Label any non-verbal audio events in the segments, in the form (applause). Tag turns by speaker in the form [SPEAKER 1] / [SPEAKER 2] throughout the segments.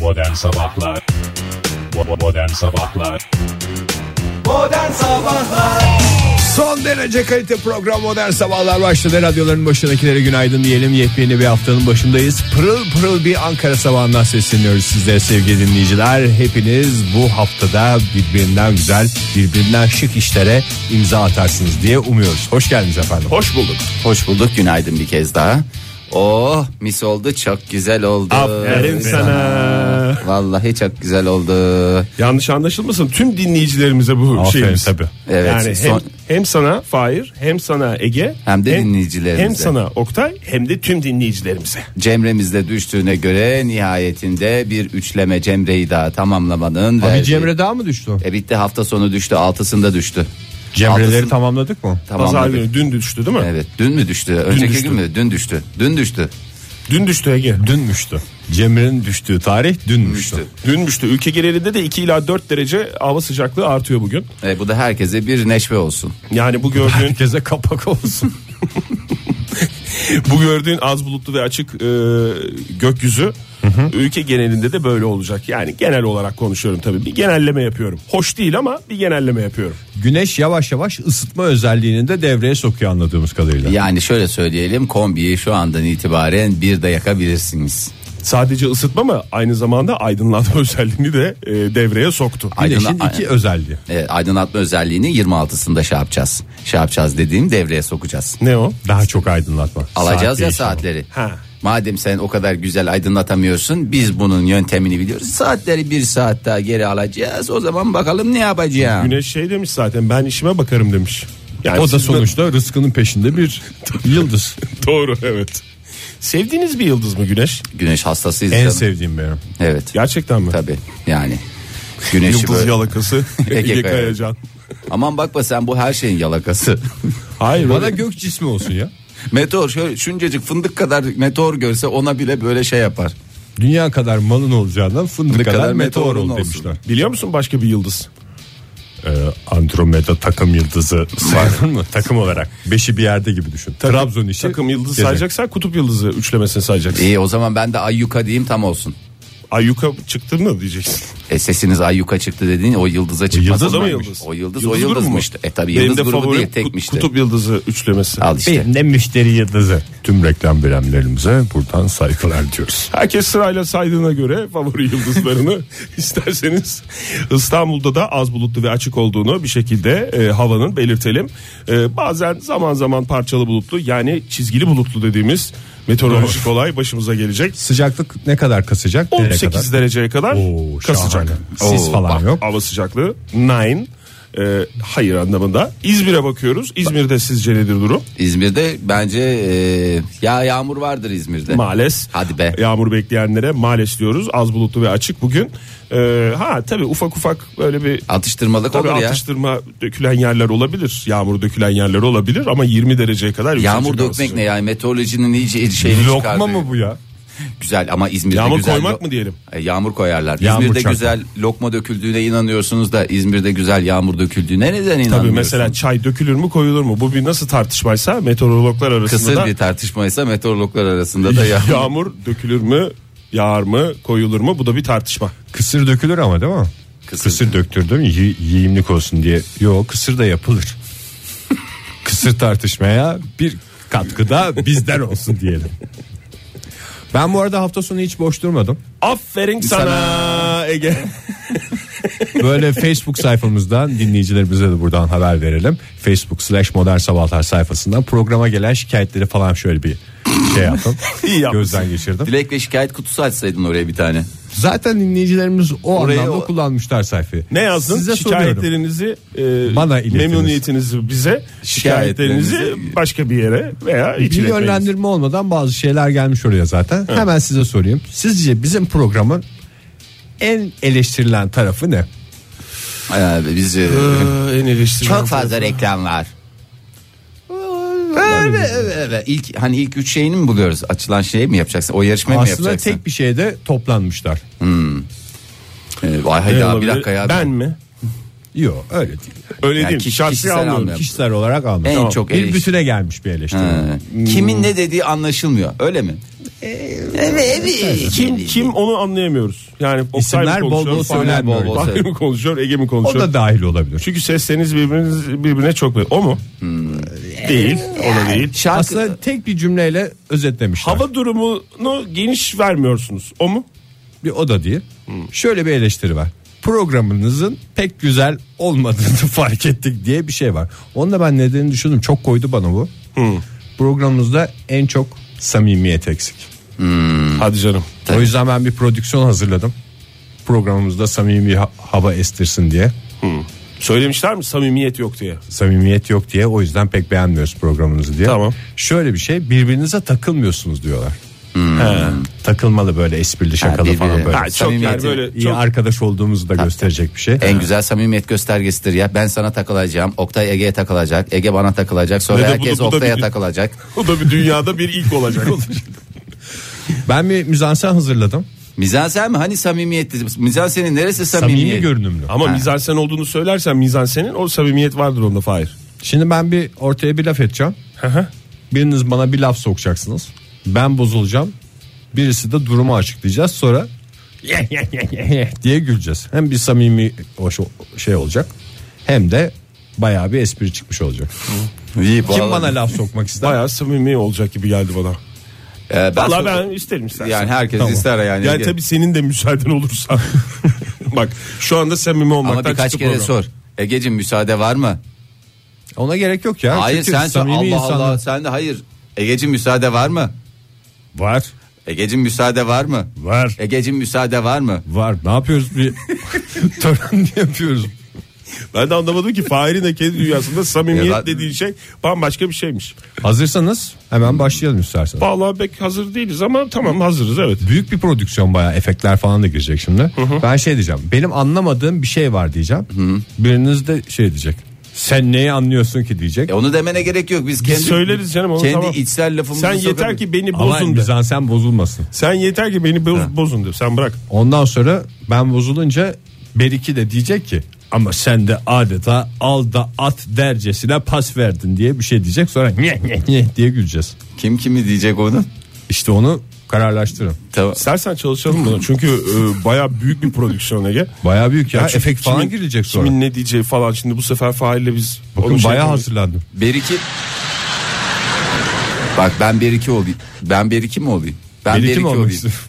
[SPEAKER 1] Modern Sabahlar Bo- Modern Sabahlar
[SPEAKER 2] Modern Sabahlar
[SPEAKER 3] Son derece kalite program Modern Sabahlar başladı. Radyoların başındakilere günaydın diyelim. Yepyeni bir haftanın başındayız. Pırıl pırıl bir Ankara sabahından sesleniyoruz sizlere sevgili dinleyiciler. Hepiniz bu haftada birbirinden güzel, birbirinden şık işlere imza atarsınız diye umuyoruz. Hoş geldiniz efendim.
[SPEAKER 1] Hoş bulduk
[SPEAKER 2] Hoş bulduk günaydın bir kez daha Oh mis oldu çok güzel oldu
[SPEAKER 4] Aferin sana.
[SPEAKER 2] Vallahi çok güzel oldu
[SPEAKER 4] Yanlış anlaşılmasın. Tüm dinleyicilerimize bu
[SPEAKER 3] Aferin
[SPEAKER 4] şeyimiz.
[SPEAKER 3] tabii.
[SPEAKER 2] Evet,
[SPEAKER 4] yani hem,
[SPEAKER 2] son-
[SPEAKER 4] hem sana Fahir hem sana Ege
[SPEAKER 2] Hem de dinleyicilerimize.
[SPEAKER 4] Hem sana Oktay hem de tüm dinleyicilerimize.
[SPEAKER 2] Cemre'mizde düştüğüne göre nihayetinde bir üçleme Cemre'yi daha tamamlamanın
[SPEAKER 3] Bir
[SPEAKER 2] verdiği-
[SPEAKER 3] Cemre daha mı düştü?
[SPEAKER 2] E bitti hafta sonu düştü altısında düştü
[SPEAKER 3] Cemreleri
[SPEAKER 2] Altısını-
[SPEAKER 3] tamamladık mı?
[SPEAKER 4] Pazar
[SPEAKER 2] Tamamladık
[SPEAKER 4] günü dün düştü değil mi?
[SPEAKER 2] Evet dün mü düştü önceki
[SPEAKER 4] düştü.
[SPEAKER 2] gün mü dün düştü dün düştü
[SPEAKER 4] Dün düştü Ege.
[SPEAKER 3] Dünmüştü. Cemre'nin düştüğü tarih dünmüştü.
[SPEAKER 4] Dünmüştü. Ülke genelinde de 2 ila 4 derece hava sıcaklığı artıyor bugün.
[SPEAKER 2] E, bu da herkese bir neşve olsun
[SPEAKER 4] Yani bu gördüğün
[SPEAKER 3] Herkese (laughs) kapak olsun.
[SPEAKER 4] (laughs) bu gördüğün az bulutlu ve açık e, gökyüzü ülke genelinde de böyle olacak. Yani genel olarak konuşuyorum tabii. Bir genelleme yapıyorum. Hoş değil ama bir genelleme yapıyorum.
[SPEAKER 3] Güneş yavaş yavaş ısıtma özelliğini de devreye sokuyor anladığımız kadarıyla.
[SPEAKER 2] Yani şöyle söyleyelim kombiyi şu andan itibaren bir de yakabilirsiniz.
[SPEAKER 4] Sadece ısıtma mı aynı zamanda aydınlatma (laughs) özelliğini de e, devreye soktu.
[SPEAKER 3] Güneşin
[SPEAKER 2] Aydınla-
[SPEAKER 3] iki özelliği.
[SPEAKER 2] E, aydınlatma özelliğini 26'sında şey yapacağız. Şey yapacağız dediğim devreye sokacağız.
[SPEAKER 4] Ne o?
[SPEAKER 3] Daha çok aydınlatma.
[SPEAKER 2] Alacağız
[SPEAKER 3] Saat
[SPEAKER 2] ya
[SPEAKER 3] değişimi.
[SPEAKER 2] saatleri.
[SPEAKER 4] Ha.
[SPEAKER 2] Madem sen o kadar güzel aydınlatamıyorsun biz bunun yöntemini biliyoruz. Saatleri bir saat daha geri alacağız o zaman bakalım ne yapacağım.
[SPEAKER 4] Güneş şey demiş zaten ben işime bakarım demiş. Yani
[SPEAKER 3] O da
[SPEAKER 4] siz de-
[SPEAKER 3] sonuçta rızkının peşinde bir (laughs) yıldız.
[SPEAKER 4] (laughs) Doğru evet. Sevdiğiniz bir yıldız mı güneş?
[SPEAKER 2] Güneş hastasıyız
[SPEAKER 3] en
[SPEAKER 2] canım.
[SPEAKER 3] sevdiğim benim.
[SPEAKER 2] evet
[SPEAKER 4] Gerçekten mi?
[SPEAKER 2] tabi yani. Güneşi
[SPEAKER 4] Yıldız
[SPEAKER 2] böyle- (laughs)
[SPEAKER 4] yalakası.
[SPEAKER 2] Ege
[SPEAKER 4] Ege
[SPEAKER 2] Kayacan.
[SPEAKER 4] Kayacan.
[SPEAKER 2] Aman bakma sen bu her şeyin
[SPEAKER 4] (laughs)
[SPEAKER 2] yalakası.
[SPEAKER 4] Hayır
[SPEAKER 3] Bana
[SPEAKER 4] bana
[SPEAKER 3] gök cismi olsun ya.
[SPEAKER 2] meteor şöyle şuncacık fındık kadar meteor görse ona bile böyle şey yapar.
[SPEAKER 3] Dünya kadar malın olacağından fındık
[SPEAKER 2] Ne
[SPEAKER 3] kadar,
[SPEAKER 2] kadar
[SPEAKER 3] meteor
[SPEAKER 2] meteorun
[SPEAKER 3] ol
[SPEAKER 2] olsun.
[SPEAKER 3] demişler.
[SPEAKER 4] biliyor musun başka bir yıldız?
[SPEAKER 3] Andromeda takım yıldızı saydın mı? Takım olarak. Beşi bir yerde gibi düşün. Trabzon işi.
[SPEAKER 4] Takım yıldızı
[SPEAKER 3] gezegen.
[SPEAKER 4] sayacaksan kutup yıldızı üçlemesini sayacaksın.
[SPEAKER 2] İyi o zaman ben de ayyuka diyeyim tam olsun.
[SPEAKER 4] Ayyuka çıktı mı diyeceksin.
[SPEAKER 2] E sesiniz ayyuka çıktı dediğin o yıldıza çıkmaz.
[SPEAKER 4] Yıldız mı
[SPEAKER 2] mıymış?
[SPEAKER 4] yıldız?
[SPEAKER 2] O yıldız, o
[SPEAKER 4] grubu mu?
[SPEAKER 2] yıldızmıştı. E tabi
[SPEAKER 4] Benim
[SPEAKER 2] yıldız
[SPEAKER 4] de
[SPEAKER 2] grubu
[SPEAKER 4] favorim
[SPEAKER 2] değil
[SPEAKER 4] kut-
[SPEAKER 2] tekmişti.
[SPEAKER 4] Kutup yıldızı üçlemesi.
[SPEAKER 2] Al işte.
[SPEAKER 3] Benim de müşteri yıldızı. Tüm reklam bilenlerimize buradan saygılar diyoruz.
[SPEAKER 4] Herkes sırayla saydığına göre favori yıldızlarını
[SPEAKER 2] (laughs)
[SPEAKER 4] isterseniz İstanbul'da da az bulutlu ve açık olduğunu bir şekilde e, havanın belirtelim. E, bazen zaman zaman parçalı bulutlu yani çizgili bulutlu dediğimiz meteorolojik olay başımıza gelecek.
[SPEAKER 3] Sıcaklık ne kadar kasacak? Nereye
[SPEAKER 4] 18
[SPEAKER 3] kadar?
[SPEAKER 4] dereceye kadar
[SPEAKER 3] Oo,
[SPEAKER 4] kasacak.
[SPEAKER 3] şahane. Sis
[SPEAKER 2] Oo,
[SPEAKER 3] falan
[SPEAKER 2] bak.
[SPEAKER 3] yok.
[SPEAKER 4] Hava sıcaklığı 9. E, hayır anlamında. İzmir'e bakıyoruz. İzmir'de sizce nedir durum?
[SPEAKER 2] İzmir'de bence e, ya yağmur vardır İzmir'de.
[SPEAKER 4] Maalesef.
[SPEAKER 2] Hadi be.
[SPEAKER 4] Yağmur bekleyenlere maalesef diyoruz. Az bulutlu ve açık bugün. E, ha tabii ufak ufak böyle bir
[SPEAKER 2] Atıştırmalık
[SPEAKER 4] Tabii
[SPEAKER 2] olur ya.
[SPEAKER 4] atıştırma dökülen yerler olabilir. Yağmur dökülen yerler olabilir ama 20 dereceye kadar yükselecek
[SPEAKER 2] Yağmur
[SPEAKER 4] hava
[SPEAKER 2] dökmek
[SPEAKER 4] sıcaklığı.
[SPEAKER 2] ne ya? Meteorolojinin iyice şeyini
[SPEAKER 3] Lokma
[SPEAKER 2] çıkardı.
[SPEAKER 3] mı bu ya?
[SPEAKER 2] Güzel ama İzmir'de
[SPEAKER 4] Yağmur
[SPEAKER 2] güzel.
[SPEAKER 4] koymak mı diyelim?
[SPEAKER 2] E, Yağmur koyarlar.
[SPEAKER 3] Yağmur
[SPEAKER 2] İzmir'de
[SPEAKER 3] çarpma.
[SPEAKER 2] güzel lokma döküldüğüne inanıyorsunuz da İzmir'de güzel yağmur döküldüğüne neden inanmıyorsunuz?
[SPEAKER 4] Tabii mesela çay dökülür mü koyulur mu? Bu bir nasıl tartışmaysa meteorologlar arasında
[SPEAKER 2] kısır
[SPEAKER 4] da
[SPEAKER 2] bir tartışmaysa meteorologlar arasında
[SPEAKER 4] (laughs)
[SPEAKER 2] da yağmur.
[SPEAKER 4] yağmur dökülür mü? Yağar mı? Koyulur mu? Bu da bir tartışma.
[SPEAKER 3] Kısır dökülür ama değil mi?
[SPEAKER 2] Kısır.
[SPEAKER 3] Kısır, döktürdüm yi- yiyimlik olsun diye. Yok kısır da yapılır. kısır tartışmaya bir katkıda bizden olsun diyelim. Ben bu arada hafta sonu hiç boş durmadım.
[SPEAKER 4] Aferin sana, Ege.
[SPEAKER 3] Böyle Facebook sayfamızdan dinleyicilerimize de buradan haber verelim. Facebook slash modern sabahlar sayfasından programa gelen şikayetleri falan şöyle bir şey yaptım.
[SPEAKER 4] İyi yapmışsın.
[SPEAKER 3] Gözden geçirdim.
[SPEAKER 2] Dilek ve şikayet kutusu açsaydın oraya bir tane.
[SPEAKER 3] Zaten dinleyicilerimiz o
[SPEAKER 2] Orayı
[SPEAKER 3] anlamda
[SPEAKER 2] o-
[SPEAKER 3] kullanmışlar sayfayı.
[SPEAKER 4] Ne yazdın?
[SPEAKER 3] Size soruyorum.
[SPEAKER 4] şikayetlerinizi, e,
[SPEAKER 3] Bana iletiniz.
[SPEAKER 4] memnuniyetinizi bize,
[SPEAKER 2] Şikayetlerinizi-
[SPEAKER 4] şikayetlerinizi başka bir yere veya
[SPEAKER 3] Bir
[SPEAKER 4] içine koyunuz.
[SPEAKER 3] yönlendirme olmadan bazı şeyler gelmiş oraya zaten. Hemen size sorayım. Sizce bizim programın en eleştirilen tarafı ne?
[SPEAKER 2] Ee, biz
[SPEAKER 4] (laughs)
[SPEAKER 2] e,
[SPEAKER 4] Ee, en eleştirilen
[SPEAKER 2] çok fazla reklam var. Evet, evet, evet. İlk hani ilk üç şeyini mi buluyoruz? Açılan şeyi mi yapacaksın? O yarışmayı mı
[SPEAKER 3] Aslında
[SPEAKER 2] yapacaksın?
[SPEAKER 3] tek bir şeyde toplanmışlar.
[SPEAKER 2] Ee, vay hay ya,
[SPEAKER 4] ne
[SPEAKER 2] bir
[SPEAKER 4] şey olabilir?
[SPEAKER 2] dakika ya.
[SPEAKER 4] Ben mi?
[SPEAKER 3] Yok öyle değil.
[SPEAKER 4] Öyle
[SPEAKER 2] Yani
[SPEAKER 4] değil.
[SPEAKER 2] kişi-
[SPEAKER 4] Şahsi
[SPEAKER 2] kişisel
[SPEAKER 4] anlıyorum.
[SPEAKER 2] anlamda.
[SPEAKER 3] Kişiler olarak almış.
[SPEAKER 2] En çok
[SPEAKER 3] bir
[SPEAKER 2] eleştiri-
[SPEAKER 3] bütüne gelmiş bir eleştiri.
[SPEAKER 2] Ee, Kimin ne dediği anlaşılmıyor. Öyle mi? Evet.
[SPEAKER 4] Kim kim onu anlayamıyoruz. Yani Oktay
[SPEAKER 3] İsimler bol
[SPEAKER 4] mı konuşuyor,
[SPEAKER 3] bol
[SPEAKER 4] Fahri-
[SPEAKER 3] söylenmiyor.
[SPEAKER 2] Bol bol
[SPEAKER 4] Fahri mi
[SPEAKER 2] söylen-
[SPEAKER 4] konuşuyor, Ege mi
[SPEAKER 3] O
[SPEAKER 4] konuşuyor?
[SPEAKER 3] da dahil olabilir.
[SPEAKER 4] Çünkü sesleriniz birbiriniz birbirine çok benziyor. O mu? Değil, o da değil.
[SPEAKER 2] Hmm. Şarkı
[SPEAKER 3] Aslında tek bir cümleyle özetlemişler.
[SPEAKER 4] Hava durumunu geniş vermiyorsunuz. O mu?
[SPEAKER 3] bir oda diye. Şöyle bir eleştiri var. Programınızın pek güzel olmadığını (laughs) fark ettik diye bir şey var. Onu da ben nedenini düşündüm. Çok koydu bana bu. Programımızda en çok samimiyet eksik.
[SPEAKER 4] Hadi canım.
[SPEAKER 3] O yüzden ben bir prodüksiyon hazırladım. Programımızda samimi ha- hava estirsin diye.
[SPEAKER 4] Söylemişler mi samimiyet yok diye.
[SPEAKER 3] Samimiyet yok diye o yüzden pek beğenmiyoruz programınızı diye.
[SPEAKER 4] Tamam.
[SPEAKER 3] Şöyle bir şey birbirinize takılmıyorsunuz diyorlar. Takılmalı böyle esprili şakalı falan
[SPEAKER 2] birbirine.
[SPEAKER 3] böyle.
[SPEAKER 4] Hmm. Ha, çok yani
[SPEAKER 2] Samimiyeti-
[SPEAKER 4] böyle
[SPEAKER 3] İyi
[SPEAKER 4] çok
[SPEAKER 3] arkadaş olduğumuzu da gösterecek bir şey.
[SPEAKER 2] En güzel samimiyet göstergesidir ya. Ben sana takılacağım. Oktay Ege'ye takılacak. Ege bana takılacak. Sonra
[SPEAKER 4] Ve de bu da-
[SPEAKER 2] herkes
[SPEAKER 4] bu da
[SPEAKER 2] Oktay'a
[SPEAKER 4] bir-
[SPEAKER 2] takılacak.
[SPEAKER 4] o da bir dünyada bir
[SPEAKER 2] (laughs)
[SPEAKER 4] ilk olacak.
[SPEAKER 3] Ben bir müzansen hazırladım.
[SPEAKER 2] Mizansen mi? Hani samimiyet? Mizansenin neresi samimiyet?
[SPEAKER 3] Samimi görünümlü.
[SPEAKER 4] Ama mizansen olduğunu söylersen mizansenin o samimiyet vardır onda Fahir.
[SPEAKER 3] Şimdi ben bir ortaya bir laf edeceğim. Biriniz bana bir laf sokacaksınız. Ben bozulacağım. Birisi de durumu açıklayacağız.
[SPEAKER 4] (laughs)
[SPEAKER 3] Sonra diye güleceğiz. Hem bir samimi o şo- şey olacak. Hem de bayağı bir espri çıkmış olacak.
[SPEAKER 2] İyi,
[SPEAKER 3] Kim
[SPEAKER 2] vallahi.
[SPEAKER 3] bana laf sokmak ister?
[SPEAKER 4] (laughs) Bayağı samimi olacak gibi geldi bana.
[SPEAKER 2] Ee, ben,
[SPEAKER 4] Valla ben isterim istersen.
[SPEAKER 2] Yani herkes
[SPEAKER 3] Tamam.
[SPEAKER 2] ister yani.
[SPEAKER 4] Yani tabii senin de müsaaden olursa.
[SPEAKER 2] (laughs)
[SPEAKER 4] Bak şu anda samimi olmaktan
[SPEAKER 2] Ama birkaç
[SPEAKER 4] çıktı
[SPEAKER 2] kere
[SPEAKER 4] program.
[SPEAKER 2] sor. Egeciğim müsaade var mı?
[SPEAKER 3] Ona gerek yok ya.
[SPEAKER 2] hayır
[SPEAKER 3] Çünkü
[SPEAKER 2] sen sor. Allah
[SPEAKER 3] samimi insanlar-
[SPEAKER 2] Allah sen de hayır. Egeciğim müsaade var mı?
[SPEAKER 3] Var.
[SPEAKER 2] Egeciğim müsaade var mı?
[SPEAKER 3] Var.
[SPEAKER 2] Egeciğim müsaade var mı?
[SPEAKER 3] Var. Ne
[SPEAKER 2] (laughs)
[SPEAKER 3] yapıyoruz bir tören yapıyoruz.
[SPEAKER 4] Ben de anlamadım ki Fahir'in de kendi dünyasında samimiyet
[SPEAKER 2] E- (laughs) Ya ben-
[SPEAKER 4] dediği şey bambaşka bir şeymiş.
[SPEAKER 3] Hazırsanız hemen başlayalım isterseniz.
[SPEAKER 4] Vallahi pek hazır değiliz ama tamam hazırız evet.
[SPEAKER 3] Büyük bir prodüksiyon bayağı efektler falan da girecek şimdi. Ben şey diyeceğim. Benim anlamadığım bir şey var diyeceğim. Biriniz de şey diyecek. Sen neyi anlıyorsun ki diyecek.
[SPEAKER 2] E onu demene gerek yok. Biz kendi
[SPEAKER 4] söyleriz canım, onu
[SPEAKER 2] kendi
[SPEAKER 4] tamam.
[SPEAKER 2] içsel lafımızı
[SPEAKER 4] Sen yeter
[SPEAKER 2] sokabiliriz.
[SPEAKER 4] ki beni
[SPEAKER 3] Ama
[SPEAKER 4] bozun de.
[SPEAKER 3] mizansen bozulmasın.
[SPEAKER 4] Sen yeter ki beni boz- bozun de. Sen bırak.
[SPEAKER 3] Ondan sonra ben bozulunca Beriki de diyecek ki ama sen de adeta al da at dercesine pas verdin diye bir şey diyecek. Sonra nye nye nye diye güleceğiz.
[SPEAKER 2] kim kimi diyecek onu?
[SPEAKER 3] İşte onu kararlaştırın.
[SPEAKER 2] Tamam.
[SPEAKER 4] İstersen çalışalım bunu. Çünkü e, baya büyük bir prodüksiyon Ege.
[SPEAKER 3] Baya büyük ya.
[SPEAKER 4] çünkü
[SPEAKER 3] efekt falan
[SPEAKER 4] kimin-
[SPEAKER 3] girilecek sonra.
[SPEAKER 4] Kimin ne diyeceği falan. Şimdi bu sefer Fahir'le biz...
[SPEAKER 3] Bakın
[SPEAKER 4] onu şey
[SPEAKER 3] bayağı
[SPEAKER 4] yapamayız.
[SPEAKER 3] hazırlandım.
[SPEAKER 2] Bir iki. Bak ben bir iki olayım. Ben bir iki mi olayım? Ben
[SPEAKER 3] Beriki
[SPEAKER 2] bir iki
[SPEAKER 3] mi
[SPEAKER 2] olayım.
[SPEAKER 3] olmak istiyorsun?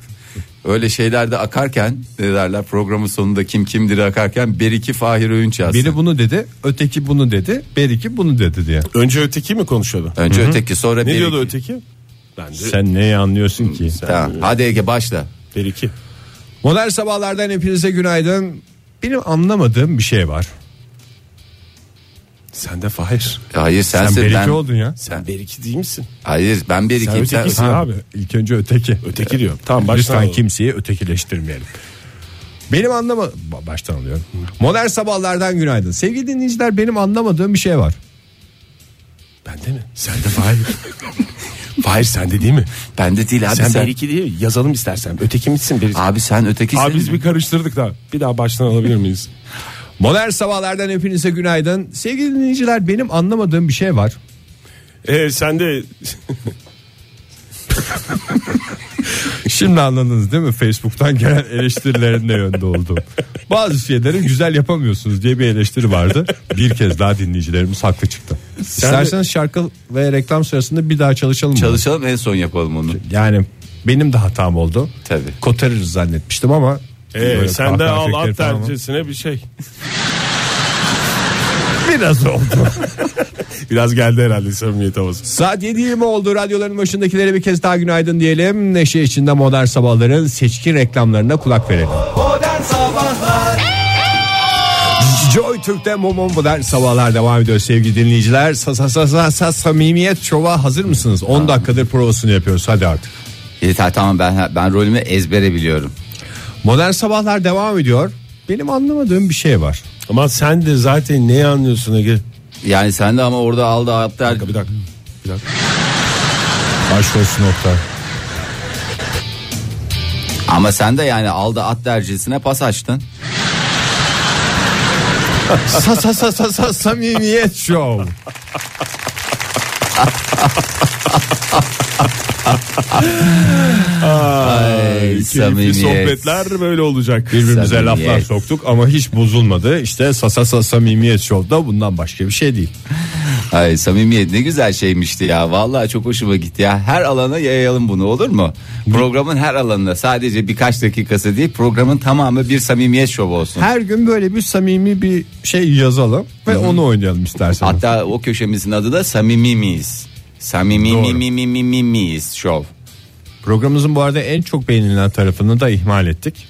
[SPEAKER 2] Öyle şeylerde akarken ne derler programın sonunda kim kimdir akarken bir iki Fahir Öğünç yazsın.
[SPEAKER 3] Biri bunu dedi, öteki bunu dedi, beriki bunu dedi diye.
[SPEAKER 4] Önce öteki mi konuşuyordu?
[SPEAKER 2] Önce öteki sonra
[SPEAKER 4] Ne
[SPEAKER 2] bir
[SPEAKER 4] diyordu
[SPEAKER 2] iki.
[SPEAKER 4] öteki? Bence
[SPEAKER 3] Sen neyi anlıyorsun ki?
[SPEAKER 2] Tamam. Hadi Ege başla.
[SPEAKER 4] bir iki.
[SPEAKER 3] Modern sabahlardan hepinize günaydın. Benim anlamadığım bir şey var.
[SPEAKER 4] Sen de Fahir.
[SPEAKER 2] Hayır sensin
[SPEAKER 3] Sen beriki
[SPEAKER 2] ben.
[SPEAKER 3] oldun ya.
[SPEAKER 4] Sen bir iki değil misin?
[SPEAKER 2] Hayır ben bir ikiyim. Sen-
[SPEAKER 4] ötekisin.
[SPEAKER 2] Ha,
[SPEAKER 3] Ha,
[SPEAKER 4] abi.
[SPEAKER 3] ilk önce öteki.
[SPEAKER 4] Öteki diyor. Tamam baştan
[SPEAKER 3] Lütfen
[SPEAKER 4] alalım.
[SPEAKER 3] kimseyi ötekileştirmeyelim. Benim anlama Ba- baştan alıyorum. Modern sabahlardan günaydın. Sevgili dinleyiciler benim anlamadığım bir şey var.
[SPEAKER 4] Bende mi? Sen de Fahir. (laughs) Fahir sende değil mi?
[SPEAKER 2] Ben de değil abi sen.
[SPEAKER 4] sen, bir iki değil yazalım istersen. Öteki misin bir iki?
[SPEAKER 2] Abi sen ötekisin.
[SPEAKER 4] Abi biz bir karıştırdık da. Bir daha baştan alabilir miyiz?
[SPEAKER 3] Modern sabahlardan hepinize günaydın. Sevgili dinleyiciler benim anlamadığım bir şey var.
[SPEAKER 4] Ee, sen de
[SPEAKER 3] Şimdi anladınız değil mi? Facebook'tan gelen eleştirilerin ne yönde oldu. Bazı şeyleri güzel yapamıyorsunuz diye bir eleştiri vardı. Bir kez daha dinleyicilerimiz haklı çıktı. İsterseniz şarkı ve reklam sırasında bir daha çalışalım. mı?
[SPEAKER 2] Çalışalım en son yapalım onu.
[SPEAKER 3] yani benim de hatam oldu.
[SPEAKER 2] Tabii.
[SPEAKER 3] Kotarırız zannetmiştim ama.
[SPEAKER 4] ee,
[SPEAKER 3] Böyle
[SPEAKER 4] sen de
[SPEAKER 3] kahkaha
[SPEAKER 4] al
[SPEAKER 3] efektleri
[SPEAKER 4] at
[SPEAKER 3] falan var.
[SPEAKER 4] tercihsine bir şey.
[SPEAKER 3] (laughs) Biraz oldu.
[SPEAKER 4] (laughs) Biraz geldi herhalde samimiyet havası.
[SPEAKER 3] Saat 7.20 oldu. Radyoların başındakilere bir kez daha günaydın diyelim. Neşe içinde modern sabahların seçkin reklamlarına kulak verelim. Joy Türk'te Momon Modern Sabahlar devam ediyor sevgili dinleyiciler. Sa, sa, sa, sa, sa- samimiyet şova hazır mısınız? 10 dakikadır provasını yapıyoruz hadi artık.
[SPEAKER 2] Yeter tamam ben ben rolümü ezbere biliyorum.
[SPEAKER 3] Modern Sabahlar devam ediyor. Benim anlamadığım bir şey var.
[SPEAKER 4] Ama sen de zaten ne anlıyorsun Ege?
[SPEAKER 2] Yani sen de ama orada aldı aptal.
[SPEAKER 4] Bir dakika. Bir dakika.
[SPEAKER 3] Aşk olsun Oktay.
[SPEAKER 2] Ama sen de yani aldı at dercisine pas açtın.
[SPEAKER 3] Sa, sa, sa, sa, sa, samimiyet şov.
[SPEAKER 2] Ay,
[SPEAKER 4] Keyifli
[SPEAKER 2] samimiyet.
[SPEAKER 4] sohbetler böyle olacak.
[SPEAKER 3] Birbirimize
[SPEAKER 2] Samimiyet.
[SPEAKER 3] laflar soktuk ama hiç bozulmadı. İşte sasa sasa samimiyet şovda bundan başka bir şey değil.
[SPEAKER 2] Ay samimiyet ne güzel şeymişti ya. Vallahi çok hoşuma gitti ya. Her alana yayalım bunu olur mu? Programın her alanına sadece birkaç dakikası değil programın tamamı bir samimiyet şovu olsun.
[SPEAKER 3] Her gün böyle bir samimi bir şey yazalım ve onu oynayalım istersen.
[SPEAKER 2] Hatta o köşemizin adı da samimi miyiz? Samimi mi
[SPEAKER 3] Doğru.
[SPEAKER 2] mi mi mi mi miyiz şov.
[SPEAKER 3] Programımızın bu arada en çok beğenilen tarafını da ihmal ettik.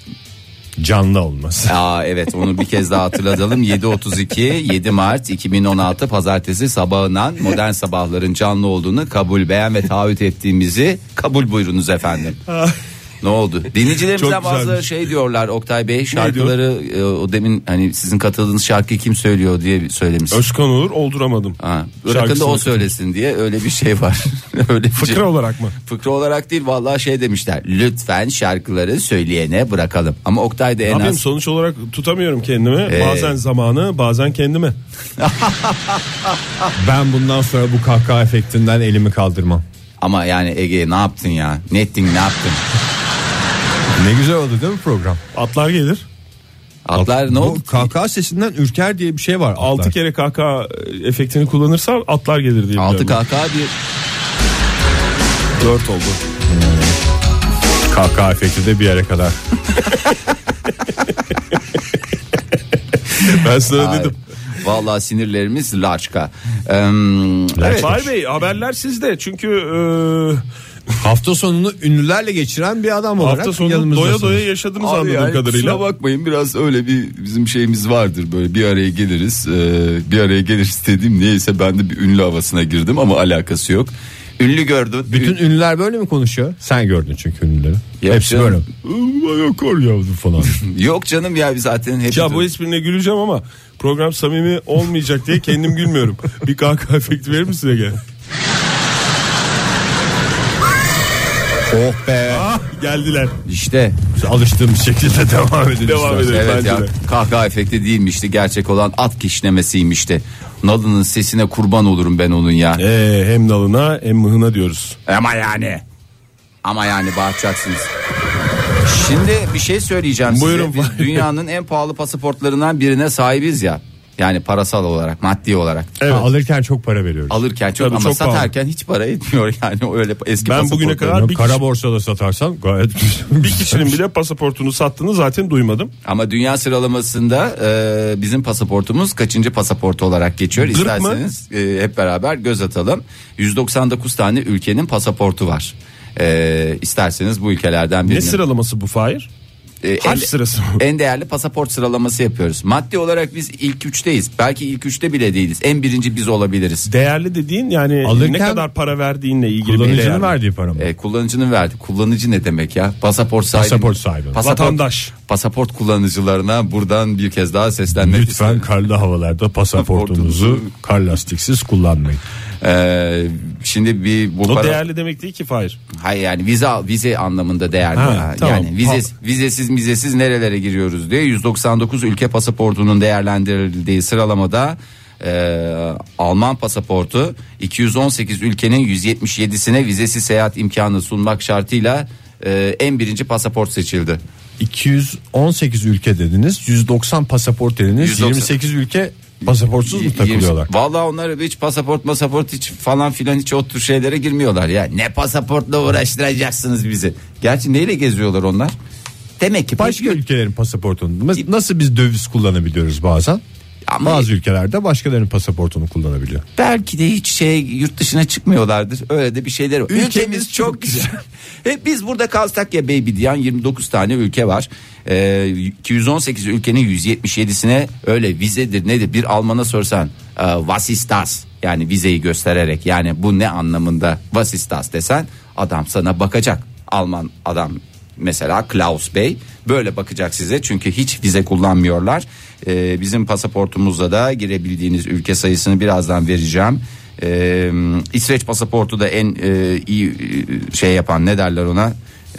[SPEAKER 3] Canlı olması.
[SPEAKER 2] Aa evet onu bir kez daha hatırlatalım. 7.32 7 Mart 2016 Pazartesi sabahından modern sabahların canlı olduğunu kabul beğen ve taahhüt ettiğimizi kabul buyurunuz efendim. Ne oldu? Dinleyicilerimizden
[SPEAKER 4] Çok
[SPEAKER 2] bazıları
[SPEAKER 4] güzelmiş.
[SPEAKER 2] şey diyorlar Oktay Bey şarkıları e, o demin hani sizin katıldığınız şarkıyı kim söylüyor diye söylemiş.
[SPEAKER 4] Özkan olur olduramadım.
[SPEAKER 2] Ha, Bırakın da
[SPEAKER 4] Şarkısını-
[SPEAKER 2] o söylesin diye öyle bir şey var. (laughs) öyle bir şey.
[SPEAKER 4] Fıkra olarak mı?
[SPEAKER 2] Fıkra olarak değil vallahi şey demişler. Lütfen şarkıları söyleyene bırakalım. Ama Oktay da en
[SPEAKER 4] Abim
[SPEAKER 2] az Ee.
[SPEAKER 4] sonuç olarak tutamıyorum kendimi. Bazen zamanı bazen kendimi.
[SPEAKER 3] (laughs) Ben bundan sonra bu kahkaha efektinden elimi kaldırmam.
[SPEAKER 2] Ama yani Ege ne yaptın ya? Ne ettin ne yaptın?
[SPEAKER 3] Ne güzel oldu değil mi program?
[SPEAKER 4] Atlar gelir.
[SPEAKER 2] Atlar ne
[SPEAKER 3] Bu
[SPEAKER 2] oldu?
[SPEAKER 3] Kahkaha sesinden ürker diye bir şey var.
[SPEAKER 4] Altı
[SPEAKER 3] atlar.
[SPEAKER 4] kere kahkaha efektini kullanırsa atlar gelir diye biliyorum.
[SPEAKER 2] Altı kahkaha bir
[SPEAKER 4] Dört oldu.
[SPEAKER 3] kahkaha efekti de bir yere kadar.
[SPEAKER 4] (laughs) Ben sana
[SPEAKER 2] Ay,
[SPEAKER 4] dedim.
[SPEAKER 2] Vallahi sinirlerimiz laçka. Em, evet.
[SPEAKER 4] Fahir Bey haberler sizde çünkü e,
[SPEAKER 3] Hafta sonunu ünlülerle geçiren bir adam olarak
[SPEAKER 4] hafta sonu
[SPEAKER 3] yanımızdasınız.
[SPEAKER 4] doya doya yaşadınız
[SPEAKER 2] Abi
[SPEAKER 4] anladığım
[SPEAKER 2] yani
[SPEAKER 4] kadarıyla.
[SPEAKER 2] Kusura bakmayın biraz öyle bir bizim şeyimiz vardır böyle bir araya geliriz Ee, bir araya geliriz dediğim neyse ben de bir ünlü havasına girdim ama alakası yok. Ünlü gördüm.
[SPEAKER 3] Bütün ünlüler böyle mi konuşuyor? Sen gördün çünkü ünlüleri.
[SPEAKER 2] Yok
[SPEAKER 3] Hepsi
[SPEAKER 2] canım.
[SPEAKER 3] böyle. "Iı, Ayak kar yağdı falan.
[SPEAKER 2] Yok canım ya biz zaten hep
[SPEAKER 4] Ya bu esprine güleceğim ama program samimi olmayacak diye
[SPEAKER 3] (laughs)
[SPEAKER 4] kendim gülmüyorum. Bir kahkaha efekti verir misin Ege?
[SPEAKER 3] (laughs) oh be.
[SPEAKER 4] Ah, geldiler.
[SPEAKER 2] işte
[SPEAKER 3] Alıştığım şekilde devam edin.
[SPEAKER 4] Devam
[SPEAKER 3] istersen.
[SPEAKER 4] edelim
[SPEAKER 2] Evet
[SPEAKER 4] bence
[SPEAKER 2] ya
[SPEAKER 4] de.
[SPEAKER 2] kahkaha efekti değilmişti gerçek olan at kişnemesiymişti. Nalı'nın sesine kurban olurum ben onun ya.
[SPEAKER 4] Ee, hem nalına hem mıhına diyoruz.
[SPEAKER 2] Ama yani. Ama yani bağıracaksınız. Şimdi bir şey söyleyeceğim
[SPEAKER 4] Buyurun
[SPEAKER 2] size. Biz
[SPEAKER 4] Fahri Bey.
[SPEAKER 2] dünyanın en pahalı pasaportlarından birine sahibiz ya. Yani parasal olarak, maddi olarak.
[SPEAKER 3] Ha, alırken çok para veriyoruz.
[SPEAKER 2] Alırken çok
[SPEAKER 4] Tabii
[SPEAKER 2] ama
[SPEAKER 4] çok pahalı.
[SPEAKER 2] satarken hiç para etmiyor (laughs) yani öyle eski
[SPEAKER 4] Ben bugüne
[SPEAKER 2] pasaportlar.
[SPEAKER 4] kadar-
[SPEAKER 3] Yani
[SPEAKER 4] bir
[SPEAKER 3] kara
[SPEAKER 4] kişi-
[SPEAKER 3] borsada satarsan gayet
[SPEAKER 4] Bir
[SPEAKER 3] (laughs)
[SPEAKER 4] kişinin bile pasaportunu sattığını zaten duymadım.
[SPEAKER 2] Ama dünya sıralamasında e, bizim pasaportumuz kaçıncı pasaport olarak geçiyor?
[SPEAKER 4] Gırk mı?
[SPEAKER 2] İsterseniz e, hep beraber göz atalım. 199 tane ülkenin pasaportu var. E, isterseniz bu ülkelerden
[SPEAKER 4] Ne
[SPEAKER 2] birinin.
[SPEAKER 4] sıralaması bu Fahir?
[SPEAKER 2] E,
[SPEAKER 4] Harf sırası mı?
[SPEAKER 2] En değerli pasaport sıralaması yapıyoruz. Maddi olarak biz ilk üçteyiz. Belki ilk üçte bile değiliz. En birinci biz olabiliriz.
[SPEAKER 4] Değerli dediğin yani
[SPEAKER 3] Alırken-
[SPEAKER 4] ne kadar para verdiğinle ilgili. bir
[SPEAKER 3] Kullanıcının
[SPEAKER 4] değerli.
[SPEAKER 3] verdiği para mı?
[SPEAKER 2] E, kullanıcının verdi. Kullanıcı ne demek ya? Pasaport sahibi.
[SPEAKER 3] Pasaport sahibi.
[SPEAKER 4] Vatandaş.
[SPEAKER 2] Pasaport kullanıcılarına buradan bir kez daha seslenmek
[SPEAKER 3] Lütfen
[SPEAKER 2] isterim.
[SPEAKER 3] karlı havalarda pasaportunuzu kar lastiksiz kullanmayın.
[SPEAKER 2] E, şimdi bir bu
[SPEAKER 4] O
[SPEAKER 2] para-
[SPEAKER 4] değerli demek değil ki Fahir.
[SPEAKER 2] Hayır yani vize vize anlamında değerli.
[SPEAKER 4] Ha,
[SPEAKER 2] Ha,
[SPEAKER 4] tamam.
[SPEAKER 2] Yani vizes, vizesiz vizesiz nerelere giriyoruz diye 199 ülke pasaportunun değerlendirildiği sıralamada e, Alman pasaportu 218 ülkenin 177'sine vizesiz seyahat imkanı sunmak şartıyla e, en birinci pasaport seçildi.
[SPEAKER 3] 218 ülke dediniz, 190 pasaport dediniz,
[SPEAKER 2] 190.
[SPEAKER 3] 28 ülke pasaportsuz mu
[SPEAKER 2] Y-
[SPEAKER 3] takılıyorlar?
[SPEAKER 2] yirmi- Vallahi onlar hiç pasaport pasaport hiç falan filan hiç o tür şeylere girmiyorlar ya. Ne pasaportla uğraştıracaksınız bizi. Gerçi neyle geziyorlar onlar? Demek ki
[SPEAKER 3] Başka ülkelerin pasaportunu mes- nasıl biz döviz kullanabiliyoruz bazen?
[SPEAKER 2] Ama-
[SPEAKER 3] Bazı ülkelerde başkalarının pasaportunu kullanabiliyor.
[SPEAKER 2] Belki de hiç şey yurt dışına çıkmıyorlardır. Öyle de bir şeyler var. Ülkemiz, çok güzel. (laughs) Hep biz burada kalsak ya baby diyen 29 tane ülke var. Ee, 218 ülkenin 177'sine öyle vizedir nedir bir Alman'a sorsan e, was ist das? Yani vizeyi göstererek yani bu ne anlamında was ist das desen adam sana bakacak. Alman adam mesela Klaus Bey böyle bakacak size çünkü hiç vize kullanmıyorlar. Ee, bizim pasaportumuzla da girebildiğiniz ülke sayısını birazdan vereceğim. Ee, İsveç pasaportu da en e, iyi e, şey yapan ne derler ona e,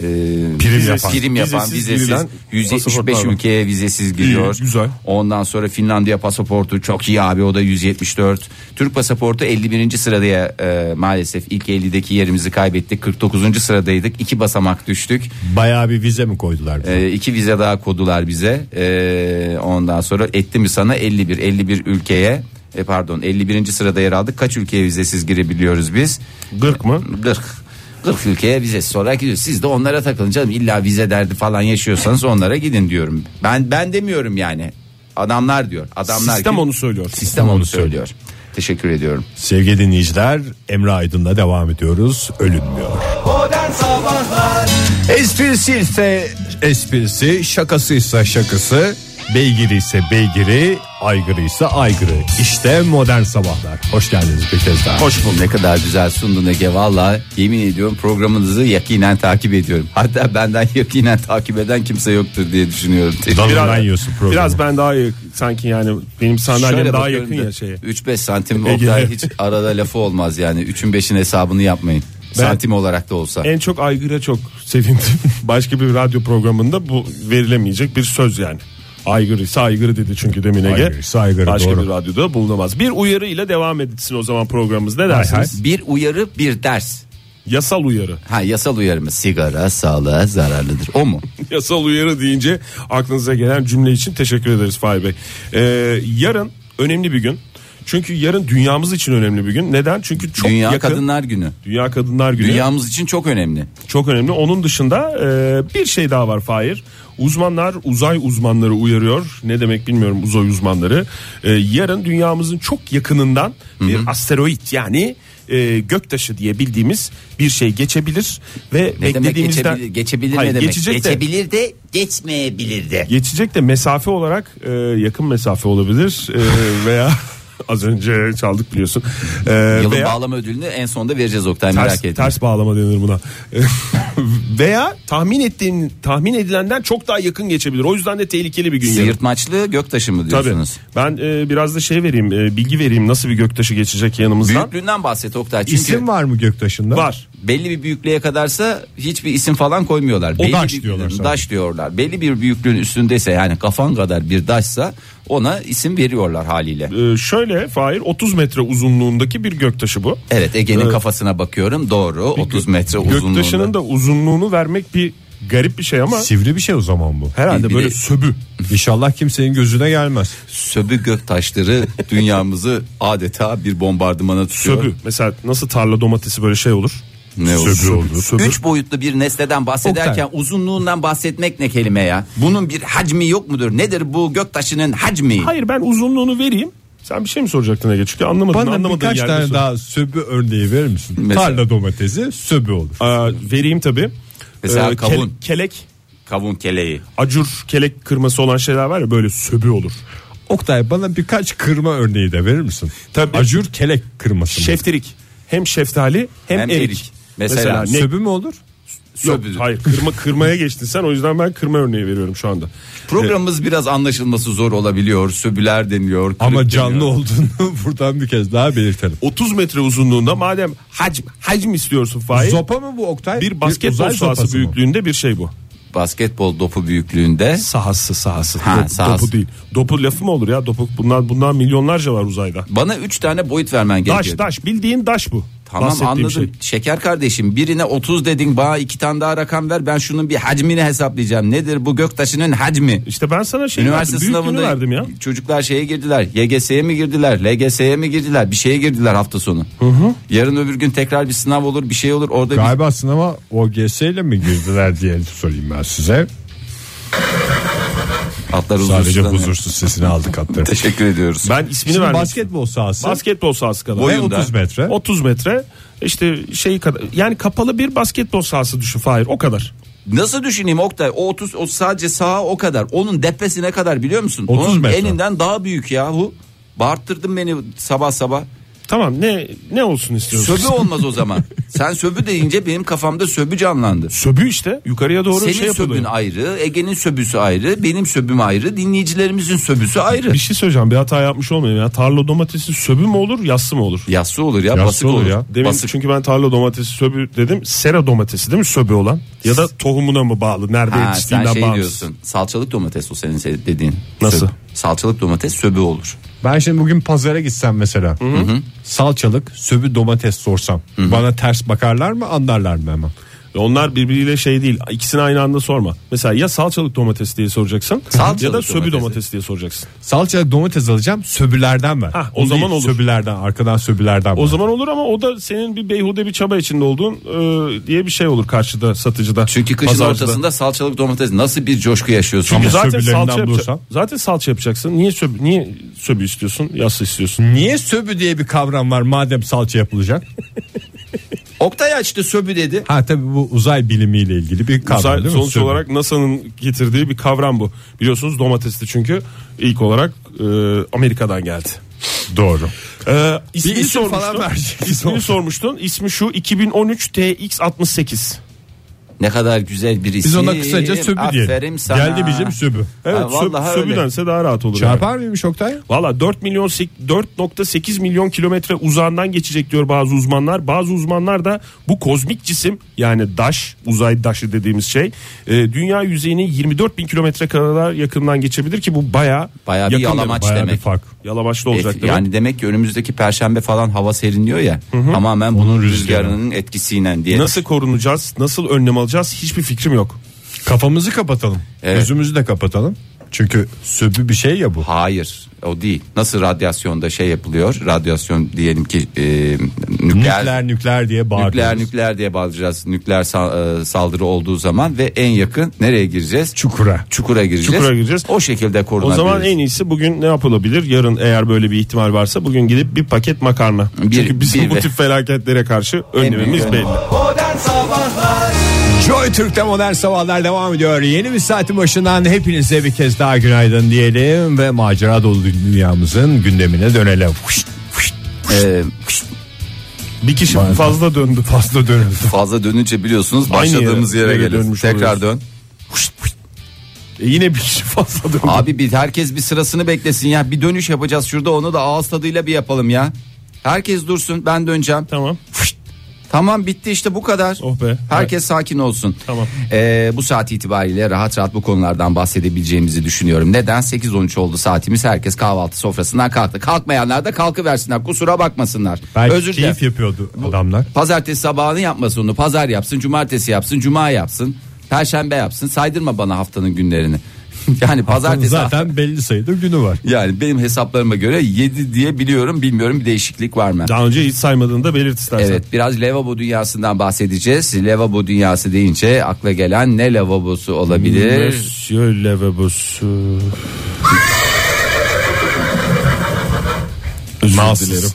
[SPEAKER 4] Prim yapan.
[SPEAKER 2] prim yapan,
[SPEAKER 4] Vizesiz
[SPEAKER 2] vizesiz,
[SPEAKER 4] girilen
[SPEAKER 2] 175
[SPEAKER 4] pasaportlar var.
[SPEAKER 2] ülkeye vizesiz giriyor.
[SPEAKER 4] İyi, güzel.
[SPEAKER 2] Ondan sonra Finlandiya pasaportu çok iyi abi o da 174. Türk pasaportu 51. sırada e, maalesef ilk 50'deki yerimizi kaybettik. 49. sıradaydık. iki basamak düştük.
[SPEAKER 3] Bayağı bir vize mi koydular? bize?
[SPEAKER 2] E, iki vize daha kodular bize. E, ondan sonra etti mi sana 51 51 ülkeye e, pardon 51. sırada yer aldık. Kaç ülkeye vizesiz girebiliyoruz biz?
[SPEAKER 4] Gırk mı?
[SPEAKER 2] 40 40 ülkeye vize sonra gidiyor. Siz de onlara takılın canım. İlla vize derdi falan yaşıyorsanız onlara gidin diyorum. Ben ben demiyorum yani. Adamlar diyor. Adamlar
[SPEAKER 4] Sistem
[SPEAKER 2] ki-
[SPEAKER 4] onu söylüyor.
[SPEAKER 2] Sistem onu söylüyor. Teşekkür ediyorum.
[SPEAKER 3] Sevgili dinleyiciler Emre Aydın'la devam ediyoruz. Ölünmüyor. Esprisi ise esprisi, şakasıysa şakası, beygiri ise beygiri, aygırı ise aygırı. İşte modern sabahlar. Hoş geldiniz bir kez daha.
[SPEAKER 2] Hoş bulduk. Ne kadar güzel sundun Ege. Valla yemin ediyorum programınızı yakinen takip ediyorum. Hatta benden (laughs) yakinen takip eden kimse yoktur diye düşünüyorum.
[SPEAKER 3] Dalından yiyorsun programı.
[SPEAKER 4] Biraz ben daha iyi sanki yani benim sandalyem
[SPEAKER 2] Şöyle
[SPEAKER 4] daha
[SPEAKER 2] bakıyorum
[SPEAKER 4] yakın
[SPEAKER 2] da,
[SPEAKER 4] ya şeye.
[SPEAKER 2] 3-5 santim
[SPEAKER 4] Ege'ye.
[SPEAKER 2] Oktay, hiç arada lafı olmaz yani. 3'ün 5'in hesabını yapmayın.
[SPEAKER 4] Ben- E-
[SPEAKER 2] santim olarak da olsa.
[SPEAKER 4] En çok aygıra çok sevindim. (laughs) Başka bir radyo programında bu verilemeyecek bir söz yani. Aygır ise aygırı dedi çünkü demin Ege.
[SPEAKER 3] Aygır ise aygırı,
[SPEAKER 4] Başka
[SPEAKER 3] doğru.
[SPEAKER 4] bir radyoda bulunamaz. Bir uyarı ile devam etsin o zaman programımız. Ne dersiniz?
[SPEAKER 3] hay.
[SPEAKER 2] Bir uyarı bir ders.
[SPEAKER 4] Yasal uyarı.
[SPEAKER 2] Ha yasal uyarı mı? Sigara sağlığa zararlıdır. O mu?
[SPEAKER 4] (laughs) Yasal uyarı deyince aklınıza gelen cümle için teşekkür ederiz Fahir Bey. Ee, yarın önemli bir gün. Çünkü yarın dünyamız için önemli bir gün. Neden? Çünkü çok
[SPEAKER 2] Dünya
[SPEAKER 4] yakın.
[SPEAKER 2] Kadınlar Günü.
[SPEAKER 4] Dünya Kadınlar Günü.
[SPEAKER 2] Dünyamız için çok önemli.
[SPEAKER 4] Çok önemli. Onun dışında e, bir şey daha var Fahir. Uzmanlar uzay uzmanları uyarıyor. Ne demek bilmiyorum uzay uzmanları. E, yarın dünyamızın çok yakınından bir asteroit yani e, göktaşı diye bildiğimiz bir şey geçebilir ve
[SPEAKER 2] Ne demek
[SPEAKER 4] beklediğimizden
[SPEAKER 2] geçebilir, geçebilir
[SPEAKER 4] Hayır,
[SPEAKER 2] ne demek?
[SPEAKER 4] geçecek de-
[SPEAKER 2] geçebilir de geçmeyebilir de.
[SPEAKER 4] Geçecek de mesafe olarak e, yakın mesafe olabilir E, veya (laughs) az önce çaldık biliyorsun. E,
[SPEAKER 2] Yılın
[SPEAKER 4] veya
[SPEAKER 2] bağlama ödülünü en sonda vereceğiz Oktay merak
[SPEAKER 4] ters,
[SPEAKER 2] etme.
[SPEAKER 4] ters bağlama denir buna. (laughs) veya tahmin ettiğin tahmin edilenden çok daha yakın geçebilir. O yüzden de tehlikeli bir gün. yarın.
[SPEAKER 2] Sıyırtmaçlı göktaşı mı
[SPEAKER 4] Tabii.
[SPEAKER 2] diyorsunuz?
[SPEAKER 4] Ben e, biraz da şey vereyim, e, bilgi vereyim nasıl bir göktaşı geçecek yanımızdan.
[SPEAKER 2] Büyüklüğünden bahset Oktay. Çünkü
[SPEAKER 3] İsim var mı Göktaş'ında?
[SPEAKER 4] Var.
[SPEAKER 2] belli bir büyüklüğe kadarsa hiçbir isim falan koymuyorlar. belli
[SPEAKER 3] daş
[SPEAKER 2] bir-
[SPEAKER 3] diyorlar sadece.
[SPEAKER 2] Daş diyorlar. Belli bir büyüklüğün üstündeyse yani kafan kadar bir daşsa ona isim veriyorlar haliyle.
[SPEAKER 4] E, şöyle Fahir 30 metre uzunluğundaki bir göktaşı bu.
[SPEAKER 2] Evet Ege'nin
[SPEAKER 4] Evet.
[SPEAKER 2] kafasına bakıyorum doğru 30 metre uzunluğunda.
[SPEAKER 4] Göktaşının da uzunluğunu vermek bir garip bir şey ama
[SPEAKER 3] Sivri bir şey o zaman bu.
[SPEAKER 4] herhalde
[SPEAKER 2] Bir-
[SPEAKER 4] böyle
[SPEAKER 2] bir-
[SPEAKER 4] söbü.
[SPEAKER 3] İnşallah kimsenin gözüne gelmez.
[SPEAKER 2] Söbü göktaşları dünyamızı adeta bir bombardımana tutuyor.
[SPEAKER 4] Söbü. Mesela nasıl tarla domatesi böyle şey olur?
[SPEAKER 2] Ne olur?
[SPEAKER 4] Söbü olur. Söbü.
[SPEAKER 2] Üç boyutlu bir nesneden bahsederken uzunluğundan bahsetmek ne kelime ya? Bunun bir hacmi yok mudur? Nedir bu göktaşının hacmi?
[SPEAKER 4] Hayır ben uzunluğunu vereyim. Sen bir şey mi soracaktın Ege? Çünkü anlamadım.
[SPEAKER 3] Bana
[SPEAKER 4] anlamadığın
[SPEAKER 3] birkaç
[SPEAKER 4] yerde
[SPEAKER 3] tane
[SPEAKER 4] sor.
[SPEAKER 3] daha söbü örneği verir misin?
[SPEAKER 2] Mesela-
[SPEAKER 3] Tarla domatesi söbü olur.
[SPEAKER 4] Aa, Ee, vereyim tabii.
[SPEAKER 2] Mesela
[SPEAKER 4] Ee,
[SPEAKER 2] kavun.
[SPEAKER 4] kele- kelek,
[SPEAKER 2] Kavun keleği.
[SPEAKER 4] acur, kelek kırması olan şeyler var ya böyle söbü olur.
[SPEAKER 3] Oktay bana birkaç kırma örneği de verir misin?
[SPEAKER 4] Tabii.
[SPEAKER 3] Acur kelek kırması. mı?
[SPEAKER 4] Şeftirik. Hem şeftali hem,
[SPEAKER 2] Hem
[SPEAKER 4] erik.
[SPEAKER 2] erik. Mesela
[SPEAKER 4] ne-
[SPEAKER 3] Söbü mü olur?
[SPEAKER 4] Yok,
[SPEAKER 2] Söbü.
[SPEAKER 4] hayır kırma kırmaya geçtin sen o yüzden ben kırma örneği veriyorum şu anda.
[SPEAKER 2] Programımız biraz anlaşılması zor olabiliyor. Söbüler deniyor. kırık
[SPEAKER 3] Ama
[SPEAKER 2] deniyor.
[SPEAKER 3] canlı olduğunu (laughs) buradan bir kez daha belirtelim.
[SPEAKER 4] 30 metre uzunluğunda madem hacim hacim istiyorsun Fahir.
[SPEAKER 3] Zopa mı bu Oktay?
[SPEAKER 4] bir basketbol
[SPEAKER 3] uzay sopası
[SPEAKER 4] sahası
[SPEAKER 3] mı?
[SPEAKER 4] büyüklüğünde bir şey bu.
[SPEAKER 2] basketbol topu büyüklüğünde
[SPEAKER 4] Sahası sahası.
[SPEAKER 2] Ha,
[SPEAKER 4] Dop-
[SPEAKER 2] sahası.
[SPEAKER 4] Dopu değil. Dopu lafı mı olur ya? Dopu bundan bundan milyonlarca var uzayda.
[SPEAKER 2] bana 3 tane boyut vermen
[SPEAKER 4] Daş
[SPEAKER 2] gerekiyor.
[SPEAKER 4] daş bildiğin daş bu.
[SPEAKER 2] Tamam
[SPEAKER 4] Bahsettiğim
[SPEAKER 2] anladım.
[SPEAKER 4] şey.
[SPEAKER 2] Şeker kardeşim birine 30 dedin bana iki tane daha rakam ver ben şunun bir hacmini hesaplayacağım. Nedir bu göktaşının hacmi?
[SPEAKER 4] İşte ben sana şey
[SPEAKER 2] Üniversite
[SPEAKER 4] verdim, büyüklüğünü
[SPEAKER 2] sınavında
[SPEAKER 4] verdim ya.
[SPEAKER 2] çocuklar şeye girdiler. YGS'ye mi girdiler? LGS'ye mi girdiler? Bir şeye girdiler hafta sonu. Yarın öbür gün tekrar bir sınav olur, bir şey olur. Orada bir-
[SPEAKER 3] Galiba sınava OGS ile mi girdiler diye sorayım ben size.
[SPEAKER 2] atlar huzursuzlanıyor.
[SPEAKER 3] Sadece huzursuz sesini aldık atları.
[SPEAKER 2] Teşekkür ediyoruz.
[SPEAKER 4] Ben ismini
[SPEAKER 3] Şimdi
[SPEAKER 4] vermek
[SPEAKER 3] basketbol sahası.
[SPEAKER 4] basketbol sahası kadar.
[SPEAKER 3] Ve
[SPEAKER 2] Boyunda.
[SPEAKER 3] 30 metre.
[SPEAKER 4] 30 metre işte şey kadar yani kapalı bir basketbol sahası düşün Fahir o kadar.
[SPEAKER 2] Nasıl düşüneyim Oktay? O 30 o sadece sağa o kadar. Onun depesine kadar biliyor musun?
[SPEAKER 3] 30
[SPEAKER 2] Onun
[SPEAKER 3] metre.
[SPEAKER 2] elinden daha büyük yahu. Bağırttırdın beni sabah sabah.
[SPEAKER 4] Tamam ne ne olsun istiyorsun? (laughs)
[SPEAKER 2] Söbü olmaz o zaman. Sen söbü deyince benim kafamda söbü canlandı.
[SPEAKER 4] Söbü işte yukarıya doğru
[SPEAKER 2] Senin
[SPEAKER 4] şey
[SPEAKER 2] söbün
[SPEAKER 4] yapılıyor.
[SPEAKER 2] ayrı, Ege'nin söbüsü ayrı, benim söbüm ayrı, dinleyicilerimizin söbüsü ayrı.
[SPEAKER 4] Bir şey söyleyeceğim bir hata yapmış olmayayım ya. Tarla domatesi söbü mü olur yassı mı olur?
[SPEAKER 2] Yassı olur ya,
[SPEAKER 4] Yassı
[SPEAKER 2] basık olur.
[SPEAKER 4] ya. Demin şey
[SPEAKER 2] basık.
[SPEAKER 4] çünkü ben tarla domatesi söbü dedim. Sera domatesi değil mi söbü olan? Ya da tohumuna mı bağlı? Nerede
[SPEAKER 2] Ha, sen
[SPEAKER 4] yetiştiğinden
[SPEAKER 2] şey
[SPEAKER 4] bağlı.
[SPEAKER 2] diyorsun. Salçalık domates o senin se- dediğin.
[SPEAKER 4] Nasıl?
[SPEAKER 2] Söbü. Salçalık domates söbü olur.
[SPEAKER 3] Ben şimdi bugün pazara gitsem mesela. Salçalık, söbü domates sorsam. Bana ters bakarlar mı, anlarlar mı hemen?
[SPEAKER 4] E Onlar birbiriyle şey değil. İkisini aynı anda sorma. Mesela ya salçalık domates diye soracaksın
[SPEAKER 2] Salçalık
[SPEAKER 4] ya da söbü
[SPEAKER 2] domatesi.
[SPEAKER 4] domates diye soracaksın.
[SPEAKER 3] Salçalık domates alacağım, söbülerden ver.
[SPEAKER 4] Hah, o
[SPEAKER 3] Onu
[SPEAKER 4] zaman
[SPEAKER 3] değil,
[SPEAKER 4] olur.
[SPEAKER 3] Söbülerden, arkadan söbülerden.
[SPEAKER 4] O zaman olur ama o da senin bir beyhude bir çaba içinde olduğun e, diye bir şey olur karşıda satıcıda.
[SPEAKER 2] Çünkü kışın
[SPEAKER 4] pazarcıda.
[SPEAKER 2] ortasında salçalık domates nasıl bir coşku yaşıyorsun.
[SPEAKER 4] Çünkü
[SPEAKER 2] ya.
[SPEAKER 3] Ama
[SPEAKER 4] zaten
[SPEAKER 3] söbülerinden
[SPEAKER 4] salça yapacaksın.
[SPEAKER 3] bulursan?
[SPEAKER 4] Zaten salça yapacaksın. Niye söbü niye söbü istiyorsun? Yassı istiyorsun.
[SPEAKER 3] Niye söbü diye bir kavram var madem salça yapılacak?
[SPEAKER 2] Oktay açtı söbü dedi.
[SPEAKER 3] (laughs) Ha tabii bu uzay bilimiyle ilgili bir kavram
[SPEAKER 4] Uzay-
[SPEAKER 3] değil mi?
[SPEAKER 4] sonuç
[SPEAKER 3] Söbü.
[SPEAKER 4] olarak NASA'nın getirdiği bir kavram bu. Biliyorsunuz domatesli çünkü ilk olarak e, Amerika'dan geldi.
[SPEAKER 3] doğru.
[SPEAKER 4] Ee, ismini
[SPEAKER 3] isim
[SPEAKER 4] sormuştun.
[SPEAKER 3] falan verecek.
[SPEAKER 4] İsmini sormuştun. İsmi şu 2013 TX68.
[SPEAKER 2] Ne kadar güzel bir isim.
[SPEAKER 3] Biz ona kısaca söbü diyelim.
[SPEAKER 2] Aferin sana.
[SPEAKER 3] Geldi bizim söbü.
[SPEAKER 4] Evet,
[SPEAKER 2] Ha,
[SPEAKER 4] sö-
[SPEAKER 2] vallahi öyle.
[SPEAKER 4] söbüdense daha rahat olur. yani.
[SPEAKER 3] Çarpar mıymış Oktay?
[SPEAKER 4] Valla 4 milyon sek- 4.8 milyon kilometre uzağından geçecek diyor bazı uzmanlar. Bazı uzmanlar da bu kozmik cisim yani daş uzay daşı dediğimiz şey e, dünya yüzeyini 24 bin kilometre kadar yakından geçebilir ki bu baya
[SPEAKER 2] Bayağı bir yalamaç
[SPEAKER 3] Bayağı
[SPEAKER 2] demek.
[SPEAKER 3] bir fark.
[SPEAKER 4] yalamaçlı
[SPEAKER 2] Et-
[SPEAKER 4] olacak demek.
[SPEAKER 2] yani demek ki önümüzdeki perşembe falan hava serinliyor ya. Tamamen bunun rüzgarının etkisiyle diye.
[SPEAKER 4] Nasıl korunacağız? Nasıl önlem alacağız? Hiçbir fikrim yok.
[SPEAKER 3] Kafamızı kapatalım.
[SPEAKER 2] Evet.
[SPEAKER 3] Gözümüzü de kapatalım. Çünkü söbü bir şey ya bu.
[SPEAKER 2] Hayır o değil. Nasıl radyasyonda şey yapılıyor? Radyasyon diyelim ki e, nükleer, nükleer
[SPEAKER 3] Nükleer nükleer diye
[SPEAKER 2] nükleer
[SPEAKER 3] bağırıyoruz.
[SPEAKER 2] diye bağıracağız. Nükleer sa- e, saldırı olduğu zaman ve en yakın nereye gireceğiz?
[SPEAKER 3] Çukura.
[SPEAKER 2] Çukura gireceğiz.
[SPEAKER 4] Çukura gireceğiz.
[SPEAKER 2] O şekilde
[SPEAKER 4] O
[SPEAKER 2] korunabiliriz.
[SPEAKER 4] zaman en iyisi bugün ne yapılabilir? Yarın eğer böyle bir ihtimal varsa bugün gidip bir paket makarna.
[SPEAKER 2] Bir-
[SPEAKER 4] Çünkü bizim
[SPEAKER 2] bir
[SPEAKER 4] bu
[SPEAKER 2] ve-
[SPEAKER 4] tip felaketlere karşı
[SPEAKER 2] büyük
[SPEAKER 4] önlemimiz
[SPEAKER 2] önlem.
[SPEAKER 4] belli.
[SPEAKER 3] Joy Türk'te modern sabahlar devam ediyor. Yeni bir saatin başından hepinize bir kez daha günaydın diyelim ve macera dolu dünyamızın gündemine dönelim. Fışt, fışt.
[SPEAKER 2] Ee,
[SPEAKER 4] Bir kişi
[SPEAKER 3] Bayağı.
[SPEAKER 4] fazla döndü. Fazla döndü.
[SPEAKER 2] fazla dönünce biliyorsunuz
[SPEAKER 4] Aynı yere-
[SPEAKER 2] başladığımız yere,
[SPEAKER 4] yere
[SPEAKER 2] geliriz.
[SPEAKER 4] dönmüş
[SPEAKER 2] Tekrar dön.
[SPEAKER 4] E yine bir kişi fazla döndü.
[SPEAKER 2] Abi bir herkes bir sırasını beklesin ya. Bir dönüş yapacağız şurada onu da ağız tadıyla bir yapalım ya. Herkes dursun ben döneceğim.
[SPEAKER 4] Tamam.
[SPEAKER 2] Tamam bitti işte bu kadar.
[SPEAKER 4] Oh be.
[SPEAKER 2] Herkes sakin olsun.
[SPEAKER 4] Tamam.
[SPEAKER 2] Ee, bu saat itibariyle rahat rahat bu konulardan bahsedebileceğimizi düşünüyorum. Neden? 8-13 oldu saatimiz. Herkes kahvaltı sofrasından kalktı. Kalkmayanlar da kalkıversinler. Kusura bakmasınlar.
[SPEAKER 3] Belki
[SPEAKER 2] Özür dilerim.
[SPEAKER 3] keyif yapıyordu adamlar.
[SPEAKER 2] Pazartesi sabahını yapmasın onu. Pazar yapsın, cumartesi yapsın, cuma yapsın. Perşembe yapsın. Saydırma bana haftanın günlerini. (laughs) yani pazartesi
[SPEAKER 3] Zaten belli sayıda günü var.
[SPEAKER 2] yani benim hesaplarıma göre 7 diye biliyorum. Bilmiyorum bir değişiklik var mı?
[SPEAKER 4] Daha önce hiç saymadığını da belirt istersen.
[SPEAKER 2] Evet biraz lavabo dünyasından bahsedeceğiz. Lavabo dünyası deyince akla gelen ne lavabosu
[SPEAKER 4] (laughs)
[SPEAKER 2] olabilir?
[SPEAKER 4] Monsieur Lavabosu.
[SPEAKER 3] (laughs)
[SPEAKER 4] Özür dilerim.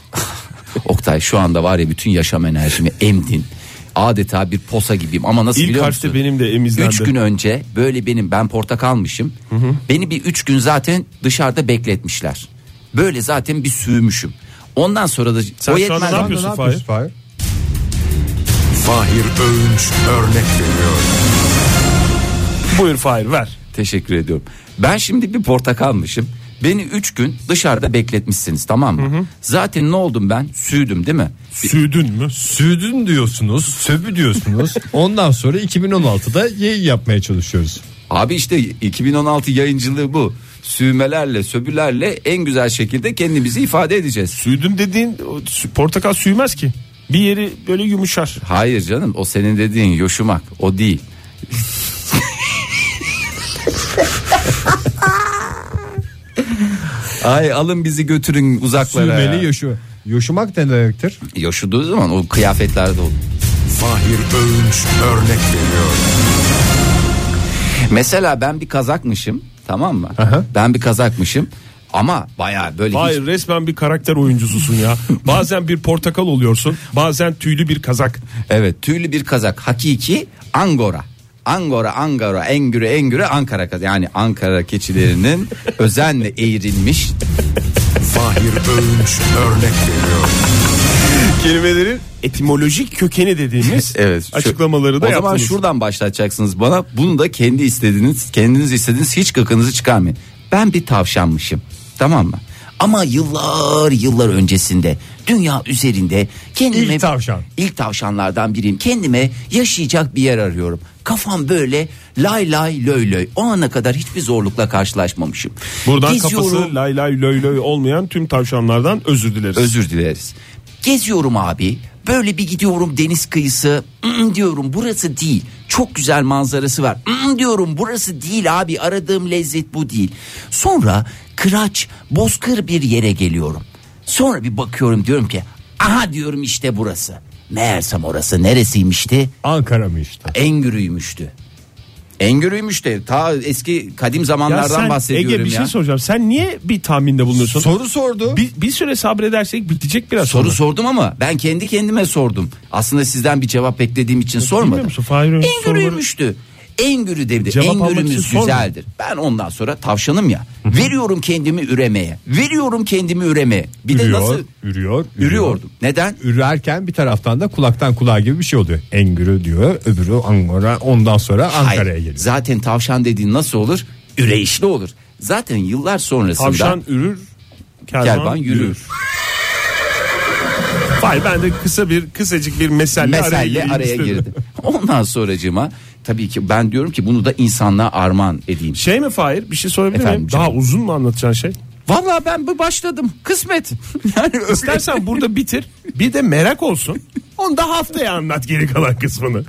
[SPEAKER 2] Oktay şu anda var ya bütün yaşam enerjimi emdin. Adeta bir posa gibiyim ama nasıl
[SPEAKER 4] İlk
[SPEAKER 2] biliyor
[SPEAKER 4] harfte
[SPEAKER 2] musun?
[SPEAKER 4] benim de emizlendi.
[SPEAKER 2] 3 gün önce böyle benim ben portakalmışım. Beni bir 3 gün zaten dışarıda bekletmişler. Böyle zaten bir sürmüşüm. Ondan sonra da
[SPEAKER 4] Sen şu anda ne
[SPEAKER 2] bana-
[SPEAKER 4] yapıyorsun?
[SPEAKER 3] Fahir?
[SPEAKER 5] Fahir Öğünç örnek veriyor.
[SPEAKER 4] Buyur Fahir ver.
[SPEAKER 2] Teşekkür ediyorum. Ben şimdi bir portakalmışım. Beni 3 gün dışarıda bekletmişsiniz tamam mı? Zaten ne oldum ben? Sürdüm değil mi?
[SPEAKER 3] Südün mü? Südün diyorsunuz, söbü diyorsunuz. Ondan sonra 2016'da yayın yapmaya çalışıyoruz.
[SPEAKER 2] Abi işte 2016 yayıncılığı bu. Sürmelerle, söbülerle en güzel şekilde kendimizi ifade edeceğiz.
[SPEAKER 4] Süydüm dediğin o sü- portakal süymez ki. Bir yeri böyle yumuşar.
[SPEAKER 2] Hayır canım o senin dediğin yoşumak o değil. (laughs) Ay alın bizi götürün uzaklara.
[SPEAKER 3] Sürmeli
[SPEAKER 2] ya.
[SPEAKER 3] yoşu. Yoşumak ne demektir?
[SPEAKER 2] Yoşuduğu zaman o kıyafetlerde olur.
[SPEAKER 5] Fahir Öğünç örnek veriyor.
[SPEAKER 2] Mesela ben bir kazakmışım tamam mı?
[SPEAKER 3] Aha.
[SPEAKER 2] Ben bir kazakmışım ama baya böyle hiç-
[SPEAKER 4] Hayır resmen bir karakter
[SPEAKER 2] (laughs)
[SPEAKER 4] oyuncususun ya. Bazen bir portakal oluyorsun. Bazen tüylü bir kazak.
[SPEAKER 2] evet tüylü bir kazak hakiki angora. Angora, angora, engüre, engüre Ankara kazak. Yani
[SPEAKER 5] (laughs)
[SPEAKER 2] Ankara keçilerinin özenle eğrilmiş
[SPEAKER 5] Fahir Öğünç örnek veriyor.
[SPEAKER 4] kelimelerin etimolojik kökeni dediğimiz
[SPEAKER 2] (laughs) Evet. şu-
[SPEAKER 4] açıklamaları da
[SPEAKER 2] O zaman
[SPEAKER 4] yaptınız.
[SPEAKER 2] şuradan başlatacaksınız bana. Bunu da kendi istediğiniz, kendiniz istediğiniz hiç gıkınızı çıkarmayın. Ben bir tavşanmışım. Tamam mı? Ama yıllar yıllar öncesinde dünya üzerinde kendime
[SPEAKER 3] İlk tavşan.
[SPEAKER 2] ilk tavşanlardan biriyim. Kendime yaşayacak bir yer arıyorum. Kafam böyle lay lay löy löy. O ana kadar hiçbir zorlukla karşılaşmamışım.
[SPEAKER 4] Buradan
[SPEAKER 2] Geziyorum.
[SPEAKER 4] kafası lay lay löy löy olmayan tüm tavşanlardan özür dileriz.
[SPEAKER 2] Özür dileriz. Geziyorum abi. Böyle bir gidiyorum deniz kıyısı. "Mm, diyorum burası değil. Çok güzel manzarası var. "Mm, diyorum burası değil abi. Aradığım lezzet bu değil. Sonra kıraç, bozkır bir yere geliyorum. Sonra bir bakıyorum diyorum ki aha diyorum işte burası. Meğersem orası neresiymişti?
[SPEAKER 3] Ankara mı işte?
[SPEAKER 2] Engürüymüştü. Engürüymüş de ta eski kadim
[SPEAKER 4] Ya
[SPEAKER 2] zamanlardan
[SPEAKER 4] sen,
[SPEAKER 2] bahsediyorum
[SPEAKER 4] Ege bir
[SPEAKER 2] ya.
[SPEAKER 4] şey soracağım. Sen niye bir tahminde bulunuyorsun?
[SPEAKER 3] Soru sordu.
[SPEAKER 4] bir, bir süre sabredersek bitecek biraz
[SPEAKER 2] Soru
[SPEAKER 4] sonra.
[SPEAKER 2] sordum ama ben kendi kendime sordum. Aslında sizden bir cevap beklediğim için
[SPEAKER 4] Bilmiyor
[SPEAKER 2] sormadım.
[SPEAKER 4] musun? Fahir Öğün'ün soruları-
[SPEAKER 2] Engürüymüştü. Engürü dedi.
[SPEAKER 4] Cevap almak için
[SPEAKER 2] Engürümüz
[SPEAKER 4] sormadım.
[SPEAKER 2] güzeldir. Ben ondan sonra tavşanım ya. veriyorum kendimi üremeye. Veriyorum kendimi üremeye. Bir de
[SPEAKER 3] Ürüyor,
[SPEAKER 2] nasıl
[SPEAKER 3] ürüyor, ürüyor.
[SPEAKER 2] ürüyordum. Neden?
[SPEAKER 3] Ürerken bir taraftan da kulaktan kulağa gibi bir şey oluyor. Engürü diyor, öbürü Ankara. Ondan sonra Ankara'ya
[SPEAKER 2] Hayır.
[SPEAKER 3] geliyor.
[SPEAKER 2] Zaten tavşan dediğin nasıl olur? Üreyişli olur. Zaten yıllar sonrasında
[SPEAKER 4] Tavşan ürür, kervan,
[SPEAKER 2] kervan yürür.
[SPEAKER 4] yürür. Hayır ben de kısa bir kısacık bir meselle,
[SPEAKER 2] (laughs)
[SPEAKER 4] araya,
[SPEAKER 2] meselle
[SPEAKER 4] gireyim
[SPEAKER 2] araya
[SPEAKER 4] istedim.
[SPEAKER 2] girdi. Ondan sonracığıma tabii ki ben diyorum ki bunu da insanlığa armağan edeyim.
[SPEAKER 4] Şey mi Fahir bir şey sorabilir
[SPEAKER 2] Efendim
[SPEAKER 4] miyim?
[SPEAKER 2] canım.
[SPEAKER 4] Daha uzun mu anlatacağın şey?
[SPEAKER 2] Vallahi ben bu başladım. Kısmet. (laughs) Yani öyle.
[SPEAKER 4] İstersen burada bitir. Bir de merak olsun. Onu da haftaya anlat geri kalan kısmını.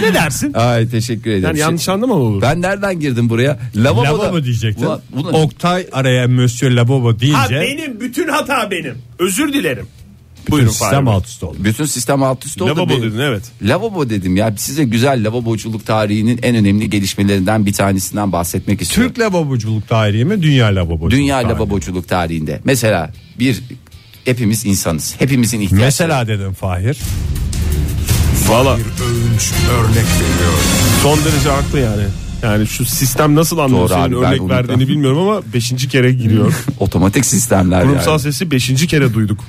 [SPEAKER 4] Ne dersin?
[SPEAKER 2] Ay teşekkür ederim. Şey,
[SPEAKER 4] Yani yanlış anlama olur.
[SPEAKER 2] Ben nereden girdim buraya? Lavaboda.
[SPEAKER 3] Lavabo diyecektin.
[SPEAKER 2] Ulan- ulan-
[SPEAKER 3] Oktay araya Monsieur Lavabo
[SPEAKER 4] Ha
[SPEAKER 3] deyince
[SPEAKER 4] benim bütün hata benim. Özür dilerim.
[SPEAKER 3] bütün
[SPEAKER 4] Buyurun
[SPEAKER 3] sistem
[SPEAKER 4] Fahir.
[SPEAKER 3] alt üst oldu.
[SPEAKER 2] Bütün sistem alt üst oldu.
[SPEAKER 4] Lavabo
[SPEAKER 2] Bir-
[SPEAKER 4] dedin, evet.
[SPEAKER 2] Lavabo dedim ya. Size güzel lavaboculuk tarihinin en önemli gelişmelerinden bir tanesinden bahsetmek istiyorum.
[SPEAKER 3] Türk lavaboculuk tarihi mi? Dünya lavaboculuk
[SPEAKER 2] Dünya
[SPEAKER 3] tarihi mi?
[SPEAKER 2] lavaboculuk tarihinde. Mesela bir hepimiz insanız. Hepimizin ihtiyacı.
[SPEAKER 3] Mesela dedim Fahir.
[SPEAKER 4] Valla
[SPEAKER 5] Öğünç örnek veriyor.
[SPEAKER 4] son derece haklı yani. Yani şu sistem nasıl anlıyor
[SPEAKER 2] Doğru
[SPEAKER 4] senin
[SPEAKER 2] abi, ben
[SPEAKER 4] örnek
[SPEAKER 2] unutmam.
[SPEAKER 4] verdiğini bilmiyorum ama 5. kere giriyor.
[SPEAKER 2] otomatik sistemler
[SPEAKER 4] Kurumsal
[SPEAKER 2] yani.
[SPEAKER 4] sesi 5. kere duyduk.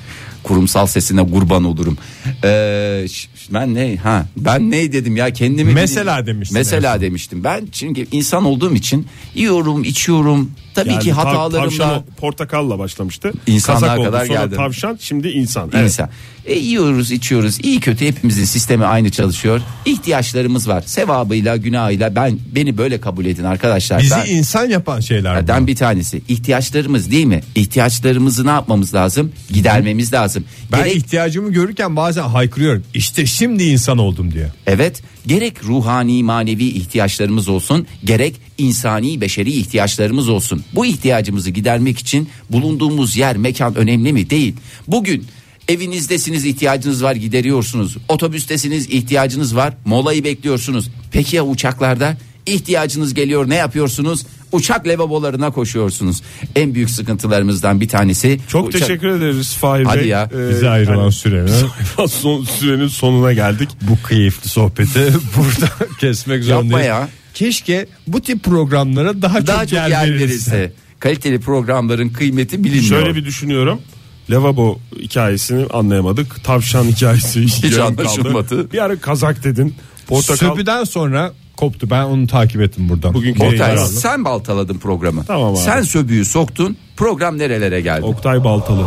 [SPEAKER 2] Kurumsal sesine kurban olurum. Ee, ş- ben ne ha ben ne dedim ya kendimi
[SPEAKER 3] Mesela demiştin
[SPEAKER 2] Mesela demiştim. Ben çünkü insan olduğum için yiyorum, içiyorum. Tabii
[SPEAKER 4] Yani
[SPEAKER 2] ki
[SPEAKER 4] ta-
[SPEAKER 2] hatalarımla
[SPEAKER 4] tavşan portakalla başlamıştı.
[SPEAKER 2] İnsanlığa
[SPEAKER 4] Kazak oldu,
[SPEAKER 2] kadar
[SPEAKER 4] sonra
[SPEAKER 2] geldim.
[SPEAKER 4] Tavşan şimdi insan. Evet.
[SPEAKER 2] insan. E, yiyoruz içiyoruz iyi kötü hepimizin sistemi aynı çalışıyor. İhtiyaçlarımız var. Sevabıyla günahıyla ben beni böyle kabul edin arkadaşlar.
[SPEAKER 3] Bizi
[SPEAKER 2] Ben-
[SPEAKER 3] insan yapan şeyler bunlar.
[SPEAKER 2] Bunlardan bir tanesi ihtiyaçlarımız değil mi? İhtiyaçlarımızı ne yapmamız lazım? Gidermemiz lazım.
[SPEAKER 3] Ben
[SPEAKER 2] Gerek-
[SPEAKER 3] ihtiyacımı görürken bazen haykırıyorum. İşte şimdi insan oldum diye.
[SPEAKER 2] Evet gerek ruhani manevi ihtiyaçlarımız olsun gerek insani beşeri ihtiyaçlarımız olsun. Bu ihtiyacımızı gidermek için bulunduğumuz yer mekan önemli mi? Değil. Bugün evinizdesiniz ihtiyacınız var gideriyorsunuz. Otobüstesiniz ihtiyacınız var molayı bekliyorsunuz. Peki ya uçaklarda? İhtiyacınız geliyor ne yapıyorsunuz? Uçak lavabolarına koşuyorsunuz. En büyük sıkıntılarımızdan bir tanesi.
[SPEAKER 4] Çok
[SPEAKER 2] uçak-
[SPEAKER 4] teşekkür ederiz Fahir
[SPEAKER 2] Hadi
[SPEAKER 4] Bey.
[SPEAKER 2] ya.
[SPEAKER 4] Ee,
[SPEAKER 3] Bize ayrılan
[SPEAKER 2] (laughs)
[SPEAKER 4] yani-
[SPEAKER 3] sürenin
[SPEAKER 4] son sürenin sonuna geldik.
[SPEAKER 3] bu keyifli sohbeti (laughs) burada kesmek zorundayız.
[SPEAKER 2] ya.
[SPEAKER 3] Keşke bu tip programlara daha,
[SPEAKER 2] Daha
[SPEAKER 3] çok,
[SPEAKER 2] çok yer verirse. Kaliteli programların kıymeti bilinmiyor.
[SPEAKER 4] Şöyle bir düşünüyorum. Lavabo hikayesini anlayamadık. Tavşan hikayesi hiç
[SPEAKER 2] anlaşılmadı.
[SPEAKER 4] Bir ara kazak dedin. Portakal.
[SPEAKER 3] Söpüden sonra koptu. Ben onu takip ettim buradan.
[SPEAKER 4] Bugünkü
[SPEAKER 3] Oktay,
[SPEAKER 2] Oktay,
[SPEAKER 4] Eyvallah.
[SPEAKER 2] sen baltaladın programı.
[SPEAKER 4] Tamam abi.
[SPEAKER 2] Sen söbüğü soktun. Program nerelere geldi?
[SPEAKER 4] Oktay Baltalı.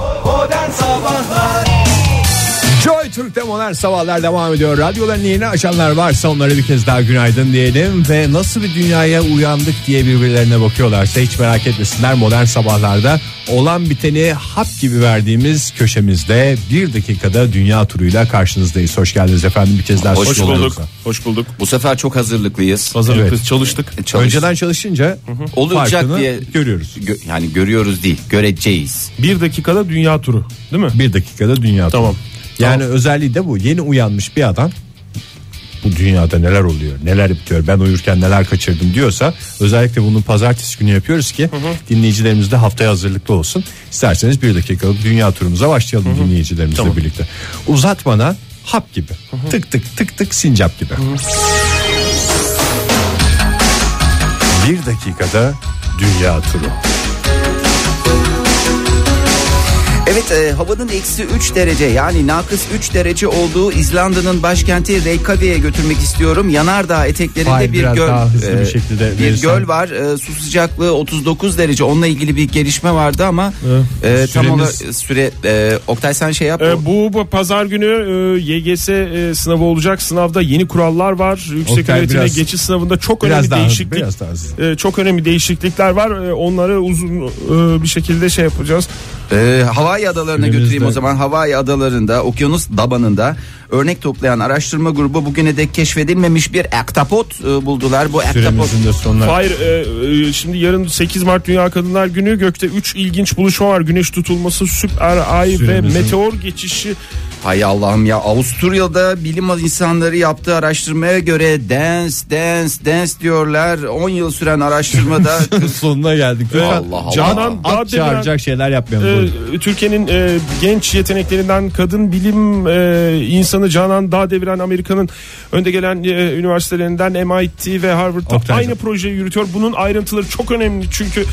[SPEAKER 3] Joy Türk'te modern sabahlar devam ediyor. Radyoların yeni açanlar varsa onlara bir kez daha günaydın diyelim. Ve nasıl bir dünyaya uyandık diye birbirlerine bakıyorlarsa hiç merak etmesinler. Modern sabahlarda olan biteni hap gibi verdiğimiz köşemizde bir dakikada dünya turuyla karşınızdayız. Hoş geldiniz efendim bir kez daha.
[SPEAKER 2] Hoş
[SPEAKER 4] Hoş
[SPEAKER 3] stüdyolarımıza.
[SPEAKER 4] bulduk. Hoş bulduk.
[SPEAKER 2] Bu sefer çok hazırlıklıyız.
[SPEAKER 4] Hazırlıklı
[SPEAKER 3] Evet. E,
[SPEAKER 4] çalıştık.
[SPEAKER 2] Çalış-
[SPEAKER 3] Önceden çalışınca
[SPEAKER 2] olacak
[SPEAKER 3] farkını
[SPEAKER 2] diye
[SPEAKER 3] görüyoruz.
[SPEAKER 2] Gö- yani görüyoruz değil, göreceğiz.
[SPEAKER 4] Bir dakikada dünya turu değil mi?
[SPEAKER 3] Bir dakikada dünya turu.
[SPEAKER 4] Tamam.
[SPEAKER 3] Yani özelliği de bu. Yeni uyanmış bir adam bu dünyada neler oluyor neler bitiyor ben uyurken neler kaçırdım diyorsa özellikle bunu pazartesi günü yapıyoruz ki dinleyicilerimiz de haftaya hazırlıklı olsun. İsterseniz bir dakikalık dünya turumuza başlayalım dinleyicilerimizle birlikte. Uzatmadan hap gibi tık tık tık tık sincap gibi. Bir dakikada dünya turu.
[SPEAKER 2] Evet e, havanın eksi 3 derece yani nakıs 3 derece olduğu İzlanda'nın başkenti Reykjavik'e götürmek istiyorum. Yanardağ eteklerinde
[SPEAKER 3] Hayır,
[SPEAKER 2] bir
[SPEAKER 3] biraz
[SPEAKER 2] göl e,
[SPEAKER 3] daha hızlı bir şekilde
[SPEAKER 2] bir
[SPEAKER 3] verirsen.
[SPEAKER 2] göl var. E, su sıcaklığı 39 derece. Onunla ilgili bir gelişme vardı ama e, tam
[SPEAKER 3] süremiz-
[SPEAKER 2] olarak süre e, Oktay sen şey yap.
[SPEAKER 4] Ee, bu, bu pazar günü e, YGS e, sınavı olacak. Sınavda yeni kurallar var. Yüksek
[SPEAKER 3] Oktay,
[SPEAKER 4] öğretime
[SPEAKER 3] biraz-
[SPEAKER 4] geçiş sınavında çok
[SPEAKER 3] biraz
[SPEAKER 4] önemli
[SPEAKER 3] daha hızlı,
[SPEAKER 4] değişiklik.
[SPEAKER 3] biraz daha hızlı.
[SPEAKER 4] e, çok önemli değişiklikler var. E, onları uzun e, bir şekilde şey yapacağız.
[SPEAKER 2] Ee, Hawaii adalarına
[SPEAKER 3] Günümüzde-
[SPEAKER 2] götüreyim o zaman. Hawaii adalarında, okyanus dabanında örnek toplayan araştırma grubu bugüne dek keşfedilmemiş bir aktapot e, buldular. Bu aktapot
[SPEAKER 3] Süremizin de sonuna.
[SPEAKER 4] Hayır e, e, şimdi yarın 8 Mart Dünya Kadınlar Günü gökte 3 ilginç buluşma var. Güneş tutulması, süper ay ve
[SPEAKER 3] Süremizin-
[SPEAKER 4] meteor geçişi.
[SPEAKER 2] Hay Allah'ım ya Avusturya'da bilim insanları yaptığı araştırmaya göre dance dance dance diyorlar. 10 yıl süren araştırmada
[SPEAKER 3] sonuna geldik.
[SPEAKER 2] Allah Allah.
[SPEAKER 4] Canan
[SPEAKER 3] At
[SPEAKER 4] Dağdemirel-
[SPEAKER 3] çağıracak şeyler yapmayalım.
[SPEAKER 4] Ee,
[SPEAKER 3] Buyurun.
[SPEAKER 4] Türkiye'nin e, genç yeteneklerinden kadın bilim e, insanı Canan Dağdeviren Amerika'nın önde gelen e, üniversitelerinden MIT ve Harvard'da
[SPEAKER 3] Oktay'cığım.
[SPEAKER 4] aynı projeyi yürütüyor. Bunun ayrıntıları çok önemli çünkü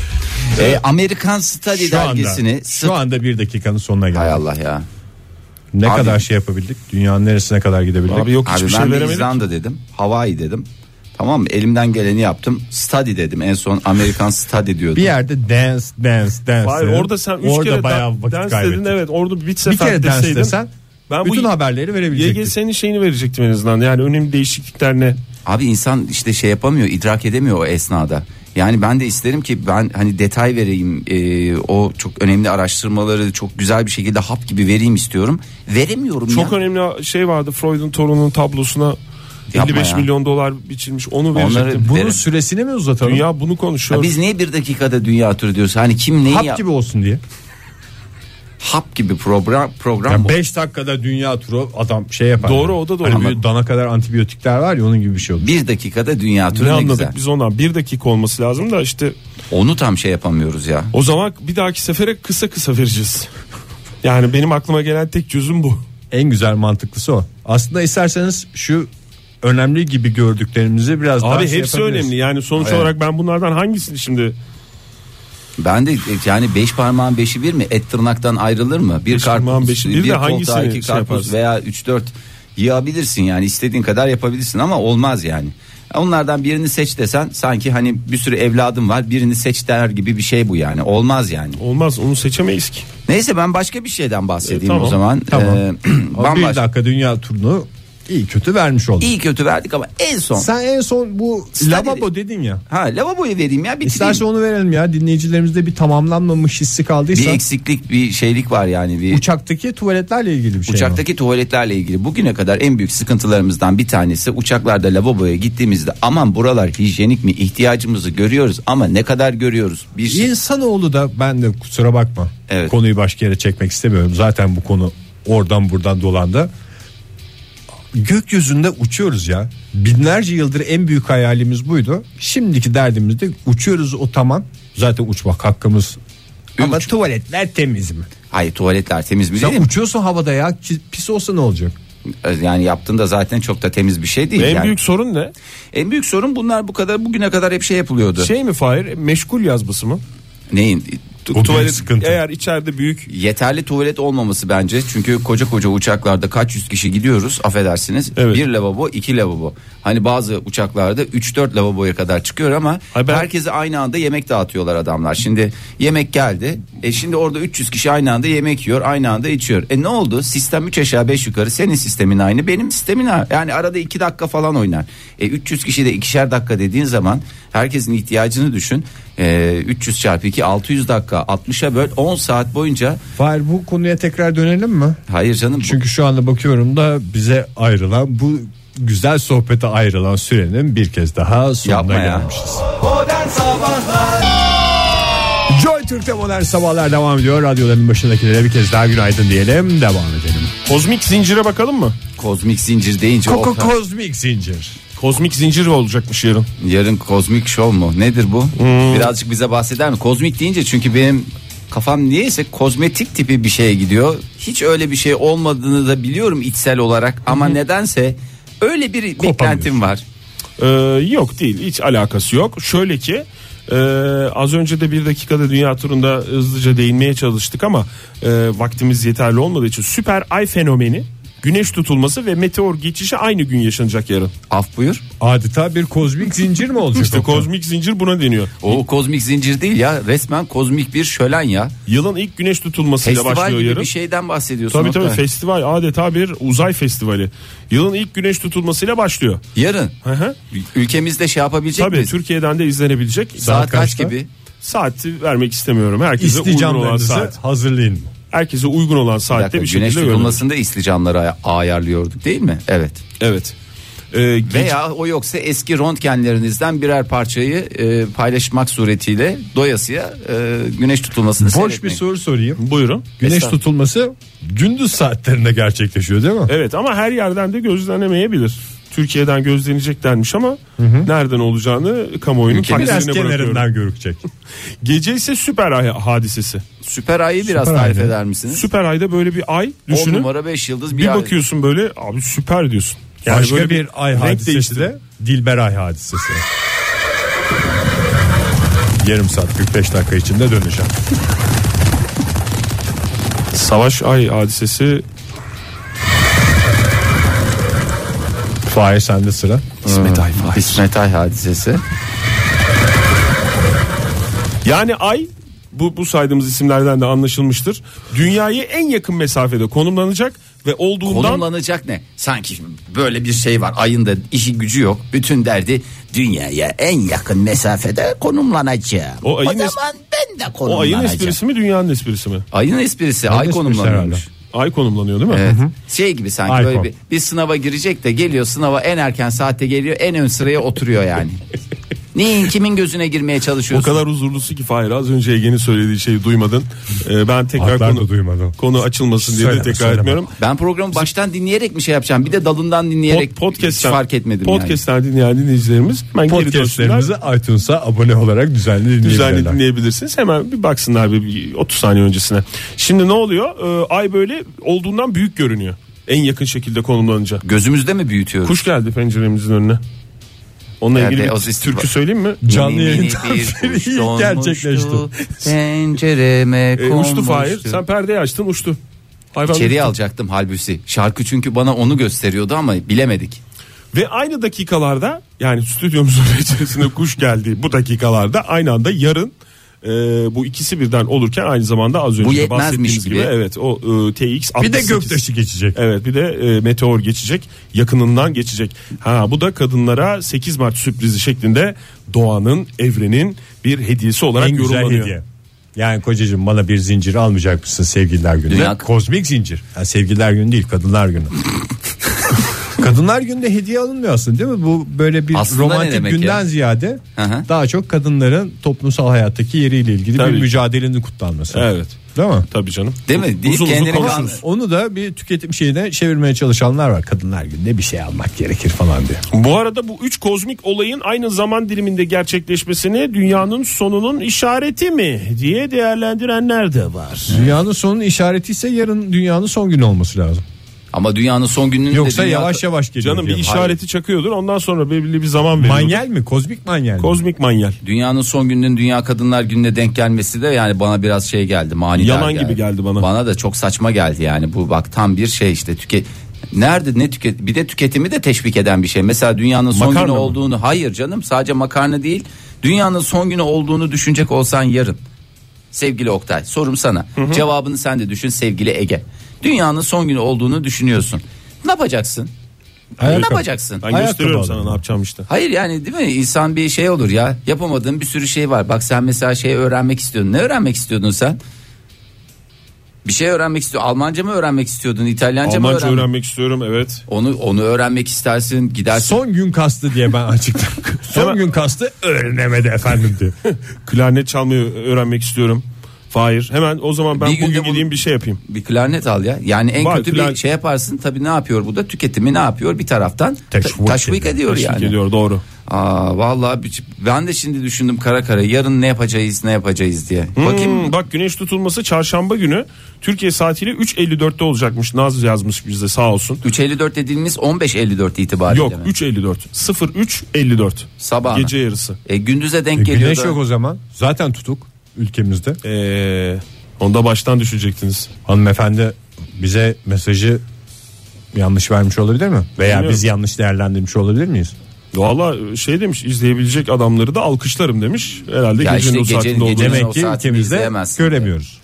[SPEAKER 2] e, Amerikan Study
[SPEAKER 3] şu anda,
[SPEAKER 2] dergisini St-
[SPEAKER 3] şu anda bir dakikanın sonuna
[SPEAKER 2] Hay
[SPEAKER 3] geldik.
[SPEAKER 2] Allah ya.
[SPEAKER 3] Ne
[SPEAKER 2] Abi-
[SPEAKER 3] kadar şey yapabildik? Dünyanın neresine kadar gidebildik?
[SPEAKER 4] Abi yok hiçbir
[SPEAKER 2] Abi
[SPEAKER 4] şey
[SPEAKER 2] ben de
[SPEAKER 4] veremedik.
[SPEAKER 2] İzlanda dedim. Hawaii dedim. Tamam mı? Elimden geleni yaptım. Study dedim. En son Amerikan Study diyordum.
[SPEAKER 3] Bir yerde dance dance dance.
[SPEAKER 4] Hayır,
[SPEAKER 3] dedin.
[SPEAKER 4] orada sen 3
[SPEAKER 3] orada
[SPEAKER 4] kere
[SPEAKER 3] bayağı
[SPEAKER 4] dan-
[SPEAKER 3] vakit
[SPEAKER 4] dans
[SPEAKER 3] kaybettin.
[SPEAKER 4] dedin evet orada bir
[SPEAKER 3] Bir
[SPEAKER 4] sefer
[SPEAKER 3] kere dans
[SPEAKER 4] deseydin.
[SPEAKER 3] desen
[SPEAKER 4] ben
[SPEAKER 3] bütün
[SPEAKER 4] bu
[SPEAKER 3] haberleri verebilecektik.
[SPEAKER 4] YGS'nin şeyini verecektim en azından yani önemli değişiklikler ne?
[SPEAKER 2] Abi insan işte şey yapamıyor, idrak edemiyor o esnada. Yani ben de isterim ki ben hani detay vereyim, e, o çok önemli araştırmaları çok güzel bir şekilde hap gibi vereyim istiyorum. Veremiyorum
[SPEAKER 4] Çok
[SPEAKER 2] ya.
[SPEAKER 4] önemli şey vardı Freud'un torunun tablosuna
[SPEAKER 2] Yapma
[SPEAKER 4] 55
[SPEAKER 2] ya.
[SPEAKER 4] milyon dolar biçilmiş onu
[SPEAKER 2] Onları-
[SPEAKER 4] verecektim.
[SPEAKER 3] Bunun
[SPEAKER 2] Verin.
[SPEAKER 3] süresini mi uzatalım?
[SPEAKER 4] Dünya bunu konuşuyor.
[SPEAKER 2] Ya biz niye bir dakikada dünya turu diyoruz? Hani kim neyi
[SPEAKER 3] Hap
[SPEAKER 2] yap-
[SPEAKER 3] gibi olsun diye.
[SPEAKER 2] hap gibi program program.
[SPEAKER 3] Yani 5 dakikada dünya turu adam şey yapar.
[SPEAKER 4] Doğru, o da doğru.
[SPEAKER 3] Hani bir dana kadar antibiyotikler var ya onun gibi bir şey olur.
[SPEAKER 2] bir dakikada dünya turu
[SPEAKER 4] Ne
[SPEAKER 2] ne,
[SPEAKER 4] anladık
[SPEAKER 2] güzel.
[SPEAKER 4] biz ondan? Bir dakika olması lazım da işte
[SPEAKER 2] Onu tam şey yapamıyoruz ya.
[SPEAKER 4] o zaman bir dahaki sefere kısa kısa vereceğiz. Yani benim aklıma gelen tek çözüm bu.
[SPEAKER 3] En güzel mantıklısı o. Aslında isterseniz şu önemli gibi gördüklerimizi biraz daha
[SPEAKER 4] Abi
[SPEAKER 3] şey
[SPEAKER 4] hepsi
[SPEAKER 3] yapabiliriz.
[SPEAKER 4] önemli yani sonuç
[SPEAKER 2] Evet.
[SPEAKER 4] olarak ben bunlardan hangisini şimdi
[SPEAKER 2] Ben de e, yani beş parmağın beşi bir mi? Et tırnaktan ayrılır mı? Bir
[SPEAKER 4] Beş parmağın
[SPEAKER 2] karpuz,
[SPEAKER 4] beşi bir
[SPEAKER 2] bir,
[SPEAKER 4] de
[SPEAKER 2] koltuğa
[SPEAKER 4] hangisini
[SPEAKER 2] iki
[SPEAKER 4] şey
[SPEAKER 2] karpuz
[SPEAKER 4] yaparsın?
[SPEAKER 2] veya üç dört yiyebilirsin yani istediğin kadar yapabilirsin ama olmaz yani. Onlardan birini seç desen sanki hani bir sürü evladım var birini seç der gibi bir şey bu yani olmaz yani.
[SPEAKER 4] olmaz onu seçemeyiz ki.
[SPEAKER 2] Neyse ben başka bir şeyden bahsedeyim
[SPEAKER 4] E, tamam,
[SPEAKER 2] o zaman.
[SPEAKER 3] tamam.
[SPEAKER 2] Ee,
[SPEAKER 3] Ama
[SPEAKER 2] (clears throat)
[SPEAKER 3] bir
[SPEAKER 2] bambaşka.
[SPEAKER 3] dakika dünya turunu iyi kötü vermiş olduk.
[SPEAKER 2] İyi kötü verdik ama en son.
[SPEAKER 3] Sen en son bu
[SPEAKER 2] Stadi-
[SPEAKER 3] lavabo dedin ya.
[SPEAKER 2] Ha lavaboyu vereyim ya bitireyim.
[SPEAKER 3] İstersen onu verelim ya dinleyicilerimizde bir tamamlanmamış hissi
[SPEAKER 2] Bir
[SPEAKER 3] kaldıysa
[SPEAKER 2] eksiklik bir şeylik var yani bir
[SPEAKER 3] uçaktaki tuvaletlerle ilgili bir şey. mi?
[SPEAKER 2] Uçaktaki tuvaletlerle ilgili bugüne kadar en büyük sıkıntılarımızdan bir tanesi uçaklarda lavaboya gittiğimizde aman buralar hijyenik mi ihtiyacımızı görüyoruz ama ne kadar görüyoruz bir şey-
[SPEAKER 3] İnsanoğlu da ben de kusura bakma
[SPEAKER 2] Evet.
[SPEAKER 3] konuyu başka yere çekmek istemiyorum. Zaten bu konu oradan buradan dolandı. Gökyüzünde uçuyoruz ya. Binlerce yıldır en büyük hayalimiz buydu. Şimdiki derdimiz de uçuyoruz o tamam. Zaten uçmak hakkımız. Ama
[SPEAKER 2] Uç-
[SPEAKER 3] tuvaletler temiz mi?
[SPEAKER 2] Hayır tuvaletler temiz mi
[SPEAKER 3] Sen
[SPEAKER 2] değil mi?
[SPEAKER 3] uçuyorsun havada ya ki- pis olsa ne olacak?
[SPEAKER 2] Yani yaptığında zaten çok da temiz bir şey değil.
[SPEAKER 4] En
[SPEAKER 2] yani.
[SPEAKER 4] büyük sorun ne?
[SPEAKER 2] en büyük sorun bunlar bu kadar bugüne kadar hep şey yapılıyordu.
[SPEAKER 4] Şey mi Fahir meşgul yazması mı?
[SPEAKER 2] Neyin? Tu-
[SPEAKER 3] büyük
[SPEAKER 2] tuvalet-
[SPEAKER 3] sıkıntı.
[SPEAKER 4] Eğer içeride büyük
[SPEAKER 2] yeterli tuvalet olmaması bence. Çünkü koca koca uçaklarda kaç yüz kişi gidiyoruz affedersiniz.
[SPEAKER 4] Evet.
[SPEAKER 2] Bir lavabo iki lavabo. Hani bazı uçaklarda 3-4 lavaboya kadar çıkıyor ama
[SPEAKER 4] Ay ben-
[SPEAKER 2] herkese aynı anda yemek dağıtıyorlar adamlar. Şimdi yemek geldi. E şimdi orada 300 kişi aynı anda yemek yiyor aynı anda içiyor. E ne oldu? Sistem 3 aşağı 5 yukarı senin sistemin aynı benim sistemin aynı. Yani arada 2 dakika falan oynar. E 300 kişi de ikişer dakika dediğin zaman herkesin ihtiyacını düşün. E, 300 çarpı 2 600 dakika 60'a böl 10 saat boyunca
[SPEAKER 3] Fahir bu konuya tekrar dönelim mi?
[SPEAKER 2] Hayır canım. bu-
[SPEAKER 3] Çünkü şu anda bakıyorum da bize ayrılan bu güzel sohbete ayrılan sürenin bir kez daha sonuna
[SPEAKER 2] Yapma ya.
[SPEAKER 3] gelmişiz. Joy Türk'te modern sabahlar devam ediyor. Radyoların başındakilere bir kez daha günaydın diyelim. Devam edelim.
[SPEAKER 4] kozmik zincire bakalım mı?
[SPEAKER 2] kozmik zincir deyince
[SPEAKER 3] Koko
[SPEAKER 2] Oktay-
[SPEAKER 3] Kozmik Zincir.
[SPEAKER 4] Kozmik zincir olacakmış yarın.
[SPEAKER 2] yarın kozmik şov mu? Nedir bu?
[SPEAKER 4] Hmm.
[SPEAKER 2] Birazcık bize bahseder mi? Kozmik deyince çünkü benim kafam niyeyse kozmetik tipi bir şeye gidiyor. Hiç öyle bir şey olmadığını da biliyorum içsel olarak ama nedense öyle bir beklentim var.
[SPEAKER 4] Ee, yok değil hiç alakası yok. Şöyle ki Ee, az önce de bir dakikada dünya turunda hızlıca değinmeye çalıştık ama e, vaktimiz yeterli olmadığı için süper ay fenomeni güneş tutulması ve meteor geçişi aynı gün yaşanacak yarın.
[SPEAKER 2] Af buyur.
[SPEAKER 3] Adeta bir kozmik zincir mi olacak?
[SPEAKER 4] İşte kozmik zincir buna deniyor.
[SPEAKER 2] O kozmik zincir değil ya. Resmen kozmik bir şölen ya.
[SPEAKER 4] Yılın ilk güneş tutulmasıyla
[SPEAKER 2] Festival
[SPEAKER 4] başlıyor
[SPEAKER 2] gibi
[SPEAKER 4] yarın.
[SPEAKER 2] bir şey. şeyden bahsediyorsun.
[SPEAKER 4] Tabii tabii
[SPEAKER 2] Oktay.
[SPEAKER 4] festival adeta bir uzay festivali. Yılın ilk güneş tutulmasıyla başlıyor.
[SPEAKER 2] Yarın
[SPEAKER 4] Hı hı.
[SPEAKER 2] ülkemizde şey yapabilecek
[SPEAKER 4] Tabii
[SPEAKER 2] miyiz?
[SPEAKER 4] Türkiye'den de izlenebilecek.
[SPEAKER 2] Saat kaç
[SPEAKER 3] kaçta?
[SPEAKER 2] gibi?
[SPEAKER 4] Saati vermek istemiyorum. Herkese uygun olan
[SPEAKER 3] İsticamlarınızı
[SPEAKER 4] saat.
[SPEAKER 3] hazırlayın.
[SPEAKER 4] Herkese uygun olan
[SPEAKER 2] Bir
[SPEAKER 4] saatte
[SPEAKER 2] dakika,
[SPEAKER 4] bir,
[SPEAKER 2] güneş
[SPEAKER 4] şekilde görünür.
[SPEAKER 2] tutulmasında isticamları ay- ayarlıyorduk değil mi? Evet.
[SPEAKER 4] Evet. Ee, gece-
[SPEAKER 2] Veya o yoksa eski röntgenlerinizden birer parçayı e, paylaşmak suretiyle doyasıya e, güneş tutulmasını
[SPEAKER 3] Boş bir
[SPEAKER 2] seyretmeyin.
[SPEAKER 3] soru sorayım.
[SPEAKER 4] Buyurun.
[SPEAKER 3] Güneş
[SPEAKER 2] Estağfurullah.
[SPEAKER 3] tutulması gündüz saatlerinde gerçekleşiyor değil mi?
[SPEAKER 4] Evet ama her yerden de gözlenemeyebilir. Türkiye'den gözlenecek denmiş ama nereden olacağını kamuoyunun
[SPEAKER 2] Ülkemiz-
[SPEAKER 3] Biraz
[SPEAKER 4] takdirine bırakıyorum.
[SPEAKER 3] kenarından görükecek.
[SPEAKER 4] Gece ise süper ay hadisesi.
[SPEAKER 2] Süper ayı biraz
[SPEAKER 3] Süper
[SPEAKER 2] tarif
[SPEAKER 3] ay ne?
[SPEAKER 2] eder misiniz?
[SPEAKER 4] Süper ayda böyle bir ay
[SPEAKER 2] 10
[SPEAKER 4] düşünün.
[SPEAKER 2] numara 5 yıldız bir,
[SPEAKER 4] Bir
[SPEAKER 2] ay.
[SPEAKER 4] bakıyorsun böyle abi süper diyorsun.
[SPEAKER 3] Başka
[SPEAKER 4] böyle
[SPEAKER 3] bir, ay
[SPEAKER 4] renk
[SPEAKER 3] hadisesi
[SPEAKER 4] değiştirdi.
[SPEAKER 3] de Dilber ay hadisesi. Yarım saat 45 dakika içinde döneceğim.
[SPEAKER 4] Savaş ay hadisesi
[SPEAKER 3] Fahir sende sıra.
[SPEAKER 2] İsmet Ay var. İsmet Ay hadisesi.
[SPEAKER 4] Yani ay bu, bu saydığımız isimlerden de anlaşılmıştır. Dünyayı en yakın mesafede konumlanacak ve olduğundan
[SPEAKER 2] Konumlanacak ne? Sanki böyle bir şey var. Ayın da işi gücü yok. Bütün derdi dünyaya en yakın mesafede konumlanacağım.
[SPEAKER 4] O
[SPEAKER 2] O,
[SPEAKER 4] ayın es-
[SPEAKER 2] zaman ben de
[SPEAKER 4] o ayın
[SPEAKER 2] konumlanacağım.
[SPEAKER 4] esprisi mi dünyanın esprisi mi?
[SPEAKER 2] Ayın esprisi ay
[SPEAKER 3] esprisi herhalde.
[SPEAKER 2] konumlanıyormuş.
[SPEAKER 4] Ay konumlanıyor değil mi?
[SPEAKER 2] Evet. Şey gibi sanki
[SPEAKER 3] Ay
[SPEAKER 2] böyle
[SPEAKER 3] kon.
[SPEAKER 2] bir, bir sınava girecek de geliyor sınava en erken saatte geliyor en ön sıraya oturuyor yani. Neyin kimin gözüne girmeye
[SPEAKER 4] (laughs) O
[SPEAKER 2] çalışıyorsun?
[SPEAKER 4] kadar huzurlusu ki Fahir az önce Ege'nin söylediği şeyi duymadın. Ee, ben tekrar
[SPEAKER 3] Haklarını
[SPEAKER 4] konu,
[SPEAKER 3] duymadım.
[SPEAKER 4] konu açılmasın diye
[SPEAKER 3] Söyleme,
[SPEAKER 4] de tekrar
[SPEAKER 3] söyleme.
[SPEAKER 4] etmiyorum.
[SPEAKER 2] Ben programı baştan dinleyerek mi şey yapacağım? Bir de dalından dinleyerek
[SPEAKER 4] Pod- podcast'ten-
[SPEAKER 2] hiç fark etmedim yani.
[SPEAKER 4] Podcast'ten dinleyen dinleyicilerimiz hemen geri dönsünler.
[SPEAKER 3] Podcastlerimizi iTunes'a abone olarak düzenli dinleyebilirler.
[SPEAKER 4] düzenli dinleyebilirsiniz. Hemen bir baksınlar bir- bir 30 saniye öncesine. Şimdi ne oluyor? Ee, ay böyle olduğundan büyük görünüyor. En yakın şekilde konumlanınca.
[SPEAKER 2] Gözümüzde mi büyütüyoruz?
[SPEAKER 4] Kuş geldi penceremizin önüne. Onunla
[SPEAKER 2] Nerede?
[SPEAKER 4] ilgili
[SPEAKER 2] O
[SPEAKER 4] bir
[SPEAKER 2] zist-
[SPEAKER 4] türkü söyleyeyim mi?
[SPEAKER 3] Canlı
[SPEAKER 2] Mini
[SPEAKER 3] yayın
[SPEAKER 2] mini
[SPEAKER 3] transferi
[SPEAKER 2] bir şey kuş
[SPEAKER 3] iyi
[SPEAKER 2] donmuştu,
[SPEAKER 3] gerçekleşti.
[SPEAKER 2] Pencereme
[SPEAKER 4] şey E,
[SPEAKER 2] konmuştu.
[SPEAKER 4] uçtu Fahir. Sen perdeyi açtın uçtu. Hayvan
[SPEAKER 2] İçeriye alacaktım halbuki. Şarkı çünkü bana onu gösteriyordu ama bilemedik.
[SPEAKER 4] Ve aynı dakikalarda yani stüdyomuzun (laughs) içerisinde kuş geldi bu dakikalarda aynı anda yarın e, bu ikisi birden olurken aynı zamanda az önce de
[SPEAKER 2] yetmezmiş
[SPEAKER 4] bahsettiğimiz gibi.
[SPEAKER 2] gibi.
[SPEAKER 4] evet o e, TX 68.
[SPEAKER 3] Bir de göktaşı geçecek.
[SPEAKER 4] Evet bir de e, meteor geçecek yakınından geçecek. Ha bu da kadınlara 8 Mart sürprizi şeklinde doğanın evrenin bir hediyesi olarak
[SPEAKER 3] En güzel
[SPEAKER 4] yorumlanıyor.
[SPEAKER 3] hediye. Yani kocacığım bana bir zincir almayacak mısın sevgililer günü?
[SPEAKER 2] Dünya-
[SPEAKER 3] Kozmik zincir. Yani sevgililer günü değil
[SPEAKER 2] (laughs)
[SPEAKER 3] kadınlar günü. kadınlar günde hediye alınmıyor aslında değil mi? Bu böyle bir
[SPEAKER 2] Aslında ne
[SPEAKER 3] romantik
[SPEAKER 2] demek
[SPEAKER 3] günden
[SPEAKER 2] ya?
[SPEAKER 3] ziyade
[SPEAKER 2] Hı hı.
[SPEAKER 3] daha çok kadınların toplumsal hayattaki yeriyle ilgili
[SPEAKER 4] Tabii.
[SPEAKER 3] bir mücadelenin kutlanması.
[SPEAKER 4] Evet.
[SPEAKER 3] Değil mi?
[SPEAKER 4] Tabii canım.
[SPEAKER 2] Değil mi? Deyip
[SPEAKER 4] Uzun uzun
[SPEAKER 2] kendini
[SPEAKER 4] konuşuruz.
[SPEAKER 2] kandırır.
[SPEAKER 3] Onu da bir tüketim şeyine çevirmeye çalışanlar var. Kadınlar günde bir şey almak gerekir falan diye.
[SPEAKER 4] Bu arada bu üç kozmik olayın aynı zaman diliminde gerçekleşmesini dünyanın sonunun işareti mi diye değerlendirenler de var.
[SPEAKER 3] Dünyanın sonunun işareti ise yarın dünyanın son günü olması lazım.
[SPEAKER 2] Ama dünyanın son gününü
[SPEAKER 3] Yoksa
[SPEAKER 2] de dünya-
[SPEAKER 3] yavaş yavaş geliyor.
[SPEAKER 4] Canım bir
[SPEAKER 3] diyorum.
[SPEAKER 4] işareti çakıyordur ondan sonra belirli bir zaman veriyordur.
[SPEAKER 3] Manyel mi? Kozmik manyel mi?
[SPEAKER 4] Kozmik manyel.
[SPEAKER 2] Dünyanın son gününün Dünya Kadınlar Günü'ne denk gelmesi de yani bana biraz şey geldi manidar
[SPEAKER 4] Yalan gibi geldi bana.
[SPEAKER 2] Bana da çok saçma geldi yani bu bak tam bir şey işte tüket Nerede ne tüket bir de tüketimi de teşvik eden bir şey. Mesela dünyanın son
[SPEAKER 4] Makarna
[SPEAKER 2] günü
[SPEAKER 4] mı?
[SPEAKER 2] olduğunu hayır canım sadece makarna değil. Dünyanın son günü olduğunu düşünecek olsan yarın. Sevgili Oktay sorum sana. Cevabını sen de düşün sevgili Ege. Dünyanın son günü olduğunu düşünüyorsun. Ne yapacaksın? Ne yapacaksın?
[SPEAKER 4] Ben
[SPEAKER 3] Ayakkabı
[SPEAKER 4] gösteriyorum sana
[SPEAKER 3] alalım.
[SPEAKER 4] ne yapacağım işte.
[SPEAKER 2] Hayır yani değil mi? İnsan bir şey olur ya. Yapamadığın bir sürü şey var. Bak sen mesela şey öğrenmek istiyordun. Ne öğrenmek istiyordun sen? Bir şey öğrenmek istiyordun. Almanca mı öğrenmek istiyordun? İtalyanca mı
[SPEAKER 4] Almanca
[SPEAKER 2] öğrenmek?
[SPEAKER 4] öğrenmek istiyorum (laughs) evet.
[SPEAKER 2] Onu onu öğrenmek istersin. Gidersin.
[SPEAKER 3] Son gün kastı diye
[SPEAKER 2] (laughs)
[SPEAKER 3] ben açıkladım. Son
[SPEAKER 4] Hemen-
[SPEAKER 3] gün kastı öğrenemedi efendim diye.
[SPEAKER 4] Klarnet çalmayı öğrenmek istiyorum. Fahir hemen o zaman ben
[SPEAKER 2] Bir günde
[SPEAKER 4] bugün
[SPEAKER 2] bunu-
[SPEAKER 4] gideyim bir şey yapayım.
[SPEAKER 2] bir klarnet al ya. Yani en
[SPEAKER 4] Var,
[SPEAKER 2] kötü
[SPEAKER 4] klarnet-
[SPEAKER 2] bir şey yaparsın. Tabii ne yapıyor bu da? Tüketimi ne yapıyor? Bir taraftan ta-
[SPEAKER 3] Teşvik
[SPEAKER 2] taşvik ediyor
[SPEAKER 4] Teşvik
[SPEAKER 2] yani.
[SPEAKER 4] ediyor doğru.
[SPEAKER 2] Aa, vallahi bir- ben de şimdi düşündüm kara kara yarın ne yapacağız ne yapacağız diye. Bakayım
[SPEAKER 4] Hmm, bak güneş tutulması çarşamba günü Türkiye saatiyle 3.54'te olacakmış. Naz yazmış bize sağ olsun.
[SPEAKER 2] 3.54 dediğimiz 15.54 itibariyle.
[SPEAKER 4] Yok
[SPEAKER 2] mi?
[SPEAKER 4] 3.54. 03.54.
[SPEAKER 2] Sabahına.
[SPEAKER 4] Gece yarısı.
[SPEAKER 2] E, gündüze denk (laughs) geliyor.
[SPEAKER 3] Güneş
[SPEAKER 2] da-
[SPEAKER 3] yok o zaman. Zaten tutuk ülkemizde.
[SPEAKER 4] Ee, onda baştan düşecektiniz.
[SPEAKER 3] Hanımefendi bize mesajı yanlış vermiş olabilir mi? Veya
[SPEAKER 4] Bilmiyorum.
[SPEAKER 3] biz yanlış değerlendirmiş olabilir miyiz?
[SPEAKER 4] Valla şey demiş izleyebilecek adamları da alkışlarım demiş. Herhalde
[SPEAKER 2] Ya
[SPEAKER 4] gecenin
[SPEAKER 2] işte
[SPEAKER 4] o
[SPEAKER 2] gecenin-
[SPEAKER 4] saatinde olduğunu.
[SPEAKER 2] gecenin-
[SPEAKER 4] Demek-
[SPEAKER 2] o
[SPEAKER 3] Demek ki
[SPEAKER 2] saatini
[SPEAKER 3] ülkemizde
[SPEAKER 2] izleyemezsin.
[SPEAKER 3] göremiyoruz.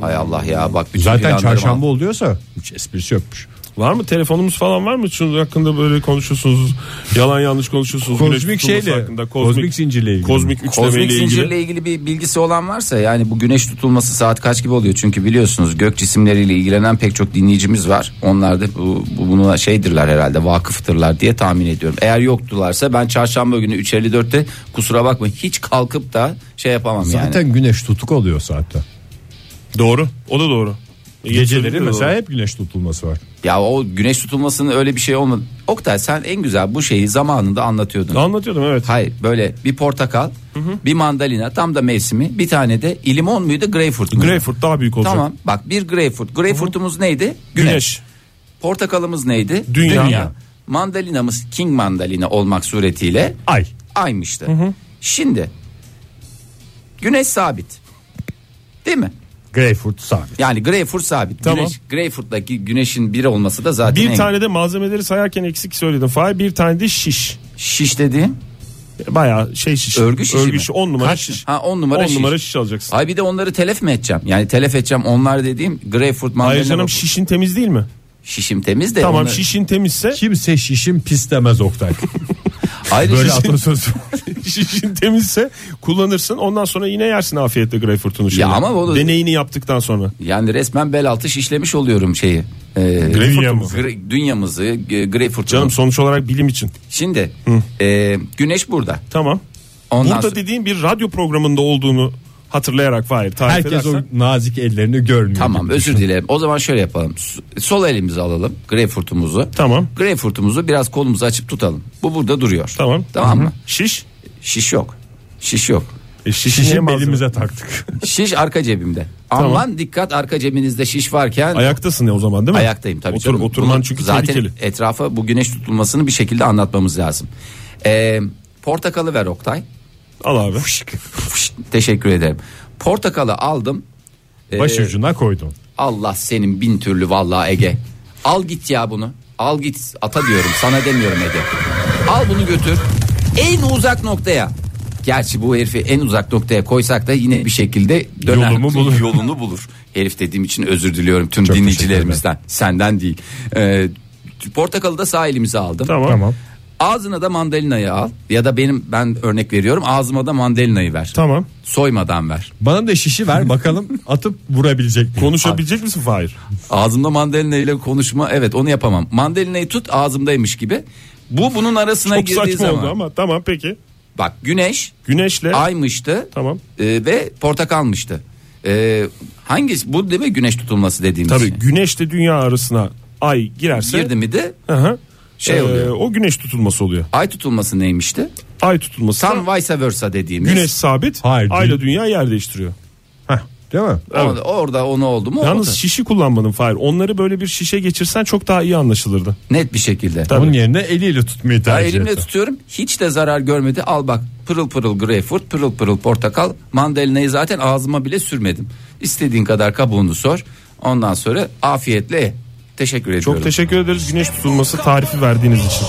[SPEAKER 2] Hay Allah ya bak bütün
[SPEAKER 3] Zaten
[SPEAKER 2] planlarım-
[SPEAKER 3] çarşamba oluyorsa hiç esprisi yokmuş.
[SPEAKER 4] Var mı telefonumuz falan var mı? Şunun hakkında böyle konuşuyorsunuz. Yalan yanlış konuşuyorsunuz. güneş
[SPEAKER 3] Kozmik
[SPEAKER 4] tutulması
[SPEAKER 3] şeyle,
[SPEAKER 4] Hakkında,
[SPEAKER 3] kozmik zincirle ilgili.
[SPEAKER 4] Kozmik
[SPEAKER 2] Kozmik
[SPEAKER 4] üçlemeyle ilgili.
[SPEAKER 2] zincirle ilgili bir bilgisi olan varsa yani bu güneş tutulması saat kaç gibi oluyor çünkü biliyorsunuz gök cisimleriyle ilgilenen pek çok dinleyicimiz var. Onlar da bu, bu- buna şeydirler herhalde vakıftırlar diye tahmin ediyorum. Eğer yoktularsa ben çarşamba günü 3.54'te kusura bakma hiç kalkıp da şey yapamam yani.
[SPEAKER 3] Zaten güneş tutuk oluyor saatte.
[SPEAKER 4] Doğru. O da doğru.
[SPEAKER 3] Geceleri mesela hep güneş tutulması var.
[SPEAKER 2] Ya o güneş tutulmasının öyle bir şey olmadı. Oktay sen en güzel bu şeyi zamanında anlatıyordun.
[SPEAKER 4] Anlatıyordum evet.
[SPEAKER 2] Hayır böyle bir portakal, bir mandalina tam da mevsimi, bir tane de limon muydu, greyfurt muydu?
[SPEAKER 4] Greyfurt daha büyük olacak.
[SPEAKER 2] Tamam bak bir greyfurt. Greyfurtumuz neydi?
[SPEAKER 4] Güneş.
[SPEAKER 2] Portakalımız neydi?
[SPEAKER 4] Dünya.
[SPEAKER 2] Mandalinamız king mandalina olmak suretiyle
[SPEAKER 3] Ay.
[SPEAKER 2] aymıştı. Şimdi güneş sabit. Değil mi?
[SPEAKER 3] Greyfurt sabit.
[SPEAKER 2] Yani greyfurt sabit.
[SPEAKER 4] Tamam.
[SPEAKER 2] Güneş, greyfurttaki güneşin bir olması da zaten
[SPEAKER 4] Bir
[SPEAKER 2] en-
[SPEAKER 4] tane de malzemeleri sayarken eksik söyledim. Fahir bir tane de şiş.
[SPEAKER 2] şiş dediğim.
[SPEAKER 4] Bayağı şey şiş.
[SPEAKER 2] Örgü şişi mi?
[SPEAKER 4] 10 numara
[SPEAKER 3] Kaç?
[SPEAKER 4] şiş.
[SPEAKER 2] Ha on numara
[SPEAKER 4] 10
[SPEAKER 2] şiş.
[SPEAKER 4] numara şiş alacaksın.
[SPEAKER 2] Ay bir de onları telef mi edeceğim? Yani telef edeceğim onlar dediğim greyfurt mandalina.
[SPEAKER 4] Hayır canım şişin temiz değil mi?
[SPEAKER 2] Şişim temiz de.
[SPEAKER 4] Tamam
[SPEAKER 2] onları- (laughs)
[SPEAKER 4] şişin temizse
[SPEAKER 3] Kimse şişim pis demez Oktay.
[SPEAKER 2] Ayrıca
[SPEAKER 3] Böyle
[SPEAKER 2] şişim-
[SPEAKER 3] atasözü.
[SPEAKER 4] şişin temizse kullanırsın. Ondan sonra yine yersin afiyetle greyfurtunu. şimdi.
[SPEAKER 2] ama onu-
[SPEAKER 4] Deneyini yaptıktan sonra.
[SPEAKER 2] Yani resmen bel altı şişlemiş oluyorum şeyi. Ee,
[SPEAKER 4] Greyfurtumuzu.
[SPEAKER 2] gre- dünyamızı, e, greyfurtumuzu.
[SPEAKER 4] Canım sonuç olarak bilim için.
[SPEAKER 2] Şimdi e, güneş burada.
[SPEAKER 4] Tamam.
[SPEAKER 2] Ondan
[SPEAKER 4] Burada
[SPEAKER 2] sonra-
[SPEAKER 4] dediğin bir radyo programında olduğunu hatırlayarak Fahir tarif
[SPEAKER 3] Herkes o
[SPEAKER 4] edersen.
[SPEAKER 3] nazik ellerini görmüyor.
[SPEAKER 2] Tamam özür dilerim. O zaman şöyle yapalım. S- Sol elimizi alalım greyfurtumuzu.
[SPEAKER 4] Tamam.
[SPEAKER 2] Greyfurtumuzu biraz kolumuzu açıp tutalım. Bu burada duruyor.
[SPEAKER 4] Tamam.
[SPEAKER 2] Tamam mı?
[SPEAKER 4] Şiş.
[SPEAKER 2] Şiş yok. Şiş yok.
[SPEAKER 4] E, şiş niye
[SPEAKER 3] Şişim
[SPEAKER 4] malzeme?
[SPEAKER 3] belimize taktık.
[SPEAKER 2] Şiş arka cebimde. Aman dikkat arka cebinizde şiş varken
[SPEAKER 4] Ayaktasın ya o zaman değil mi?
[SPEAKER 2] Ayaktayım tabii
[SPEAKER 4] Otur,
[SPEAKER 2] canım.
[SPEAKER 4] Oturman
[SPEAKER 2] Bunu
[SPEAKER 4] çünkü
[SPEAKER 2] zaten
[SPEAKER 4] tehlikeli.
[SPEAKER 2] etrafa bu güneş tutulmasını bir şekilde anlatmamız lazım. Ee, portakalı ver Oktay. (laughs)
[SPEAKER 4] Al abi.
[SPEAKER 2] Fışt, Teşekkür ederim. Portakalı aldım. Ee,
[SPEAKER 3] Başucuna koydum.
[SPEAKER 2] Allah senin bin türlü vallahi Ege. Al git ya bunu. Al git ata diyorum sana demiyorum Ege. Al bunu götür. En uzak noktaya. Gerçi bu herifi en uzak noktaya koysak da yine bir şekilde döner.
[SPEAKER 3] Yolumu bulur.
[SPEAKER 2] (laughs) Yolunu bulur. Herif dediğim için özür diliyorum tüm
[SPEAKER 3] Çok
[SPEAKER 2] dinleyicilerimizden. Senden değil. Ee, portakalı da sağ elimize aldım.
[SPEAKER 4] Tamam.
[SPEAKER 3] Tamam.
[SPEAKER 2] Ağzına da mandalinayı al. Ya da benim ben örnek veriyorum ağzıma da mandalinayı ver.
[SPEAKER 4] Tamam.
[SPEAKER 2] Soymadan ver.
[SPEAKER 3] Bana da şişi ver bakalım (laughs) atıp vurabilecek miyim?
[SPEAKER 4] Konuşabilecek misin Fahir?
[SPEAKER 2] Ağzımda mandalina ile konuşma evet onu yapamam. Mandalinayı tut ağzımdaymış gibi. Bu bunun arasına
[SPEAKER 4] Çok
[SPEAKER 2] girdiği
[SPEAKER 4] saçma
[SPEAKER 2] zaman.
[SPEAKER 4] oldu ama tamam peki.
[SPEAKER 2] Bak güneş
[SPEAKER 4] Güneşle
[SPEAKER 2] aymıştı
[SPEAKER 4] Tamam.
[SPEAKER 2] e, ve portakalmıştı. E, hangisi bu değil mi güneş tutulması dediğimiz
[SPEAKER 4] tabii
[SPEAKER 2] şey?
[SPEAKER 4] güneşle dünya arasına ay girerse
[SPEAKER 2] Girdi mi de
[SPEAKER 4] Hı hı.
[SPEAKER 2] Şey
[SPEAKER 4] Ee,
[SPEAKER 2] oluyor.
[SPEAKER 4] o güneş tutulması oluyor.
[SPEAKER 2] ay tutulması neymişti?
[SPEAKER 4] Ay tutulması.
[SPEAKER 2] Tam vice versa dediğimiz.
[SPEAKER 4] güneş sabit.
[SPEAKER 3] Hayır, değil.
[SPEAKER 4] ayla dünya yer değiştiriyor.
[SPEAKER 3] Heh, değil mi?
[SPEAKER 2] O- Orada onu oldu mu?
[SPEAKER 4] Yalnız
[SPEAKER 2] Oldu.
[SPEAKER 4] şişi kullanmadın Fahir. Onları böyle bir şişe geçirsen çok daha iyi anlaşılırdı.
[SPEAKER 2] net bir şekilde.
[SPEAKER 4] Tabii.
[SPEAKER 3] Onun yerine eliyle tutmayı
[SPEAKER 2] Ya
[SPEAKER 3] tercih
[SPEAKER 2] elimle
[SPEAKER 3] etti.
[SPEAKER 2] tutuyorum. Hiç de zarar görmedi. Al bak pırıl pırıl greyfurt, pırıl pırıl portakal, mandalinayı zaten ağzıma bile sürmedim. İstediğin kadar kabuğunu sor. Ondan sonra afiyetle ye. Teşekkür ediyorum.
[SPEAKER 4] Çok teşekkür ederiz güneş tutulması tarifi verdiğiniz için.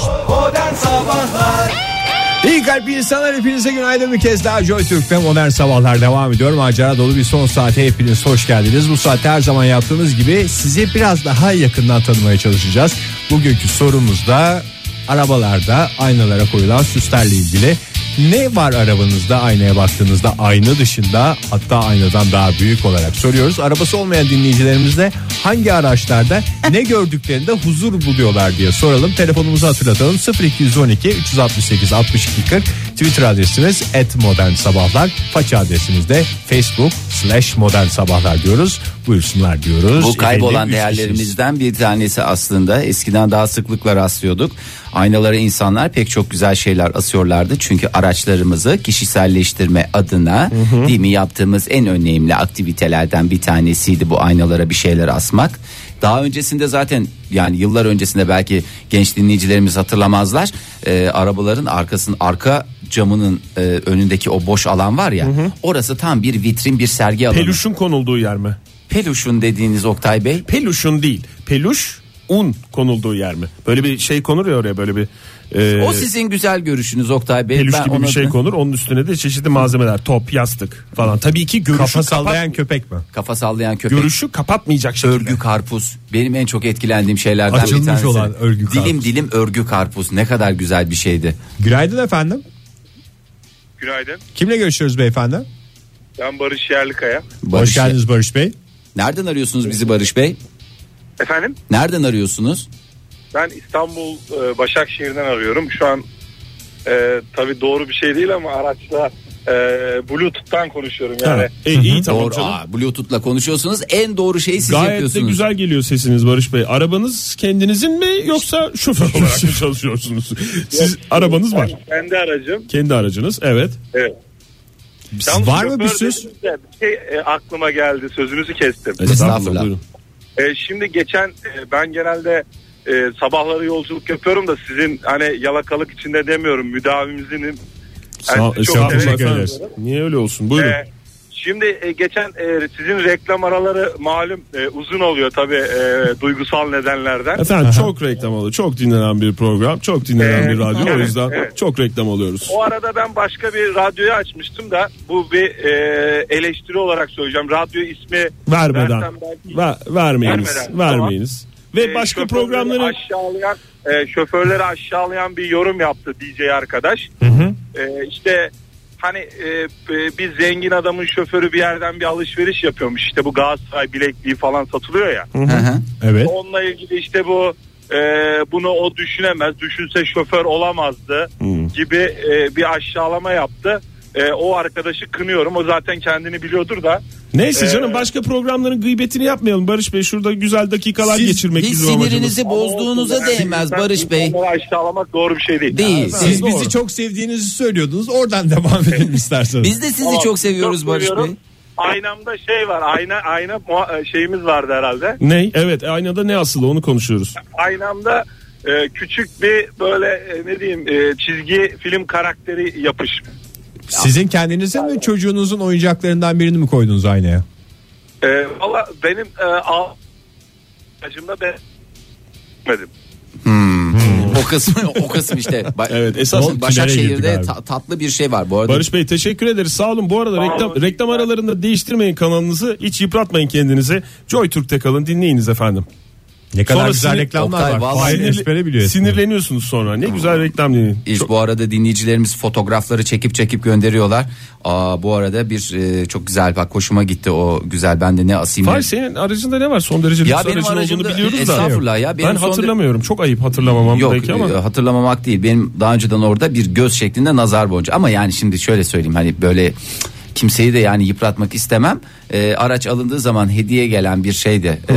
[SPEAKER 3] İyi kalpli insanlar hepinize günaydın bir kez daha Joy Türk'te modern sabahlar devam ediyor. Macera dolu bir son saate hepiniz hoş geldiniz. Bu saatte her zaman yaptığımız gibi sizi biraz daha yakından tanımaya çalışacağız. Bugünkü sorumuz da arabalarda aynalara koyulan süslerle ilgili. Ne var arabanızda aynaya baktığınızda ayna dışında hatta aynadan daha büyük olarak soruyoruz. Arabası olmayan dinleyicilerimiz de hangi araçlarda ne gördüklerinde huzur buluyorlar diye soralım. Telefonumuzu hatırlatalım 0212 368 62 40 Twitter adresimiz @modernsabahlar. Faça adresimiz de facebook slash modern sabahlar diyoruz. Buyursunlar diyoruz.
[SPEAKER 2] Bu kaybolan
[SPEAKER 3] Efendim, üç kişiyiz.
[SPEAKER 2] değerlerimizden bir tanesi aslında. Eskiden daha sıklıkla rastlıyorduk. Aynalara insanlar pek çok güzel şeyler asıyorlardı. Çünkü araçlarımızı kişiselleştirme adına değil mi yaptığımız en önemli aktivitelerden bir tanesiydi bu aynalara bir şeyler asmak. Daha öncesinde zaten yani yıllar öncesinde belki genç dinleyicilerimiz hatırlamazlar. Ee, arabaların arkasının arka camının e, önündeki o boş alan var ya. Orası tam bir vitrin bir sergi alanı.
[SPEAKER 4] Peluşun konulduğu yer mi?
[SPEAKER 2] Peluşun dediğiniz Oktay Bey.
[SPEAKER 4] Peluşun değil. Peluş un konulduğu yer mi? Böyle bir şey konur ya oraya böyle bir e,
[SPEAKER 2] O sizin güzel görüşünüz Oktay Bey.
[SPEAKER 4] peluş
[SPEAKER 2] Ben
[SPEAKER 4] gibi bir
[SPEAKER 2] ona-
[SPEAKER 4] şey konur. Onun üstüne de çeşitli malzemeler, top, yastık falan. Tabii ki görüşü
[SPEAKER 3] Kafa
[SPEAKER 4] kapat-
[SPEAKER 3] sallayan köpek mi?
[SPEAKER 2] Kafa sallayan köpek.
[SPEAKER 4] görüşü kapatmayacak şekilde.
[SPEAKER 2] Örgü karpuz benim en çok etkilendiğim şeylerden
[SPEAKER 3] Açılmış
[SPEAKER 2] bir tanesi.
[SPEAKER 3] olan örgü
[SPEAKER 2] dilim
[SPEAKER 3] karpuz.
[SPEAKER 2] dilim örgü karpuz ne kadar güzel bir şeydi.
[SPEAKER 3] Günaydın efendim.
[SPEAKER 6] Günaydın.
[SPEAKER 3] Kimle görüşüyoruz beyefendi?
[SPEAKER 6] Ben Barış Yerlikaya.
[SPEAKER 2] Barış
[SPEAKER 3] Hoş geldiniz Barış Bey.
[SPEAKER 2] Nereden arıyorsunuz bizi Barış Bey?
[SPEAKER 6] Efendim?
[SPEAKER 2] Nereden arıyorsunuz?
[SPEAKER 6] Ben İstanbul e, Başakşehir'den arıyorum. Şu an e, tabii doğru bir şey değil ama araçla e, Bluetooth'tan konuşuyorum yani.
[SPEAKER 4] Ha, e, iyi tamam
[SPEAKER 2] doğru.
[SPEAKER 4] canım.
[SPEAKER 2] Aa, Bluetooth'la konuşuyorsunuz. En doğru şeyi siz
[SPEAKER 4] Gayet de
[SPEAKER 2] yapıyorsunuz.
[SPEAKER 4] güzel geliyor sesiniz Barış Bey. Arabanız kendinizin mi yoksa şoför
[SPEAKER 6] (laughs)
[SPEAKER 4] olarak mı çalışıyorsunuz? Siz arabanız var.
[SPEAKER 6] Ben kendi aracım.
[SPEAKER 4] Kendi aracınız evet.
[SPEAKER 6] Evet. Yalnız
[SPEAKER 3] var mı bir
[SPEAKER 6] şoför
[SPEAKER 3] söz?
[SPEAKER 6] dediniz de Bir şey e, aklıma geldi. Sözünüzü kestim.
[SPEAKER 2] Estağfurullah.
[SPEAKER 4] Buyurun.
[SPEAKER 6] E, şimdi geçen e, ben genelde e, sabahları yolculuk yapıyorum da sizin hani yalakalık içinde demiyorum müdavimizin
[SPEAKER 4] Sağ,
[SPEAKER 6] sizi
[SPEAKER 4] çok
[SPEAKER 6] severek
[SPEAKER 4] teşekkür
[SPEAKER 6] dinliyorum.
[SPEAKER 4] ederiz. Niye öyle olsun? Buyurun.
[SPEAKER 6] Ee, şimdi e, geçen e, sizin reklam araları malum e, uzun oluyor tabii e, duygusal nedenlerden.
[SPEAKER 4] Efendim çok reklam alıyor. Çok dinlenen bir program. Çok dinlenen
[SPEAKER 6] Ee,
[SPEAKER 4] bir radyo. O
[SPEAKER 6] evet,
[SPEAKER 4] yüzden
[SPEAKER 6] evet.
[SPEAKER 4] çok reklam alıyoruz.
[SPEAKER 6] O arada ben başka bir radyoyu açmıştım da bu bir e, eleştiri olarak söyleyeceğim. Radyo ismi
[SPEAKER 4] Vermeden.
[SPEAKER 6] versem belki-
[SPEAKER 4] Ver, vermeyiniz.
[SPEAKER 6] Vermeden,
[SPEAKER 4] Vermeyiniz. Ve
[SPEAKER 6] e,
[SPEAKER 4] başka
[SPEAKER 6] şoförleri
[SPEAKER 4] programları
[SPEAKER 6] aşağılayan e, şoförleri aşağılayan bir yorum yaptı DJ arkadaş. E, işte hani e, e, bir zengin adamın şoförü bir yerden bir alışveriş yapıyormuş. İşte bu Galatasaray bilekliği falan satılıyor ya.
[SPEAKER 2] Hı hı.
[SPEAKER 3] Evet.
[SPEAKER 6] Onunla ilgili işte bu e, bunu o düşünemez, düşünse şoför olamazdı gibi e, bir aşağılama yaptı. E, o arkadaşı kınıyorum. O zaten kendini biliyordur da.
[SPEAKER 4] Neyse
[SPEAKER 6] Ee,
[SPEAKER 4] canım başka programların gıybetini yapmayalım Barış Bey. Şurada güzel dakikalar
[SPEAKER 2] Siz
[SPEAKER 4] geçirmek
[SPEAKER 2] hiç
[SPEAKER 4] bizim amacımız.
[SPEAKER 2] sinirinizi bozduğunuza
[SPEAKER 6] Ama olsun.
[SPEAKER 2] değmez
[SPEAKER 6] Yani
[SPEAKER 2] Barış Bey.
[SPEAKER 6] insanları aşağılamak doğru bir şey değil.
[SPEAKER 2] Değil.
[SPEAKER 3] Siz
[SPEAKER 4] Doğru.
[SPEAKER 3] bizi çok sevdiğinizi söylüyordunuz. Oradan (laughs) devam edin isterseniz.
[SPEAKER 2] Biz de sizi
[SPEAKER 6] Tamam,
[SPEAKER 2] çok seviyoruz
[SPEAKER 6] çok
[SPEAKER 2] Barış
[SPEAKER 6] seviyorum.
[SPEAKER 2] Bey.
[SPEAKER 6] Aynamda şey var. Ayna ayna muha- e, şeyimiz vardı herhalde.
[SPEAKER 4] Ne? Evet e, aynada ne asılı onu konuşuyoruz.
[SPEAKER 6] Aynamda e, küçük bir böyle e, ne diyeyim e, çizgi film karakteri yapış.
[SPEAKER 3] Sizin kendinize mi çocuğunuzun oyuncaklarından birini mi koydunuz aynaya?
[SPEAKER 6] E, Valla benim e, al acımda ben Dedim.
[SPEAKER 2] O kısmı o kısım işte. Ba-
[SPEAKER 4] Evet, esas
[SPEAKER 2] Oğlum,
[SPEAKER 3] tünele
[SPEAKER 2] Başakşehir'de
[SPEAKER 3] girdik
[SPEAKER 2] ta- tatlı bir şey var bu arada.
[SPEAKER 4] Barış Bey teşekkür ederiz. Sağ olun. Bu arada
[SPEAKER 6] Sağ
[SPEAKER 4] reklam
[SPEAKER 6] olun.
[SPEAKER 4] reklam aralarında değiştirmeyin kanalınızı. Hiç yıpratmayın kendinizi. Joy Türk'te kalın dinleyiniz efendim.
[SPEAKER 3] Ne kadar
[SPEAKER 4] Sonra
[SPEAKER 3] güzel
[SPEAKER 4] sinir-
[SPEAKER 3] reklamlar
[SPEAKER 2] Oktay,
[SPEAKER 3] var.
[SPEAKER 2] vallahi
[SPEAKER 3] Fahir
[SPEAKER 4] Sinirli-
[SPEAKER 3] ezbere biliyor.
[SPEAKER 4] Sinirleniyorsunuz sonra. Ne güzel reklam dinleyin.
[SPEAKER 2] İş bu arada dinleyicilerimiz fotoğrafları çekip çekip gönderiyorlar. Aa, bu arada bir e, çok güzel bak hoşuma gitti o güzel ben de ne asayım.
[SPEAKER 4] Fahir senin aracında ne var? Son derece lüks
[SPEAKER 2] Ya
[SPEAKER 4] aracın
[SPEAKER 2] benim
[SPEAKER 4] olduğunu
[SPEAKER 2] aracımda-
[SPEAKER 4] biliyoruz da.
[SPEAKER 2] Estağfurullah ya, benim
[SPEAKER 4] ben
[SPEAKER 2] son-
[SPEAKER 4] hatırlamıyorum. Çok ayıp hatırlamamam
[SPEAKER 2] Yok
[SPEAKER 4] belki ama.
[SPEAKER 2] e, hatırlamamak değil benim daha önceden orada bir göz şeklinde nazar boncuğu ama yani şimdi şöyle söyleyeyim hani böyle kimseyi de yani yıpratmak istemem. E, araç alındığı zaman hediye gelen bir şey de e,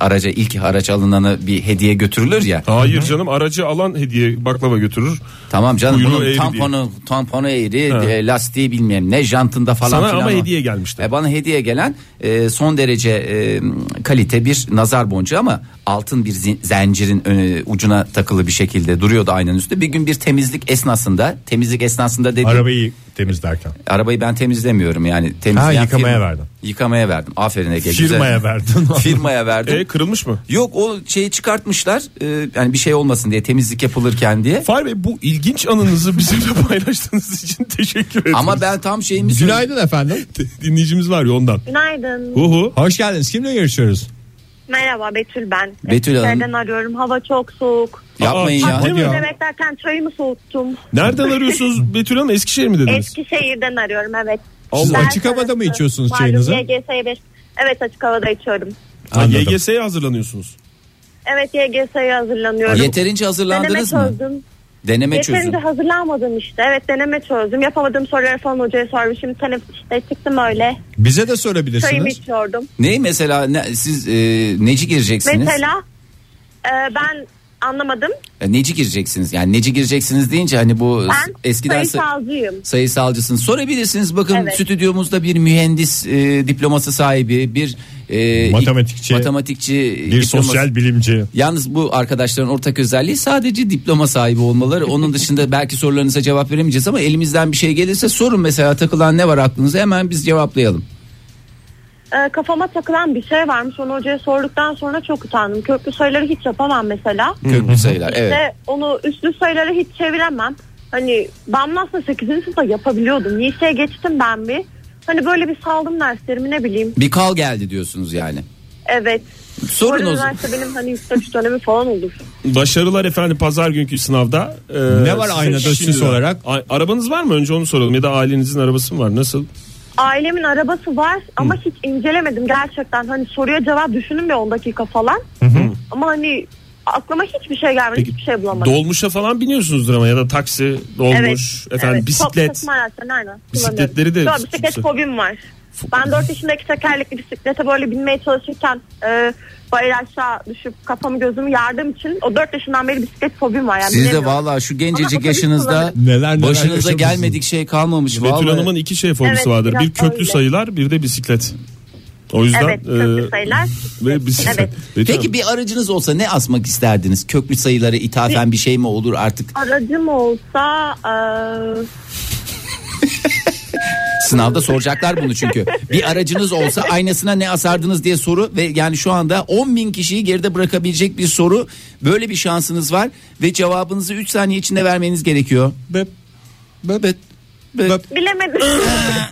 [SPEAKER 2] araca ilk araç alınanı bir hediye götürülür ya.
[SPEAKER 4] Hayır canım aracı alan hediye baklava götürür.
[SPEAKER 2] Tamam canım
[SPEAKER 4] Kuyruğu eğri
[SPEAKER 2] bunun tamponu tamponu eğri e, lastiği bilmem ne jantında falan
[SPEAKER 4] Sana
[SPEAKER 2] filan o.
[SPEAKER 4] ama hediye gelmişti.
[SPEAKER 2] E, bana hediye gelen e, son derece e, kalite bir nazar boncuğu ama altın bir zin- zincirin e, ucuna takılı bir şekilde duruyordu aynanın üstünde. Bir gün bir temizlik esnasında temizlik esnasında dedim
[SPEAKER 3] Arabayı temizlerken.
[SPEAKER 2] arabayı ben temizlemiyorum yani temizleyen
[SPEAKER 3] Ha, yıkamaya verdin.
[SPEAKER 2] Yıkamaya verdim. Aferin Ege. güzel.
[SPEAKER 3] Firmaya verdin.
[SPEAKER 2] (laughs) Firmaya verdim.
[SPEAKER 4] E kırılmış mı?
[SPEAKER 2] Yok o şeyi çıkartmışlar. e, yani bir şey olmasın diye temizlik yapılırken diye.
[SPEAKER 4] Fahir Bey bu ilginç anınızı bizimle (laughs) paylaştığınız için teşekkür ederim.
[SPEAKER 2] Ama ben tam şeyimi söyledim.
[SPEAKER 3] (laughs) Günaydın efendim.
[SPEAKER 4] dinleyicimiz var ya ondan.
[SPEAKER 7] Günaydın.
[SPEAKER 4] Uhu.
[SPEAKER 3] Hoş geldiniz. Kimle görüşüyoruz?
[SPEAKER 7] Merhaba Betül ben.
[SPEAKER 2] Betül Hanım.
[SPEAKER 7] Nereden arıyorum? Hava çok soğuk.
[SPEAKER 2] Yapmayın
[SPEAKER 4] Aa,
[SPEAKER 2] ya.
[SPEAKER 4] ciddi mi?
[SPEAKER 3] Ya.
[SPEAKER 7] Demek derken çayımı soğuttum.
[SPEAKER 4] Nereden arıyorsunuz Betül Hanım? Eskişehir mi dediniz?
[SPEAKER 7] Eskişehir'den arıyorum evet.
[SPEAKER 3] Siz
[SPEAKER 7] Ders
[SPEAKER 3] açık havada mı
[SPEAKER 7] arası.
[SPEAKER 3] içiyorsunuz
[SPEAKER 7] Malum
[SPEAKER 3] çayınızı?
[SPEAKER 7] YGS'ye beş- Evet açık havada içiyorum.
[SPEAKER 4] Ha,
[SPEAKER 3] Anladım.
[SPEAKER 4] YGS'ye hazırlanıyorsunuz.
[SPEAKER 7] Evet YGS'ye hazırlanıyorum.
[SPEAKER 2] Yeterince
[SPEAKER 7] Deneme
[SPEAKER 2] hazırlandınız mı?
[SPEAKER 7] çözdüm.
[SPEAKER 2] Deneme çözün.
[SPEAKER 7] Yeterince hazırlanmadım işte. Evet deneme çözdüm. Yapamadığım soruları falan hocaya sormuşum. Şimdi teneffüs işte çıktım öyle.
[SPEAKER 3] Bize de
[SPEAKER 7] Çayımı
[SPEAKER 3] sorabilirsiniz.
[SPEAKER 7] içiyordum.
[SPEAKER 2] Ne mesela ne, siz e, neci gireceksiniz?
[SPEAKER 7] Mesela e, ben Anlamadım.
[SPEAKER 2] E, neci gireceksiniz? Yani neci gireceksiniz deyince hani bu
[SPEAKER 7] Ben
[SPEAKER 2] eskiden sa-
[SPEAKER 7] sayısalcıyım.
[SPEAKER 2] sayısalcısınız. Sorabilirsiniz bakın
[SPEAKER 7] Evet.
[SPEAKER 2] stüdyomuzda bir mühendis e, diploması sahibi, bir e,
[SPEAKER 3] Matematikçi,
[SPEAKER 2] matematikçi
[SPEAKER 3] Bir
[SPEAKER 2] diploması-
[SPEAKER 3] sosyal bilimci.
[SPEAKER 2] Yalnız bu arkadaşların ortak özelliği sadece diploma sahibi olmaları. Onun dışında belki sorularınıza cevap veremeyeceğiz ama elimizden bir şey gelirse sorun mesela takılan ne var aklınıza hemen biz cevaplayalım.
[SPEAKER 7] Ee, kafama takılan bir şey varmış. Onu hocaya sorduktan sonra çok utandım. Köklü sayıları hiç yapamam mesela.
[SPEAKER 2] Köklü sayılar evet.
[SPEAKER 7] Ve onu üstlü sayıları hiç çeviremem. Hani ben aslında 8. sınıfta yapabiliyordum. Liseye geçtim ben bir. Hani böyle bir saldım derslerimi ne bileyim.
[SPEAKER 2] Bir kal geldi diyorsunuz yani.
[SPEAKER 7] Evet.
[SPEAKER 2] Sorun
[SPEAKER 7] Böyle
[SPEAKER 2] o zaman.
[SPEAKER 7] üniversite benim hani yüksek üç dönemi falan olur.
[SPEAKER 4] Başarılar efendim pazar günkü sınavda. Ee,
[SPEAKER 3] Ne var aynada
[SPEAKER 4] size
[SPEAKER 3] süs
[SPEAKER 4] şimdiden-
[SPEAKER 3] olarak?
[SPEAKER 4] A- arabanız var mı? Önce onu soralım. Ya da ailenizin arabası mı var? Nasıl?
[SPEAKER 7] Ailemin arabası var ama hiç incelemedim gerçekten. Hani soruya cevap düşündüm bir 10 dakika falan. Ama hani aklıma hiçbir şey gelmedi.
[SPEAKER 4] Peki,
[SPEAKER 7] hiçbir şey bulamadım.
[SPEAKER 4] Dolmuşa falan biniyorsunuzdur ama ya da taksi, dolmuş, efendim
[SPEAKER 7] evet. Toplu
[SPEAKER 4] bisiklet.
[SPEAKER 7] taşıma araçlarını aynen
[SPEAKER 4] Bisikletleri
[SPEAKER 7] kullanıyorum.
[SPEAKER 4] de-
[SPEAKER 7] Doğru, bisiklet
[SPEAKER 4] Fo-
[SPEAKER 7] fobim var. Ben 4 yaşındaki tekerlekli bisiklete böyle binmeye çalışırken e, bayır aşağı düşüp kafamı gözümü yardığım için o 4 yaşından beri bisiklet fobim var. Yani
[SPEAKER 2] Siz de
[SPEAKER 7] bilemiyorum.
[SPEAKER 2] valla şu
[SPEAKER 7] Ama
[SPEAKER 2] gencecik
[SPEAKER 7] otobüs
[SPEAKER 2] yaşınızda
[SPEAKER 3] kullanın. Neler neler
[SPEAKER 2] başınıza
[SPEAKER 3] yaşamışsınız.
[SPEAKER 2] gelmedik şey kalmamış.
[SPEAKER 4] Betül
[SPEAKER 2] vallahi.
[SPEAKER 4] Hanım'ın iki şey fobisi
[SPEAKER 7] Evet,
[SPEAKER 4] vardır.
[SPEAKER 7] biraz
[SPEAKER 4] Bir köklü
[SPEAKER 7] öyle.
[SPEAKER 4] sayılar, bir de bisiklet. O yüzden
[SPEAKER 7] Evet, köklü
[SPEAKER 4] e,
[SPEAKER 7] sayılar.
[SPEAKER 4] ve bisiklet.
[SPEAKER 7] Evet.
[SPEAKER 4] Betül
[SPEAKER 2] Peki bir aracınız olsa ne asmak isterdiniz? Köklü sayılara ithafen bir şey mi olur artık?
[SPEAKER 7] Aracım olsa e,
[SPEAKER 2] Sınavda soracaklar bunu çünkü. Bir aracınız olsa aynasına ne asardınız diye soru ve yani şu anda 10 bin kişiyi geride bırakabilecek bir soru. Böyle bir şansınız var ve cevabınızı 3 saniye içinde vermeniz gerekiyor.
[SPEAKER 3] Bep.
[SPEAKER 2] Evet. Evet. (laughs)
[SPEAKER 7] bilemedim.